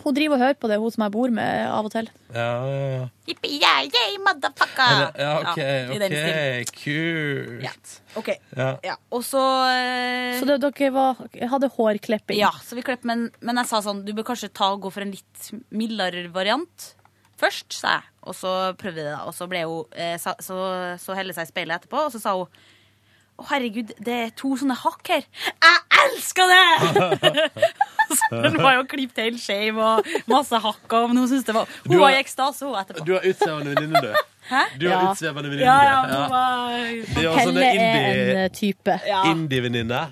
B: Hun driver og hører på det, hun som jeg bor med av og til.
A: Ja, ja, ja.
T: Yippee, yeah, yeah, motherfucker!
A: Er det- ja OK,
T: Ja, i den stilen.
A: ok, kult.
T: OK.
A: Ja.
T: Ja, og så eh,
B: Så det, dere var, hadde hårklipping?
T: Ja, så vi klipp, men, men jeg sa sånn Du bør kanskje ta og gå for en litt mildere variant først, sa jeg. Og så prøvde vi det, da. Og så, ble hun, eh, sa, så, så helle seg i speilet etterpå, og så sa hun å, herregud, det er to sånne hakk her. Jeg elsker det! Så Hun var jo klippet helt skeiv og masse hakk. Og, men hun syntes det var Hun
A: Du har-
T: var i ekstase, hun etterpå.
A: Du har utsvevende venninne, du.
T: Hæ?
A: Du har utsvevende venninne.
T: Ja, ja, hun
A: Ja. Altså, Det
T: var
A: er jo sånne
B: Helle er en
A: indie-
B: eh, type.
T: Ja.
A: Indie-venninne.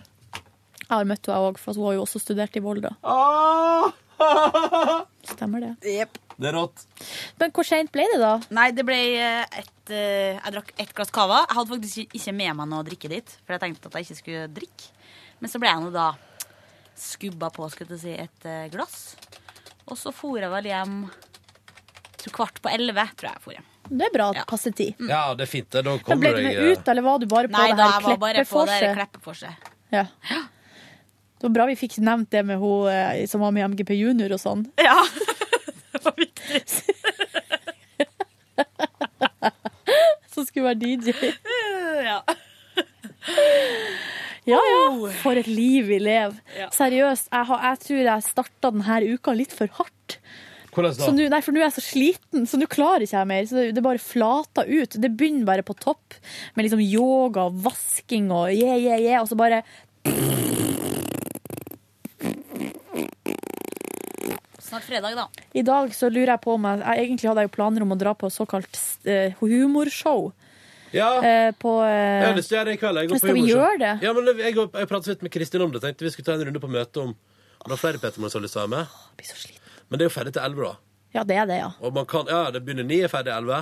B: Jeg har møtt henne òg, for hun har jo også studert i Volda. Stemmer det.
A: Det er rått.
B: Men hvor seint ble det, da?
T: Nei, det ble eh, et eh, Jeg drakk ett glass cava. Jeg hadde faktisk ikke- ikke med meg noe å drikke dit, for jeg tenkte at jeg ikke skulle drikke. Men så ble jeg nå da skubba på skulle jeg til å si, et eh, glass. Og så for jeg vel hjem tror kvart på elleve, tror jeg jeg for hjem.
B: Det er bra passe tid.
U: Ja, det er fint. det. Da
B: Men ble
U: kommer
B: du
U: jeg
B: med
U: eh,
B: ut, eller var du bare på
T: Nei,
B: det
T: da
B: her
T: jeg var bare på det der
B: kleppeforset?
T: kleppeforset.
B: Ja. Det var bra vi fikk nevnt det med hun eh, som var med i MGP junior og sånn.
T: Ja.
B: Som skulle være DJ.
T: ja.
B: Ja, ja. For et liv vi lever.
T: Oh. Ja.
B: Seriøst, jeg, har, jeg tror jeg starta denne uka litt for hardt.
A: Hvordan
B: Så nå- nei, for nå er jeg så sliten, så nå klarer ikke jeg mer. Så det, det bare flater ut. Det begynner bare på topp med liksom yoga og vasking og yeah, yeah, yeah, og så bare
T: Snart fredag, da.
B: I dag så lurer jeg på om jeg, jeg Egentlig hadde jeg jo planer om å dra på såkalt eh, humorshow.
A: Ja.
B: Eh, på
A: Jeg
B: eh,
A: har lyst til å gjøre det i kveld. Jeg går på
B: Skal vi
A: humorshow.
B: gjøre det?
A: Ja, men jeg, går- jeg pratet litt med Kristin om det. Tenkte vi skulle ta en runde på møtet om om det er flere Peter man har lyst til å ha med. Men det er jo ferdig til 11, da.
B: Ja, det er det, ja.
A: Og man kan, ja, det begynner 9, er ferdig 11.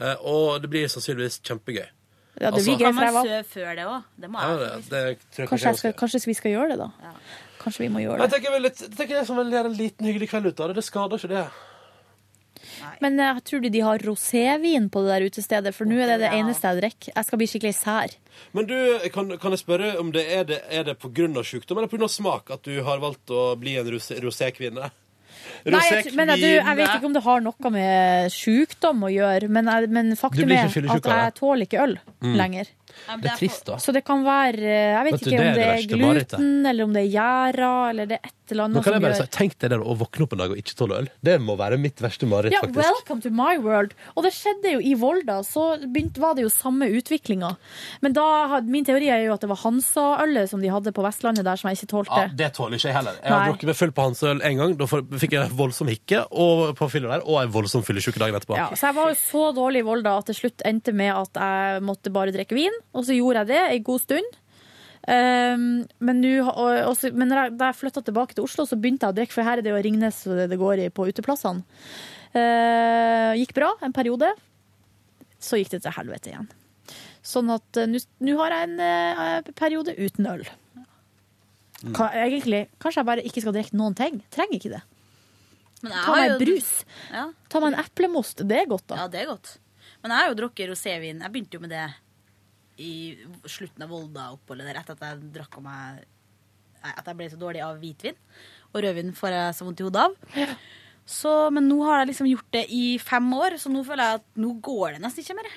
A: eh, Og det blir sannsynligvis kjempegøy.
B: Ja, det blir gøy,
T: Altså, Kan
B: for jeg
T: man
B: var-
T: sø før det òg? Det må jeg.
A: Ja, det, det tror jeg
B: Kanskje, jeg skal, kanskje vi skal gjøre det, da. Kanskje vi må gjøre
A: Jeg
B: det.
A: tenker, vel litt, jeg tenker jeg skal vel gjøre en liten hyggelig kveld ut av det. Det skader ikke det.
B: Men eh, jeg tror du de har rosévin på det der utestedet? For nå er det det eneste jeg drikker. Jeg skal bli skikkelig sær.
A: Men du, kan, kan jeg spørre om det er, det er det på grunn av sykdom eller på grunn av smak at du har valgt å bli en rosé- rosékvinne?
B: Nei, jeg, tr- men jeg, du, jeg vet ikke om det har noe med sykdom å gjøre, men, jeg, men faktum
A: blir
B: er
A: ikke
B: at
A: fyllesyk av
B: jeg tåler ikke øl
A: Mm.
B: lenger.
A: Det er trist, da.
B: Så det kan være eh, Jeg vet,
A: Vet du,
B: ikke
A: det er
B: om det er
A: det verste marerittet.
B: gluten, eller om det er gjæra, eller det er et eller
A: Nå
B: annet
A: kan jeg
B: som
A: bare
B: gjør
A: si, Tenk deg det å våkne opp en dag og ikke tåle øl. Det må være mitt verste mareritt,
B: ja,
A: faktisk.
B: Welcome to my world. Og det skjedde jo i Volda. Så begynte, var det jo samme utviklinga. Men da, had- min teori er jo at det var Hansa-ølet som de hadde på Vestlandet der, som jeg ikke tålte.
A: Ja, det tåler ikke jeg heller. Jeg har
B: Nei.
A: drukket meg full på hans øl en gang. Da får- fikk jeg voldsom hikke og på fylla der, og en voldsom fyllesyke dagen etterpå.
B: Ja, så jeg var jo så dårlig i Volda at til slutt endte med at jeg måtte bare drikke vin. Og så gjorde jeg det ei god stund. Ehm, men, nå ha- og, og så, men når jeg, da jeg flytta tilbake til Oslo, så begynte jeg å drikke, for her er det jo Ringnes og det det går i på uteplassene. Eh, gikk bra en periode. Så gikk det til helvete igjen. Sånn at eh, nå nå har jeg en eh, periode uten øl. Ka, egentlig, kanskje jeg bare ikke skal drikke noen ting. Trenger ikke det.
T: Men jeg
B: Ta
T: har
B: meg
T: jo-
B: en brus.
T: Ja.
B: Ta meg en eplemost. Det er godt, da.
T: Ja, det er godt. Men jeg har jo drukket rosévin. Jeg begynte jo med det i slutten av Volda-oppholdet, der, etter at jeg drakk av meg nei, At jeg ble så dårlig av hvitvin. Og rødvin får jeg så vondt i hodet av. Så, men nå har jeg liksom gjort det i fem år, så nå føler jeg at nå går det nesten ikke mer.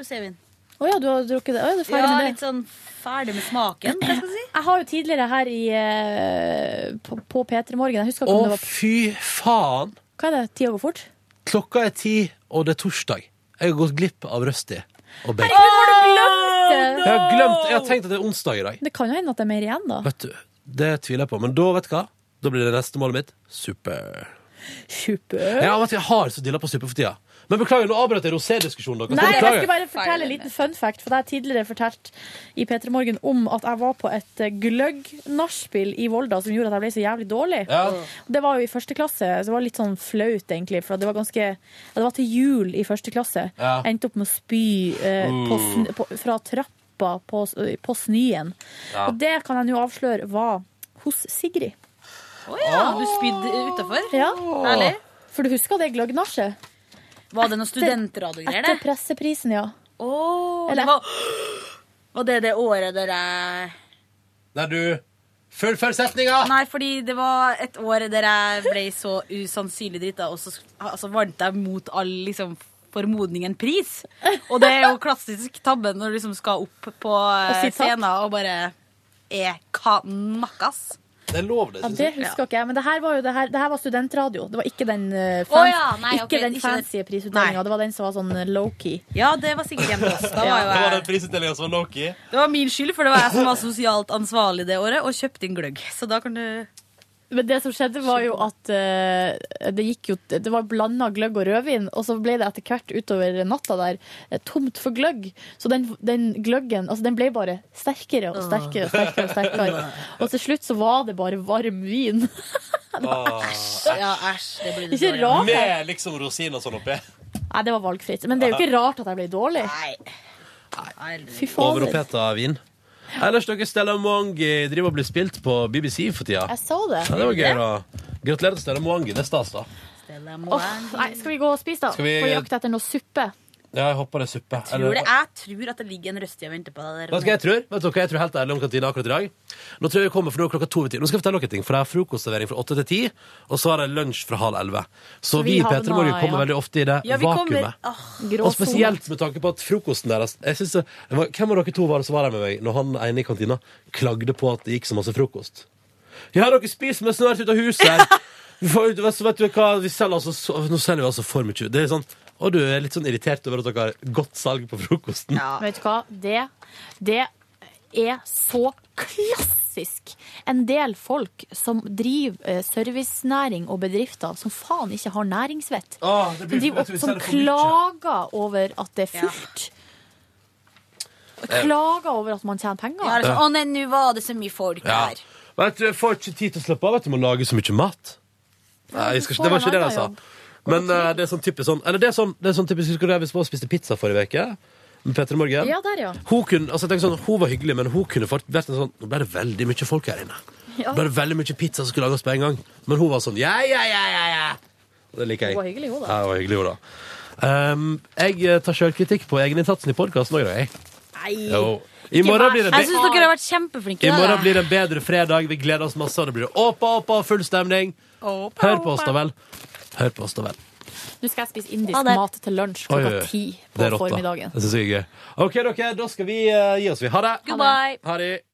T: Rosévin.
B: Å ja, du har drukket det? Å, ja, du er ferdig
T: Ja,
B: med det?
T: litt sånn ferdig med smaken. hva skal jeg si.
B: Jeg har jo tidligere her i, eh, på, på P3 Morgen Jeg husker ikke
A: Å,
B: om det var
A: fy faen!
B: Hva er det? Tida går fort?
A: Klokka er ti, og det er torsdag. Jeg har gått glipp av Rusty og bacon.
B: Herregud, har du glemt det?
A: Jeg har glemt, jeg har tenkt at det er onsdag i dag.
B: Det kan jo hende at det er mer igjen, da.
A: Vet du, Det tviler jeg på. Men da vet du hva? Da blir det neste målet mitt super.
B: Super?
A: Ja, vet du, jeg har så dilla på super for tida. Men beklager, nå avbrøt jeg rosédiskusjonen deres.
B: Nei, jeg
A: Beklager.
B: skulle bare fortelle en liten fun fact. For jeg har tidligere fortalt i P3 Morgen om at jeg var på et eh, gløgg-nachspiel i Volda som gjorde at jeg ble så jævlig dårlig.
A: Ja.
B: Det var jo i første klasse, så det var litt sånn flaut, egentlig. For det var ganske ja, Det var til jul i første klasse.
F: Ja.
B: Endte opp med å spy eh, på, sn- på, fra trappa på, s- på snøen.
T: Ja.
B: Og det kan jeg nå avsløre var hos Sigrid.
T: Å ja, du spydde utafor?
B: Ja.
T: Herlig.
B: For du husker det gløggnasjet?
T: Var det noen studentradiogreier
B: Etter
T: der?
B: presseprisen, ja.
T: Åh,
B: Eller-
T: det var, var det det året der jeg
A: Nei, du Fullfør setninga!
T: Nei, fordi det var et år der jeg ble så usannsynlig drita, og så altså, vant jeg mot all liksom, formodning en pris. Og det er jo klassisk tabbe når du liksom skal opp på eh,
B: Og si takk.
T: scenen og bare er kanakkas.
A: Det er lov,
B: Ja, det husker ikke jeg, men det her var jo det her, det her var studentradio. Det var ikke den, eh,
T: Å
B: fan,
T: ja, nei,
B: ikke
T: ok,
B: den
T: ikke
B: fancy prisutdelinga. Det var den som var sånn eh, low-key.
T: Ja, det var sikkert hjemme hos oss. Da var
A: Det
T: jo
A: var
T: jeg
A: den prisutdelinga som var Loki.
T: det var min skyld, for det var jeg som var sosialt ansvarlig det året og kjøpte inn gløgg. Så da kan du
B: Men det som skjedde, var jo at eh, det gikk jo Det var blanda gløgg og rødvin, og så ble det etter hvert utover natta der eh, tomt for gløgg. Så den, den gløggen altså den ble bare sterkere og sterkere og sterkere. Og sterkere Og til slutt så var det bare varm vin.
V: Åh, æsj.
T: Ja, æsj. Det blir
B: Ikke rart.
V: Med liksom rosin og sånn oppi.
B: Nei, det var valgfritt. Men det er jo ikke rart at jeg ble dårlig. Fy fader.
A: Overoppheta vin. Ellers dere Stella Mwangi driver og blir spilt på BBC for tida.
B: Jeg så det.
A: Ja, det var gøy, da. Gratulerer til Stella Mwangi. Det er stas, da.
B: Åh, nei, skal vi gå og spise, da?
A: Skal vi-
B: På jakt etter noe suppe.
A: Ja, jeg håper det er suppe.
T: Tror det, jeg tror at det ligger en røstig og venter på deg der.
A: Vet du hva jeg tror? Vet dere, jeg tror helt ærlig om kantina akkurat i dag. Nå tror jeg vi kommer for nå er klokka to ved ti. Nå skal jeg fortelle dere ting, for det er frokostservering fra åtte til ti, og så er det lunsj fra halv elleve. Så vi i
T: havner,
A: P3 Morgen kommer
T: ja.
A: veldig ofte i det
T: Ja, vi kommer.
A: vakuumet.
T: Åh,
A: Og spesielt med tanke på at frokosten deres jeg synes det, det var, Hvem av dere to var det som var der med meg når han ene i kantina klagde på at det gikk så masse frokost? Ja, dere spiser meg snart ut av huset her! Vi får, ut- vet, vet du hva, vi selger altså, så- nå selger vi altså for mye. Det er sånn, og du er litt sånn irritert over at dere har godt salg på frokosten.
B: Men vet du hva? Det, det er så klassisk. En del folk som driver eh, servicenæring og bedrifter som faen ikke har næringsvett.
A: Åh, det blir-
B: som driver,
A: vet du, vi
B: som
A: selger for mye.
B: klager over at det er fullt.
A: Eh.
B: Klager over at man tjener penger.
T: Ja, det er sånn,
A: Ja.
T: Å nei, nå var det så mye folk
A: Ja.
T: her.
A: Vet du, jeg får ikke tid til å slappe av. Vet du, må lage så mye mat. Nei, jeg skal ikke, det var ikke det jeg sa. Men eh, det er sånn typisk sånn Eller det er sånn, det er sånn typisk Husker du jeg var og spiste pizza forrige uke? Med Petter Morgen?
B: Ja, der, ja.
A: Hun, kunne, altså, jeg tenker sånn, hun var hyggelig, men hun kunne fort vært en sånn Nå ble det veldig mye folk her inne.
B: Ja.
A: Nå ble det veldig mye pizza som skulle lages på en gang. Men hun var sånn Ja, ja, ja, ja! ja. Og det liker jeg.
B: Hun var hyggelig, hun, da.
A: Ja, hun var hyggelig, hun, da. Ehm, jeg eh, tar sjølkritikk på egeninnsatsen i podkasten òg, jeg.
T: Nei.
A: Jo. I morgen blir det
T: Jeg syns dere har vært kjempeflinke.
A: i morgen
T: dere.
A: blir det en bedre fredag. Vi gleder oss masse. og Det blir åpa, åpa, full stemning.
B: Åpa,
A: Hør på oss,
B: åpa.
A: da vel. Hør på oss, da vel.
B: Nå skal jeg spise indisk
T: Ha det.
B: mat til lunsj
A: Oi, oi,
B: klokka
A: oi.
B: ti
A: Det
B: på
A: er rått, da.
B: formiddagen.
A: Det synes jeg er gøy. OK, dere, da skal vi eh, gi oss, vi. Ha det.
B: Goodbye.
A: Ha det.